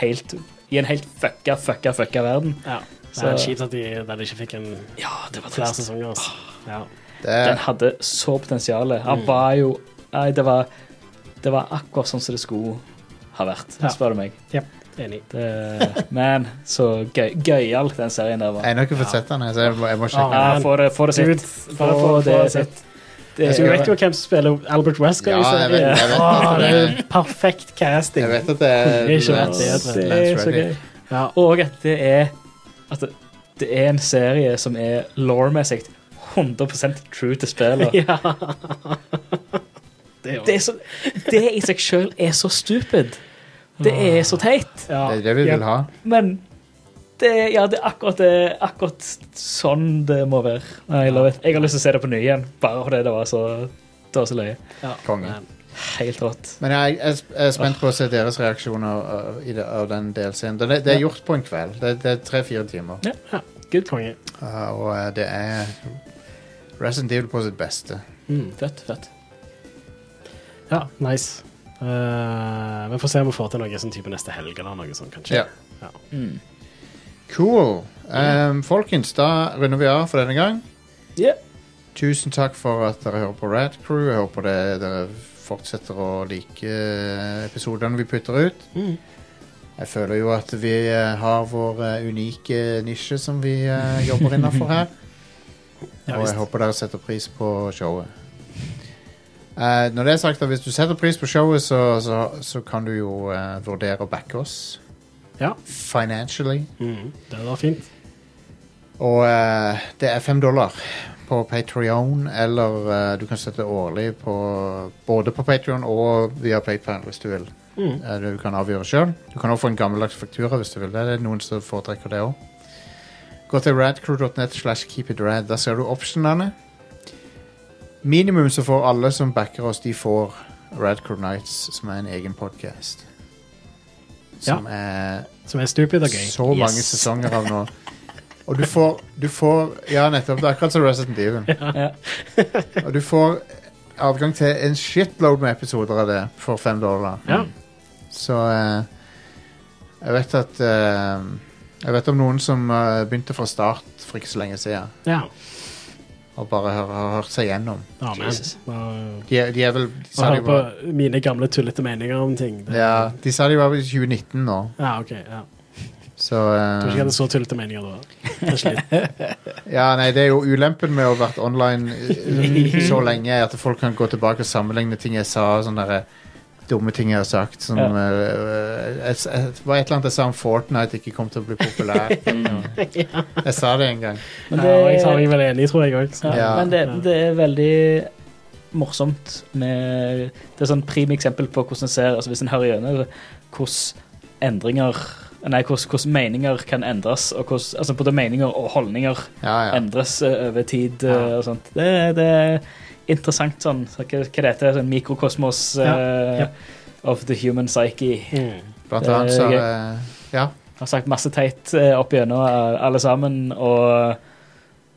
S3: helt I en helt fucka, fucka, fucka verden.
S2: Ja.
S3: Så-
S2: Det er kjipt at de, den ikke fikk en
S3: Ja, det var
S2: flere
S3: trist.
S2: sesonger. Altså. Ja.
S1: det er-
S3: Den hadde så potensial. Han
S2: Mm.
S3: var jo Nei, det var, det var akkurat sånn som det skulle ha vært,
S2: Ja.
S3: spør du meg.
S2: Enig.
S3: Det, men så gøy, gøyal den serien der
S1: Jeg
S3: var.
S1: har ennå ikke fått sett den, jeg, så jeg må, jeg må sjekke.
S3: Ja, få det, få det
S2: Dude,
S3: sitt.
S2: bare få- få det sitt.
S3: Det,
S2: Så du vet jo hvem som spiller Albert Wesker
S1: Ja,
S2: i
S1: jeg vet-
S2: serien.
S1: jeg vet
S2: Åh,
S1: det.
S2: det er jo perfekt casting.
S1: Jeg vet at det er
S2: Det er ikke vært
S1: Lance-
S2: bedre.
S1: Lance
S3: så
S1: Reddick.
S3: gøy.
S2: Ja.
S3: Og at det er at det, det er en serie som er lore-messig 100 true til spillet. *laughs*
S2: *laughs* ja. Det er jo
S3: Det, er så, det i seg sjøl er så stupid. Det er så teit.
S2: ja.
S1: Det er det vi vil ha.
S3: Men det, er- ja, det er akkurat, det, akkurat sånn det må være. Nei, jeg, love it. jeg har lyst til å se det på ny igjen, bare fordi det var så, det var så løye.
S2: Ja.
S1: Konge.
S2: Men-
S3: Helt rått.
S1: Men jeg, jeg, jeg er spent på å se deres reaksjoner uh, i det, av den delscenen. Det, det er gjort på en kveld. Det, det er tre-fire timer.
S2: Good konge.
S1: Uh, og uh, det er Resident Evil på sitt beste.
S2: Mm.
S3: Fett, fett.
S2: Ja, nice. Eh, vi får se om vi får til noe sånn type neste helg eller noe sånt, kanskje.
S1: Ja.
S3: Mm.
S1: Cool. Um, folkens, da runder vi av for denne gang.
S3: Yeah.
S1: Tusen takk for at dere hører på Rad Crew. Jeg håper det, dere fortsetter å like eh, episodene vi putter ut.
S2: Mhm.
S1: Jeg føler jo at vi eh, har vår eh, unike nisje som vi eh, jobber
S2: *laughs*
S1: innafor her.
S2: Ja,
S1: og
S2: visst.
S1: jeg håper dere setter pris på showet. Eh, når det er sagt, da, hvis du setter pris på showet, så, så, så kan du jo eh, vurdere å backe oss
S2: Ja.
S1: financially.
S2: Mm. Det var fint.
S1: Og eh, det er fem dollar på Patreon, eller eh, du kan støtte årlig på, både på Patreon og via PayPal hvis du vil.
S2: Mm.
S1: Eh, du kan avgjøre sjøl. Du kan også få en gammeldags faktura hvis du vil. Det er noen som foretrekker det òg. Gå til radcrew.net slash keepitrad. Der ser du optionene. Minimum så får alle som backer oss, de får Radcrew Nights, som er en egen podkast. Som er
S2: Som er stupid og gøy.
S1: så mange sesonger av nå. Og du får, du får Ja, nettopp. Det er akkurat som Resident Evil.
S3: Ja.
S1: *laughs* Og du får adgang til en shitload med episoder av det for fem dollar.
S2: Ja.
S1: Så eh, jeg vet at eh, Jeg vet om noen som eh, begynte fra start for ikke så lenge siden
S2: ja.
S1: og bare har, har hørt seg gjennom.
S2: Ja, men.
S3: Jesus.
S2: Og-
S1: De, er- de er vel de
S2: Og
S1: sa de,
S2: høre
S1: var,
S2: på mine gamle tullete meninger om ting. Det-
S1: ja, de sa de var i 2019 nå,
S2: ja, ok. Ja.
S1: så
S2: Jeg tror ikke jeg
S1: eh,
S2: hadde så tullete meninger da. Det er slitt.
S1: Ja, nei, det er jo ulempen med å ha vært online
S2: Mhm.
S1: eh, så lenge, er at folk kan gå tilbake og sammenligne ting jeg sa, og sånne der, eh, dumme ting jeg har sagt, som
S3: Ja.
S1: eh, eh, jeg- jeg- Det var et eller annet jeg sa om Fortnite ikke kom til å bli populært.
S2: *laughs*
S1: Jeg sa det en gang.
S3: *laughs* Men
S2: Ja, og jeg tar meg vel enig, tror jeg òg.
S3: Ja,
S1: Ja.
S3: Men det,
S2: Ja.
S3: det er veldig morsomt med Det er sånn prim eksempel på hvordan en ser altså Hvis en hører gjennom hvordan endringer Nei, hvordan, hvordan meninger kan endres, og hvordan altså både meninger og holdninger
S1: Ja, ja.
S3: endres eh, over tid. eh,
S2: Ja.
S3: og sånt. Det, er- det er interessant sånn så Hva, hva det heter sånn mikrokosmos eh,
S2: Ja, ja.
S3: of the human psyche.
S2: Mm.
S1: Blant
S3: det er
S1: annet så
S3: gøy.
S1: eh, Ja.
S3: Har sagt masse teit eh, opp igjennom eh, alle sammen, og,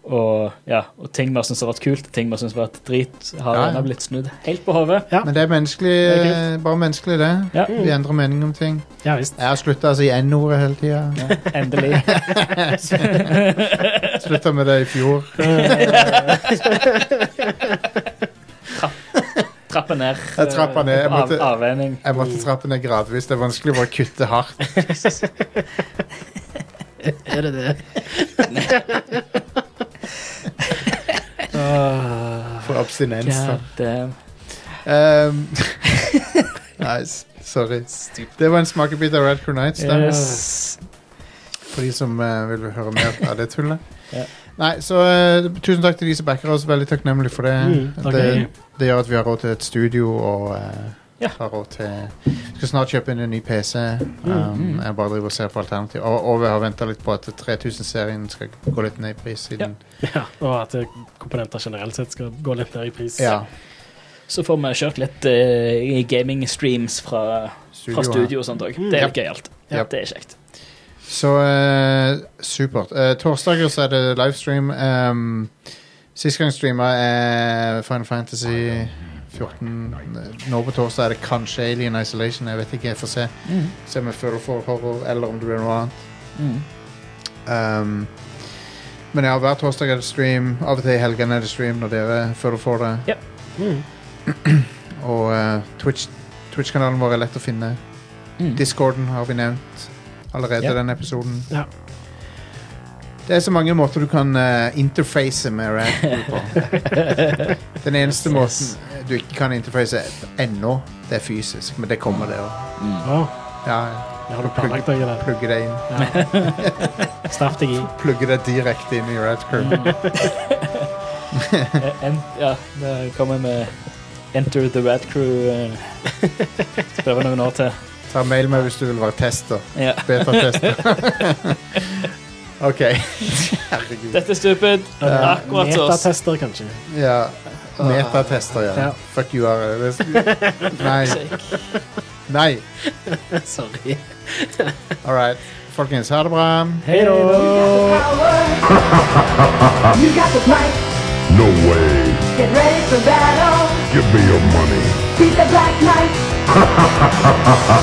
S3: og, ja, og ting vi har syntes har vært kult, ting vi har syntes har vært drit, har
S1: Ja, ja.
S3: gjerne blitt snudd helt på hodet.
S2: Ja.
S1: Men det er menneskelig,
S2: Det er Mm.
S1: eh, bare menneskelig, det.
S3: Ja.
S1: Vi endrer mening om ting.
S2: Ja visst.
S1: Jeg har slutta å si N-ordet hele tida.
S3: Ja,
S1: *laughs*
S3: endelig.
S1: Slutta med det i fjor.
S3: Trappe ned.
S1: Jeg trappa ned. Jeg
S3: Av,
S1: måtte,
S3: avvenning.
S1: jeg måtte trappe ned gradvis. Det er vanskelig å bare kutte hardt.
S2: Er det
S3: *laughs*
S2: det?
S1: For abstinens. da.
S3: God Ah, damn.
S1: Um, Ehm, *laughs* nice. Sorry. Det var en smakebit av Radcrow Nights. da.
S3: Yes.
S1: For de som eh, vil høre mer av det tullet.
S3: Ja.
S1: Nei, så eh, Tusen takk til de som backer oss. Veldig takknemlig for det.
S2: Mm,
S1: det,
S2: takk for det.
S1: det gjør at vi har råd til et studio og eh,
S3: Ja.
S1: har råd til Skal snart kjøpe inn en ny PC. Um, jeg bare driver og ser på alternativ. Og, og vi har venta litt på at 3000-serien skal gå litt ned i pris. Siden.
S2: Ja, og at eh, komponenter generelt sett skal gå litt ned i pris.
S1: Ja.
S3: Så får vi kjørt litt eh, gaming-streams fra, fra
S1: her.
S3: studio og sånt òg.
S2: Mm.
S3: Det er
S1: Ja.
S3: litt gøyalt.
S1: Ja.
S3: Det er kjekt.
S1: Så eh, supert. Eh, torsdager så er det livestream. Um, Sist gang streama er Final Fantasy 14. Nå på torsdag er det kanskje Alien Isolation. Jeg vet ikke, jeg får se.
S2: Mm.
S1: Se om jeg føler for horror, eller om det blir noe annet. Um, men ja, hver torsdag er det stream. Av og til i helgene er det stream når dere føler for det.
S3: Ja.
S2: Mm.
S1: Og eh, Twitch- Twitch-kanalen vår er lett å finne.
S3: Mm.
S1: Discorden har vi nevnt allerede
S3: Ja.
S1: i denne episoden.
S2: Ja.
S1: Det er så mange måter du kan eh, interface med Radcrew på. Den eneste måten eh, du ikke kan interface ennå, det er fysisk, men det kommer det òg.
S2: Å,
S1: Ja,
S2: det har du planlagt deg i det?
S1: plugge det inn.
S2: Staff deg i.
S1: Plugge det direkte inn i Radcrew.
S3: Eh, en, ja, det kommer med Enter the Rad Crew. eh, Prøve noen år til.
S1: Ta mail meg hvis du vil være tester.
S3: Ja.
S1: Beta-tester. OK. Herregud.
S3: Dette er stupid. Akkurat som oss.
S2: Metatester, kanskje.
S1: Ja. Metatester, ja.
S2: Ja.
S1: Fuck you, are. det- Nei. Nei.
S2: Sorry.
S1: All right. Folkens, ha det bra.
S2: Hei da!
S5: *laughs* Power. you got the mic.
S4: No way.
S5: Get ready for battle.
S4: Give me your money.
S5: Beat the black knight.